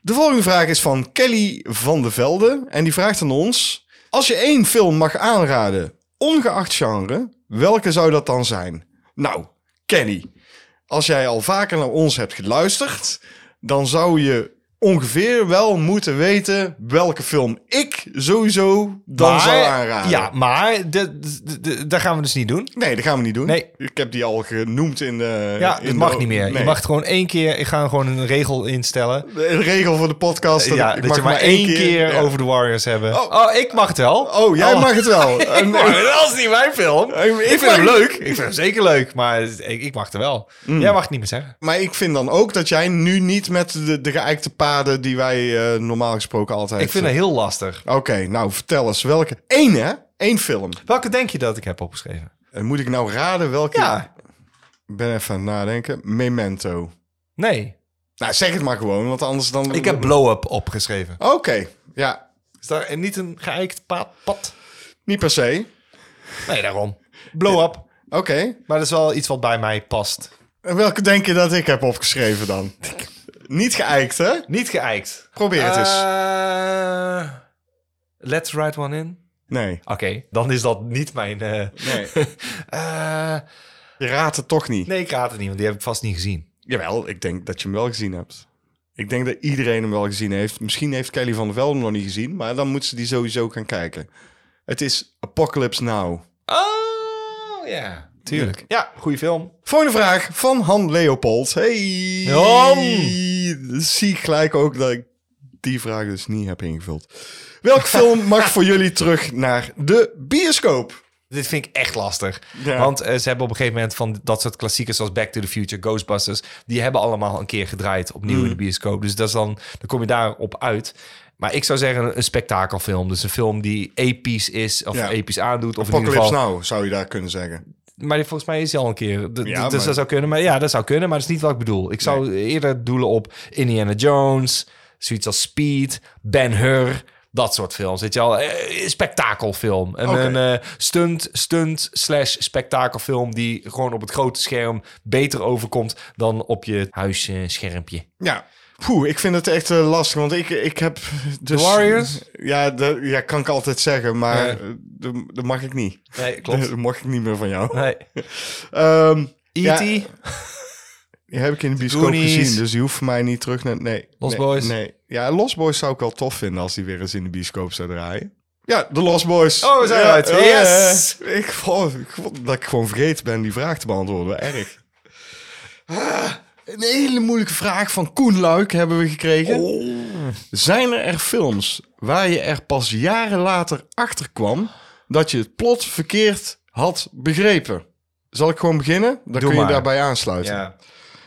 Speaker 1: De volgende vraag is van Kelly van de Velde. En die vraagt aan ons: Als je één film mag aanraden, ongeacht genre, welke zou dat dan zijn? Nou, Kelly, als jij al vaker naar ons hebt geluisterd, dan zou je ongeveer wel moeten weten welke film ik sowieso dan zou aanraden.
Speaker 2: Ja, maar de- de- de- dat gaan we dus niet doen.
Speaker 1: Nee, dat gaan we niet doen.
Speaker 2: Nee.
Speaker 1: Ik heb die al genoemd in de.
Speaker 2: Ja,
Speaker 1: in
Speaker 2: dat
Speaker 1: de-
Speaker 2: mag niet meer.
Speaker 1: nee.
Speaker 2: Je mag het gewoon één keer... Ik ga gewoon een regel instellen.
Speaker 1: De regel voor de podcast. Dat,
Speaker 2: ja,
Speaker 1: ik
Speaker 2: dat
Speaker 1: mag
Speaker 2: je maar één keer,
Speaker 1: ja.
Speaker 2: over de Warriors hebben.
Speaker 1: Oh.
Speaker 2: Oh, ik mag het wel.
Speaker 1: Oh, jij mag het
Speaker 2: (laughs)
Speaker 1: wel. En-
Speaker 2: dat is niet mijn film.
Speaker 1: Ik-
Speaker 2: Ik,
Speaker 1: ik
Speaker 2: vind
Speaker 1: mag-
Speaker 2: hem leuk. Ik vind hem zeker leuk, maar ik, ik mag het wel. Jij mag het niet meer zeggen.
Speaker 1: maar ik vind dan ook dat jij nu niet met de, de geëikte paden die wij eh, normaal gesproken altijd. eh,
Speaker 2: Ik vind het heel lastig.
Speaker 1: Oké, nou vertel eens welke. Eén, hè? Eén film.
Speaker 2: Welke denk je dat ik heb opgeschreven?
Speaker 1: En moet ik nou raden welke?
Speaker 2: Ja.
Speaker 1: Ik ben even aan het nadenken. Memento.
Speaker 2: Nee.
Speaker 1: Nou, zeg het maar gewoon, want anders dan.
Speaker 2: Ik heb Blow Up opgeschreven.
Speaker 1: Oké, ja.
Speaker 2: Is daar niet een geëikt pa- pad?
Speaker 1: Niet per se.
Speaker 2: Nee, (laughs) daarom. Blow Up.
Speaker 1: Oké.
Speaker 2: Maar dat is wel iets wat bij mij past.
Speaker 1: En welke denk je dat ik heb opgeschreven dan? (laughs) Niet geëikt, hè?
Speaker 2: Niet geëikt.
Speaker 1: Probeer het eens.
Speaker 2: Eh, let's write one in.
Speaker 1: Nee,
Speaker 2: Oké, dan is dat niet mijn... eh,
Speaker 1: nee.
Speaker 2: (laughs) eh,
Speaker 1: Je raadt het toch niet.
Speaker 2: nee, ik haat het niet, want die heb ik vast niet gezien.
Speaker 1: Jawel, ik denk dat je hem wel gezien hebt. Ik denk dat iedereen hem wel gezien heeft. Misschien heeft Kelly van der Velde hem nog niet gezien, maar dan moet ze die sowieso gaan kijken. Het is Apocalypse Now.
Speaker 2: Oh, ja. Tuurlijk. Ja, goede film.
Speaker 1: Volgende vraag van Han Leopold. Hey!
Speaker 2: Han!
Speaker 1: Zie ik gelijk ook dat ik die vraag dus niet heb ingevuld.
Speaker 2: (laughs)
Speaker 1: Welke film mag voor jullie terug naar de bioscoop?
Speaker 2: Dit vind ik echt lastig.
Speaker 1: Ja.
Speaker 2: Want eh, ze hebben op een gegeven moment van dat soort klassiekers zoals Back to the Future, Ghostbusters, die hebben allemaal een keer gedraaid opnieuw in de
Speaker 1: Mm.
Speaker 2: bioscoop. Dus dat is dan, dan kom je daarop uit. Maar ik zou zeggen een, een spektakelfilm. Dus een film die episch is of
Speaker 1: Ja.
Speaker 2: episch aandoet. Of in ieder
Speaker 1: Apocalypse
Speaker 2: geval,
Speaker 1: Now, zou je daar kunnen zeggen.
Speaker 2: Maar die- volgens mij is hij al een keer. D- d-
Speaker 1: Ja,
Speaker 2: dus
Speaker 1: maar-
Speaker 2: dat zou kunnen. Maar ja, dat zou kunnen. Maar dat is niet wat ik bedoel. Ik zou eerder doelen op Indiana Jones, zoiets als Speed, Ben Hur. Dat soort films, weet je al, spektakelfilm. Een,
Speaker 1: Oké.
Speaker 2: een eh, stunt, stunt slash spektakelfilm die gewoon op het grote scherm beter overkomt dan op je huisschermpje.
Speaker 1: Ja. Poeh, ik vind het echt eh, lastig, want ik, ik heb... Dus,
Speaker 2: Warriors?
Speaker 1: Ja, dat ja, kan ik altijd zeggen, maar
Speaker 2: Ja.
Speaker 1: eh, dat dat mag ik niet. (laughs)
Speaker 2: Nee,
Speaker 1: Dat mocht ik niet meer van jou.
Speaker 2: (laughs) Nee. E
Speaker 1: Ehm,
Speaker 2: E.T.,
Speaker 1: Ja. die heb ik in de bioscoop
Speaker 2: Goonies.
Speaker 1: gezien, dus die hoeft voor mij niet terug naar... Nee.
Speaker 2: Lost
Speaker 1: nee,
Speaker 2: Boys.
Speaker 1: Nee. Ja, Lost Boys zou ik wel tof vinden als die weer eens in de bioscoop zou draaien. Ja, de Lost Boys.
Speaker 2: Oh, we zijn
Speaker 1: Ja,
Speaker 2: eruit.
Speaker 1: ja,
Speaker 2: Yes!
Speaker 1: ja. ik, vond- ik vond dat ik gewoon vergeten ben die vraag te beantwoorden. Erg. Ah, Een hele moeilijke vraag van Koen Luik hebben we gekregen. Zijn er er films waar je er pas jaren later achter kwam dat je het plot verkeerd had begrepen? Zal ik gewoon beginnen? Dan kun
Speaker 2: maar.
Speaker 1: je daarbij aansluiten.
Speaker 2: Ja.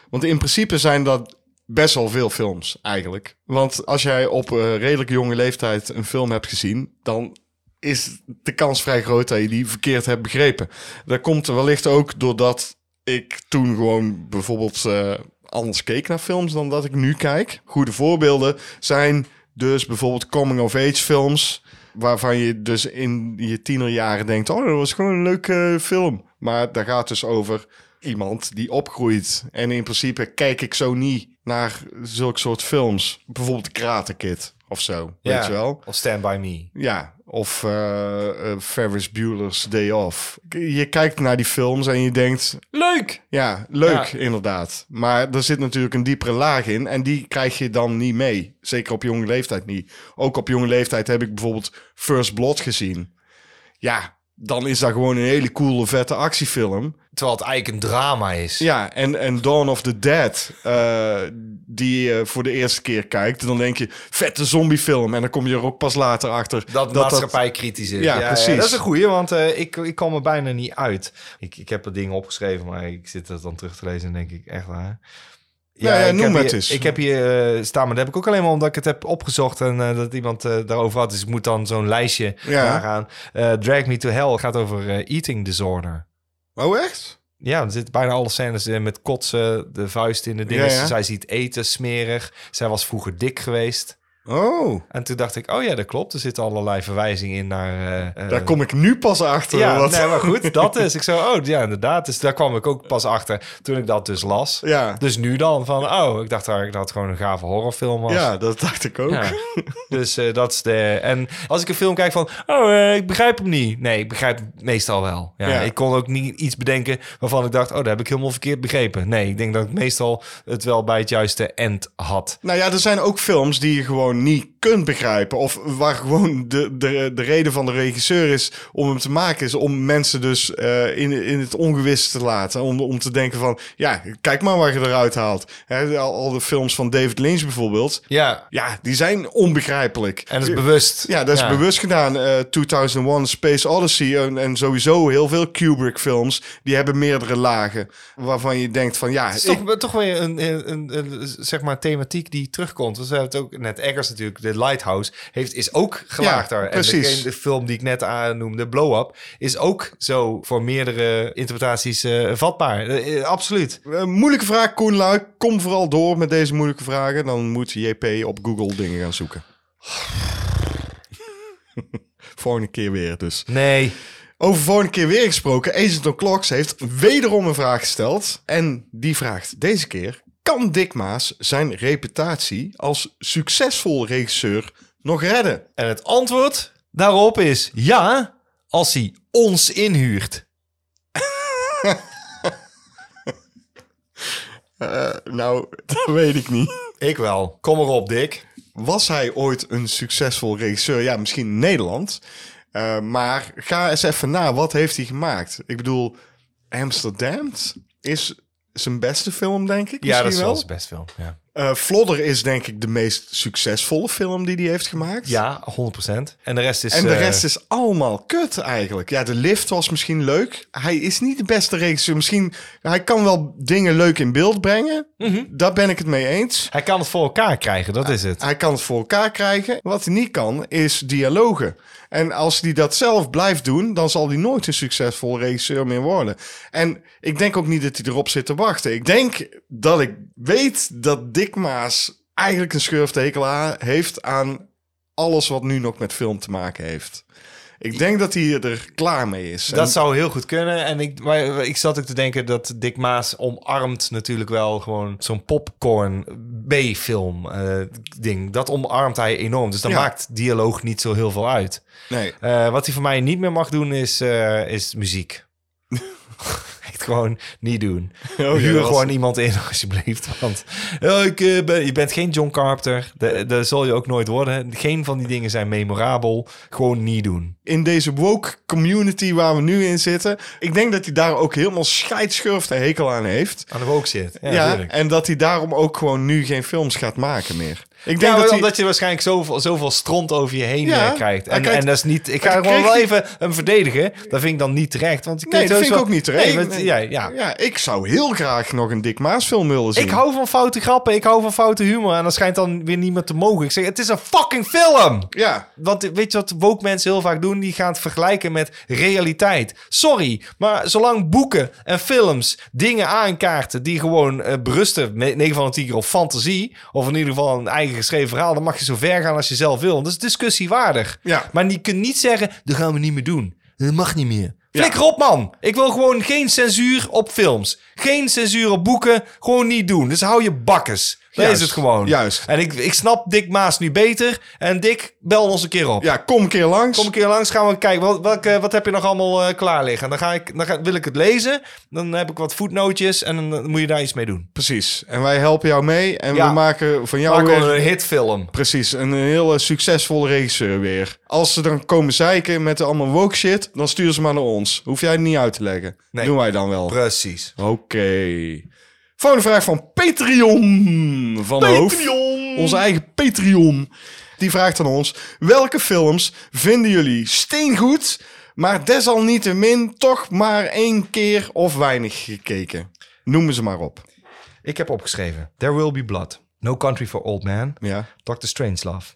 Speaker 1: Want in principe zijn dat best wel veel films eigenlijk. Want als jij op eh, redelijk jonge leeftijd een film hebt gezien, dan is de kans vrij groot dat je die verkeerd hebt begrepen. Dat komt er wellicht ook doordat ik toen gewoon bijvoorbeeld eh, anders keek naar films dan dat ik nu kijk. Goede voorbeelden zijn dus bijvoorbeeld coming-of-age films... waarvan je dus in je tienerjaren denkt... oh, dat was gewoon een leuke film. Maar daar gaat dus over iemand die opgroeit. En in principe kijk ik zo niet naar zulke soort films. Bijvoorbeeld Karate Kid of zo, weet je wel?
Speaker 2: Of Stand By Me.
Speaker 1: Ja, of eh, eh, Ferris Bueller's Day Off. K- Je kijkt naar die films en je denkt...
Speaker 2: Leuk!
Speaker 1: Ja, leuk
Speaker 2: Ja.
Speaker 1: inderdaad. Maar er zit natuurlijk een diepere laag in en die krijg je dan niet mee. Zeker op jonge leeftijd niet. Ook op jonge leeftijd heb ik bijvoorbeeld First Blood gezien. Ja, dan is dat gewoon een hele coole, vette actiefilm.
Speaker 2: Terwijl het eigenlijk een drama is.
Speaker 1: Ja, en, en Dawn of the Dead, eh, die je voor de eerste keer kijkt. Dan denk je, vette zombiefilm. En dan kom je er ook pas later achter.
Speaker 2: Dat, maatschappij kritisch is.
Speaker 1: Ja, precies.
Speaker 2: dat is een goeie, want eh, ik, ik kom er bijna niet uit. Ik, ik heb er dingen opgeschreven, maar ik zit dat dan terug te lezen en denk ik, echt waar.
Speaker 1: Ja, ja,
Speaker 2: ik
Speaker 1: noem
Speaker 2: heb
Speaker 1: het
Speaker 2: hier-
Speaker 1: eens.
Speaker 2: Ik heb hier eh, staan, maar dat heb ik ook alleen maar omdat ik het heb opgezocht en eh, dat iemand eh, daarover had. Dus ik moet dan zo'n lijstje
Speaker 1: Ja.
Speaker 2: nagaan. Eh, Drag Me to Hell gaat over eh, eating disorder.
Speaker 1: Oh, echt?
Speaker 2: Ja, er zitten bijna alle scènes in met kotsen, de vuist in de dingen.
Speaker 1: Ja, ja.
Speaker 2: Zij ziet eten smerig. Zij was vroeger dik geweest.
Speaker 5: Oh,
Speaker 2: En toen dacht ik, oh ja, dat klopt. Er zitten allerlei verwijzingen in naar... eh,
Speaker 5: daar
Speaker 2: eh,
Speaker 5: kom ik nu pas achter.
Speaker 2: ja,
Speaker 5: wat-
Speaker 2: nee, maar goed, dat is.
Speaker 5: (laughs)
Speaker 2: Ik zo, oh ja, inderdaad. Dus daar kwam ik ook pas achter toen ik dat dus las.
Speaker 5: ja.
Speaker 2: Dus nu dan van, oh, ik dacht eigenlijk dat het gewoon een gave horrorfilm was.
Speaker 5: ja, dat dacht ik ook.
Speaker 2: Ja. (laughs) dus eh, dat is de... En als ik een film kijk van, oh, eh, ik begrijp hem niet. Nee, ik begrijp hem meestal wel. Ja,
Speaker 5: Ja.
Speaker 2: Ik kon ook niet iets bedenken waarvan ik dacht, oh, dat heb ik helemaal verkeerd begrepen. Nee, ik denk dat ik meestal het wel bij het juiste end had.
Speaker 5: Nou ja, er zijn ook films die je gewoon niet kunt begrijpen. Of waar gewoon de, de, de reden van de regisseur is om hem te maken, is om mensen dus eh, in, in het ongewis te laten. Om, om te denken van, ja, kijk maar waar je eruit haalt. Hè, al, al de films van David Lynch bijvoorbeeld,
Speaker 2: Ja,
Speaker 5: ja, die zijn onbegrijpelijk.
Speaker 2: en dat is bewust.
Speaker 5: Ja, dat is bewust gedaan. Eh, 2001 Space Odyssey eh, en, en sowieso heel veel Kubrick films, die hebben meerdere lagen. Waarvan je denkt van, ja,
Speaker 2: Het
Speaker 5: ik-
Speaker 2: is toch, toch weer een, een, een, een, zeg maar thematiek die terugkomt. Dus we hebben het ook net Eggers natuurlijk, de Lighthouse, heeft, is ook gelaagd
Speaker 5: Ja,
Speaker 2: daar. En
Speaker 5: precies.
Speaker 2: degene- de film die ik net aannoemde, Blow Up, is ook zo voor meerdere interpretaties eh, vatbaar. Eh, eh, absoluut.
Speaker 5: Eh, moeilijke vraag, Koen Luik. Kom vooral door met deze moeilijke vragen. Dan moet JP op Google dingen gaan zoeken. volgende keer weer dus.
Speaker 2: Nee.
Speaker 5: Over volgende keer weer gesproken. Agent of Clocks heeft wederom een vraag gesteld. En die vraagt deze keer... Kan Dick Maas zijn reputatie als succesvol regisseur nog redden?
Speaker 2: En het antwoord daarop is ja, als hij ons inhuurt.
Speaker 5: Eh, nou, (laughs) dat weet ik niet.
Speaker 2: Ik wel. Kom erop, Dick.
Speaker 5: Was hij ooit een succesvol regisseur? Ja, misschien in Nederland. Eh, maar ga eens even na, wat heeft hij gemaakt? Ik bedoel, Amsterdam is zijn beste film, denk ik.
Speaker 2: Ja,
Speaker 5: misschien
Speaker 2: dat is wel
Speaker 5: wel.
Speaker 2: zijn best film. Ja,
Speaker 5: Eh, Flodder is denk ik de meest succesvolle film die hij heeft gemaakt.
Speaker 2: ja 100%. En de rest is...
Speaker 5: En de
Speaker 2: eh,
Speaker 5: rest is allemaal kut eigenlijk. Ja, de lift was misschien leuk. Hij is niet de beste regisseur. Misschien, hij kan wel dingen leuk in beeld brengen. Daar ben ik het mee eens.
Speaker 2: Hij kan het voor elkaar krijgen, dat is het.
Speaker 5: Hij kan het voor elkaar krijgen. Wat hij niet kan, is dialogen. En als hij dat zelf blijft doen, dan zal hij nooit een succesvol regisseur meer worden. En ik denk ook niet dat hij erop zit te wachten. Ik denk dat ik weet dat Dick Maas eigenlijk een schurftekelaar heeft aan alles wat nu nog met film te maken heeft. Ik denk dat hij er klaar mee is. En-
Speaker 2: Dat zou heel goed kunnen. En ik, maar ik zat ook te denken dat Dick Maas omarmt natuurlijk wel gewoon zo'n popcorn B-film eh, ding. Dat omarmt hij enorm. Dus dan
Speaker 5: Ja.
Speaker 2: maakt dialoog niet zo heel veel uit.
Speaker 5: Nee.
Speaker 2: Eh, wat hij voor mij niet meer mag doen is, eh, is muziek. (laughs) Echt gewoon niet
Speaker 5: (laughs)
Speaker 2: doen.
Speaker 5: ja,
Speaker 2: Huur
Speaker 5: dat-
Speaker 2: gewoon iemand in, (laughs) alsjeblieft. Want eh, ik, eh, ben, je bent geen John Carpenter. Dat- Dat zal je ook nooit worden. Geen van die dingen zijn memorabel. Gewoon niet doen.
Speaker 5: in deze woke community waar we nu in zitten. Ik denk dat hij daar ook helemaal scheidschurft en hekel aan heeft.
Speaker 2: Aan de woke shit. Ja,
Speaker 5: Ja,
Speaker 2: tuurlijk.
Speaker 5: en dat hij daarom ook gewoon nu geen films gaat maken meer. Ik denk
Speaker 2: ja,
Speaker 5: dat
Speaker 2: maar
Speaker 5: hij...
Speaker 2: omdat je waarschijnlijk zoveel, zoveel stront over je heen
Speaker 5: Ja, Nou,
Speaker 2: eh, krijgt.
Speaker 5: hij
Speaker 2: En,
Speaker 5: krijgt-
Speaker 2: en dat is niet... Ik ga
Speaker 5: hij
Speaker 2: gewoon wel
Speaker 5: kreeg-
Speaker 2: even hem verdedigen. Dat vind ik dan niet terecht. Want je
Speaker 5: Nee,
Speaker 2: kunt
Speaker 5: dat
Speaker 2: heus
Speaker 5: vind ik
Speaker 2: wel-
Speaker 5: ook niet terecht.
Speaker 2: Nee, want-
Speaker 5: Nee.
Speaker 2: ja, ja.
Speaker 5: Ja, ik zou heel graag nog een Dick Maas film willen zien.
Speaker 2: Ik hou van foute grappen. Ik hou van foute humor. En dat schijnt dan weer niemand te mogen. Ik zeg, het is een fucking film!
Speaker 5: Ja,
Speaker 2: Want weet je wat woke mensen heel vaak doen? Die gaan het vergelijken met realiteit. Sorry, maar zolang boeken en films dingen aankaarten die gewoon eh, berusten, me- 9 van de 10 keer op fantasie, of in ieder geval een eigen geschreven verhaal, dan mag je zo ver gaan als je zelf wil. Want Dat is discussiewaardig.
Speaker 5: Ja.
Speaker 2: Maar je kunt niet zeggen, dat gaan we niet meer doen. Dat mag niet meer. Flikker op, man. Ik wil gewoon geen censuur op films. Geen censuur op boeken. Gewoon niet doen. Dus hou je bakkes. Dat
Speaker 5: Juist,
Speaker 2: is het gewoon.
Speaker 5: juist.
Speaker 2: En ik, ik snap Dick Maas nu beter. En Dick, bel ons een keer op.
Speaker 5: ja, kom een keer langs.
Speaker 2: Kom een keer langs, gaan we kijken. Wat, welke, wat heb je nog allemaal eh, klaar liggen? Dan, ga ik, dan ga, wil ik het lezen. Dan heb ik wat voetnootjes. En dan eh, moet je daar iets mee doen.
Speaker 5: Precies. En wij helpen jou mee en
Speaker 2: Ja.
Speaker 5: we maken van jou
Speaker 2: Maak
Speaker 5: weer...
Speaker 2: gewoon een hitfilm.
Speaker 5: Precies, een hele succesvolle regisseur weer. Als ze dan komen zeiken met allemaal woke shit, dan stuur ze maar naar ons. Hoef jij het niet uit te leggen.
Speaker 2: Nee.
Speaker 5: Doen wij dan wel.
Speaker 2: Precies.
Speaker 5: Oké. Volgende vraag van Patreon van de Hoofd. Onze eigen Patreon. Die vraagt aan ons: welke films vinden jullie steengoed, maar desalniettemin toch maar één keer of weinig gekeken? Noemen ze maar op.
Speaker 2: Ik heb opgeschreven. There Will Be Blood. No Country for Old Man.
Speaker 5: Ja,
Speaker 2: Dr. Strangelove.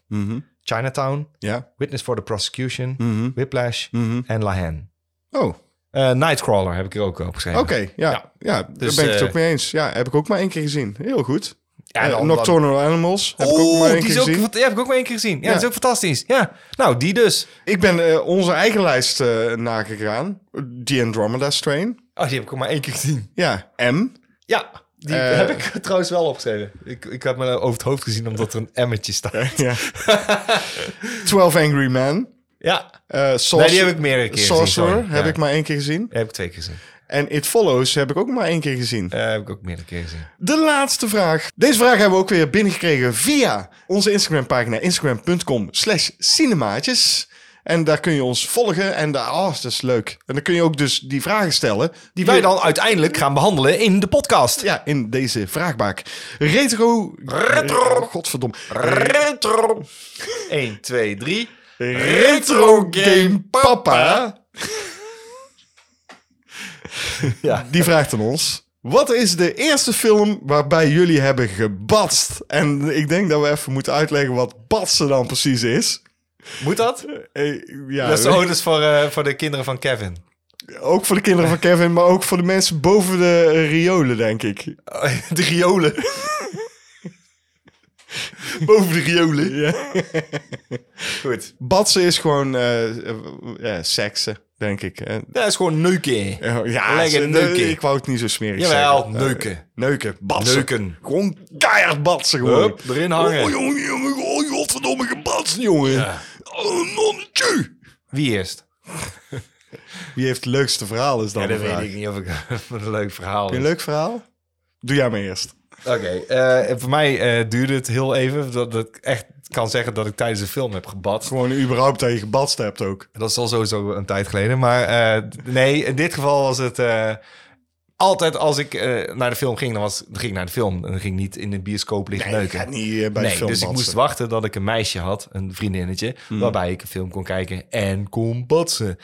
Speaker 2: Chinatown.
Speaker 5: ja.
Speaker 2: Witness for the Prosecution. Whiplash. En La Haine.
Speaker 5: Oh, oké.
Speaker 2: Eh, Nightcrawler heb ik er ook opgeschreven.
Speaker 5: Ja, ja, daar ben ik het
Speaker 2: eh,
Speaker 5: ook mee eens. Ja, heb ik ook maar één keer gezien. Heel goed.
Speaker 2: en
Speaker 1: Eh,
Speaker 2: dan-
Speaker 1: Nocturnal Animals. Heb ik ook
Speaker 2: Oh,
Speaker 1: maar één
Speaker 2: die
Speaker 1: keer
Speaker 2: is ook,
Speaker 1: gezien.
Speaker 2: fant- ja, heb ik ook maar één keer gezien. Ja,
Speaker 1: Ja.
Speaker 2: dat is ook fantastisch. Ja, nou, die dus.
Speaker 1: Ik ben eh, onze eigen lijst eh, nagegaan. Die Andromeda Strain.
Speaker 2: Oh, die heb ik ook maar één keer gezien.
Speaker 1: Ja, M.
Speaker 2: Ja, die
Speaker 1: Eh.
Speaker 2: heb ik (laughs) trouwens wel opgeschreven. Ik, ik had me over het hoofd gezien omdat er een emmetje staat.
Speaker 1: Ja. 12 Angry Men.
Speaker 2: (laughs) Ja,
Speaker 1: eh
Speaker 2: nee, die heb ik meerdere keer gezien.
Speaker 1: Sorcerer
Speaker 2: sorry.
Speaker 1: heb
Speaker 2: Ja.
Speaker 1: ik maar één keer gezien.
Speaker 2: Die heb ik twee keer gezien.
Speaker 1: En It Follows heb ik ook maar één keer gezien.
Speaker 2: Eh, heb ik ook meerdere keer gezien.
Speaker 1: De laatste vraag. Deze vraag hebben we ook weer binnengekregen via onze Instagram-pagina. Instagram.com slash cinemaatjes. En daar kun je ons volgen. En daar, oh, dat is leuk. En dan kun je ook dus die vragen stellen. Die
Speaker 2: Wij dan uiteindelijk gaan behandelen in de podcast.
Speaker 1: Ja, in deze vraagbaak. Retro... Retro... Godverdomme.
Speaker 2: Retro. 1, 2, 3.
Speaker 1: Retro Game Papa.
Speaker 2: Ja.
Speaker 1: (laughs) Die vraagt aan ons. Wat is de eerste film waarbij jullie hebben gebatst? En ik denk dat we even moeten uitleggen wat batsen dan precies is.
Speaker 2: Moet dat?
Speaker 1: Eh, ja,
Speaker 2: dat is oh, dat is voor, eh, voor de kinderen van Kevin.
Speaker 1: ook voor de kinderen van Kevin, maar ook voor de mensen boven de eh, riolen, denk ik.
Speaker 2: (laughs) De riolen.
Speaker 1: Boven de riolen? Ja.
Speaker 2: Goed.
Speaker 1: Batsen is gewoon eh, eh, ja, seksen, denk ik. Eh,
Speaker 2: Dat is gewoon neuken.
Speaker 1: eh, ja,
Speaker 2: Lekker
Speaker 1: ze-
Speaker 2: neuken.
Speaker 1: ik wou het niet zo smerig
Speaker 2: Jawel,
Speaker 1: zeggen. Eh,
Speaker 2: neuken.
Speaker 1: Neuken, batsen.
Speaker 2: Neuken.
Speaker 1: Gewoon keihard batsen gewoon.
Speaker 2: Hup, erin hangen.
Speaker 1: Oh, jongen, jongen, oh, godverdomme gebatsen, jongen. Oh, nonnetje.
Speaker 2: Wie eerst?
Speaker 1: Wie heeft het leukste verhaal is dan
Speaker 2: Ja,
Speaker 1: de
Speaker 2: dat weet
Speaker 1: vraag.
Speaker 2: ik niet of ik of het (laughs) een leuk verhaal
Speaker 1: Heb
Speaker 2: is.
Speaker 1: je een leuk verhaal? Doe jij maar eerst.
Speaker 2: Oké, eh, voor mij eh, duurde het heel even dat, dat ik echt kan zeggen dat ik tijdens de film heb gebad.
Speaker 1: Gewoon überhaupt dat je gebatst hebt ook.
Speaker 2: Dat is al sowieso een tijd geleden. Maar eh, nee, in dit geval was het... eh, altijd als ik eh, naar de film ging, dan, was, dan ging ik naar de film. En dan ging ik niet in de bioscoop liggen
Speaker 1: Nee, je
Speaker 2: neuken.
Speaker 1: gaat niet eh, bij de
Speaker 2: nee,
Speaker 1: film
Speaker 2: dus ik
Speaker 1: batsen.
Speaker 2: moest wachten dat ik een meisje had, een vriendinnetje,
Speaker 1: Hmm.
Speaker 2: waarbij ik een film kon kijken en kon botsen.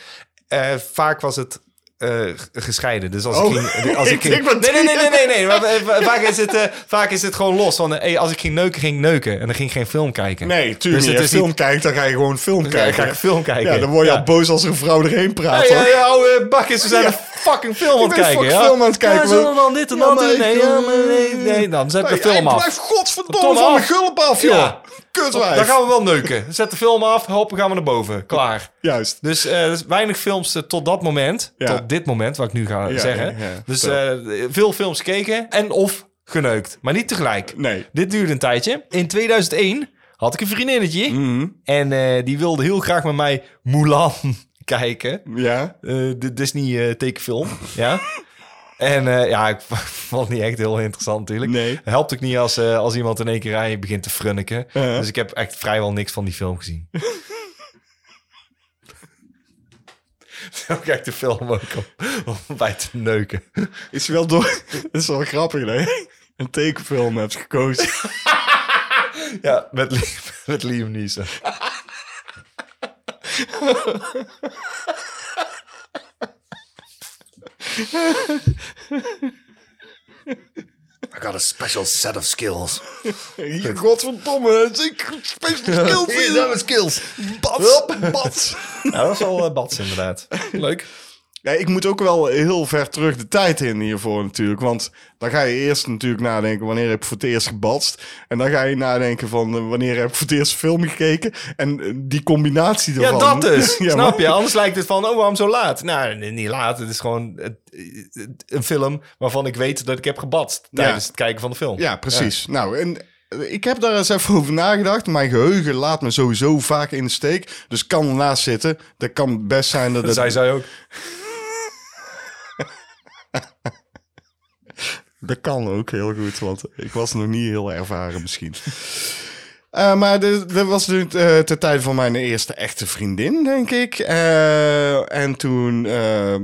Speaker 2: Eh, vaak was het eh, g- gescheiden. Dus als
Speaker 1: Oh,
Speaker 2: ik ging... Als
Speaker 1: (laughs) ik
Speaker 2: ik ging
Speaker 1: denk, wat
Speaker 2: nee, nee,
Speaker 1: doe
Speaker 2: nee, nee, nee, nee. Maar, eh, va- vaak, is het, eh, vaak is het gewoon los. Van, eh, hey, als ik ging neuken, ging ik neuken. En dan ging ik geen film kijken.
Speaker 1: Nee, tuurlijk.
Speaker 2: Dus
Speaker 1: niet.
Speaker 2: het
Speaker 1: als
Speaker 2: is
Speaker 1: je film
Speaker 2: niet-
Speaker 1: kijkt, dan ga je gewoon film
Speaker 2: Ja, dan
Speaker 1: kijken.
Speaker 2: ga ik film kijken.
Speaker 1: Ja, dan word je al boos als er een vrouw erheen praat.
Speaker 2: Hey,
Speaker 1: hoor.
Speaker 2: hey, ouwe bakjes, eh, we zijn een fucking film aan
Speaker 1: Ik
Speaker 2: het
Speaker 1: ben
Speaker 2: kijken.
Speaker 1: fucking
Speaker 2: ja?
Speaker 1: film aan het kijken,
Speaker 2: Ja,
Speaker 1: man.
Speaker 2: zullen we dan dit en
Speaker 1: Ja,
Speaker 2: dat
Speaker 1: maar
Speaker 2: doen?
Speaker 1: ik,
Speaker 2: Nee, ja, maar
Speaker 1: eh,
Speaker 2: nee, nee, dan zet de
Speaker 1: Hey,
Speaker 2: film
Speaker 1: hey,
Speaker 2: af.
Speaker 1: Blijf godverdomme
Speaker 2: Tom
Speaker 1: van mijn
Speaker 2: af.
Speaker 1: gulp af, joh.
Speaker 2: Ja. Oh,
Speaker 1: Kutwijf.
Speaker 2: Dan gaan we wel neuken. Zet de film af, hoppen gaan we naar boven. Klaar.
Speaker 1: Juist.
Speaker 2: Dus eh, dus weinig films eh, tot dat moment.
Speaker 1: Ja.
Speaker 2: Tot dit moment, wat ik nu ga
Speaker 1: Ja,
Speaker 2: zeggen.
Speaker 1: ja, ja,
Speaker 2: dus
Speaker 1: vertel.
Speaker 2: eh, veel films gekeken en of geneukt. Maar niet tegelijk.
Speaker 1: Nee.
Speaker 2: Dit duurde een tijdje. In 2001 had ik een vriendinnetje.
Speaker 1: Mhm.
Speaker 2: En eh, die wilde heel graag met mij Mulan (laughs) kijken.
Speaker 1: Ja.
Speaker 2: Eh, de Disney eh, (laughs) tekenfilm. ja. En eh, ja, ik (laughs) vond het niet echt heel interessant natuurlijk.
Speaker 1: Nee.
Speaker 2: Helpt ook niet als, eh, als iemand in één keer aan je begint te frunniken.
Speaker 1: Uh-huh.
Speaker 2: Dus ik heb echt vrijwel niks van die film (laughs) gezien. Zo kijkt de film ook om, om bij te neuken.
Speaker 1: Is wel door... (laughs) Dat is wel grappig, hè? Een tekenfilm hebt
Speaker 2: (laughs)
Speaker 1: gekozen.
Speaker 2: Ja, met, Liam- (laughs) met Liam Neeson. I got a special set of skills.
Speaker 1: Hier, Godverdomme, het is een special skill vinden.
Speaker 2: skills.
Speaker 1: Bats, bats.
Speaker 2: Nou, dat is wel eh, bats inderdaad. Leuk.
Speaker 1: Ja, ik moet ook wel heel ver terug de tijd in hiervoor natuurlijk. Want dan ga je eerst natuurlijk nadenken wanneer heb ik voor het eerst gebatst. En dan ga je nadenken van eh, wanneer heb ik voor het eerst film gekeken. En eh, die combinatie
Speaker 2: Ja,
Speaker 1: daarvan.
Speaker 2: dat
Speaker 1: (laughs)
Speaker 2: dus.
Speaker 1: Ja,
Speaker 2: Snap
Speaker 1: maar-
Speaker 2: je? Anders lijkt het van, oh, waarom zo laat? Nou, nee, niet laat. Het is gewoon eh, eh, een film waarvan ik weet dat ik heb gebatst tijdens het kijken van de film.
Speaker 1: Ja, precies. Nou, en eh, ik heb daar eens even over nagedacht. Mijn geheugen laat me sowieso vaak in de steek. Dus kan ernaast zitten. Dat kan best zijn dat...
Speaker 2: Dat
Speaker 1: het-
Speaker 2: Dus zei zij ook.
Speaker 1: Dat kan ook heel goed, want ik was nog niet heel ervaren misschien. (laughs) Eh, maar dit- dat was nu eh ter tijd van mijn eerste echte vriendin, denk ik. Eh, en toen... eh,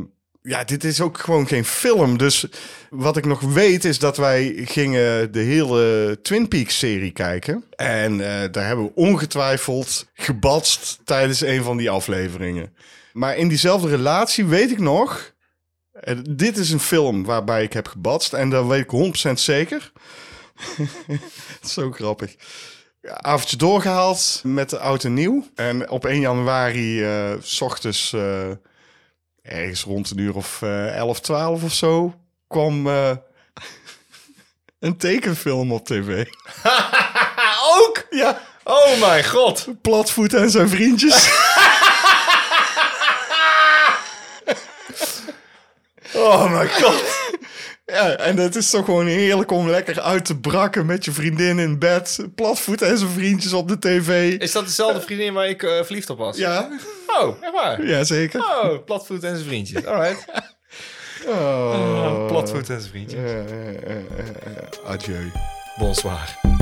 Speaker 1: ja, dit is ook gewoon geen film. Dus wat ik nog weet is dat wij gingen de hele Twin Peaks-serie kijken. En eh, daar hebben we ongetwijfeld gebatst tijdens een van die afleveringen. Maar in diezelfde relatie weet ik nog eh, dit is een film waarbij ik heb gebatst. En dat weet ik 100% zeker. (laughs) Zo grappig. Avondje doorgehaald met de oud en nieuw. En op 1 januari, eh, s ochtends, eh,
Speaker 5: eh,
Speaker 1: ergens rond een uur of eh 11, 12 of zo, kwam eh, (laughs) Een tekenfilm op tv.
Speaker 2: Ook?
Speaker 1: Ja,
Speaker 2: Oh mijn god.
Speaker 1: Platvoet en zijn vriendjes.
Speaker 2: Oh mijn god.
Speaker 1: ja, en het is toch gewoon heerlijk om lekker uit te brakken met je vriendin in bed. Platvoet en zijn vriendjes op de tv.
Speaker 2: Is dat dezelfde vriendin waar ik eh, verliefd op was?
Speaker 1: Ja,
Speaker 2: Oh, echt waar?
Speaker 1: ja zeker.
Speaker 2: Oh, platvoet en zijn
Speaker 1: (laughs)
Speaker 2: vriendjes. Alright.
Speaker 1: Oh.
Speaker 2: Platvoet en zijn vriendjes.
Speaker 1: Eh, eh, eh, eh, eh. Adieu.
Speaker 2: Bonsoir.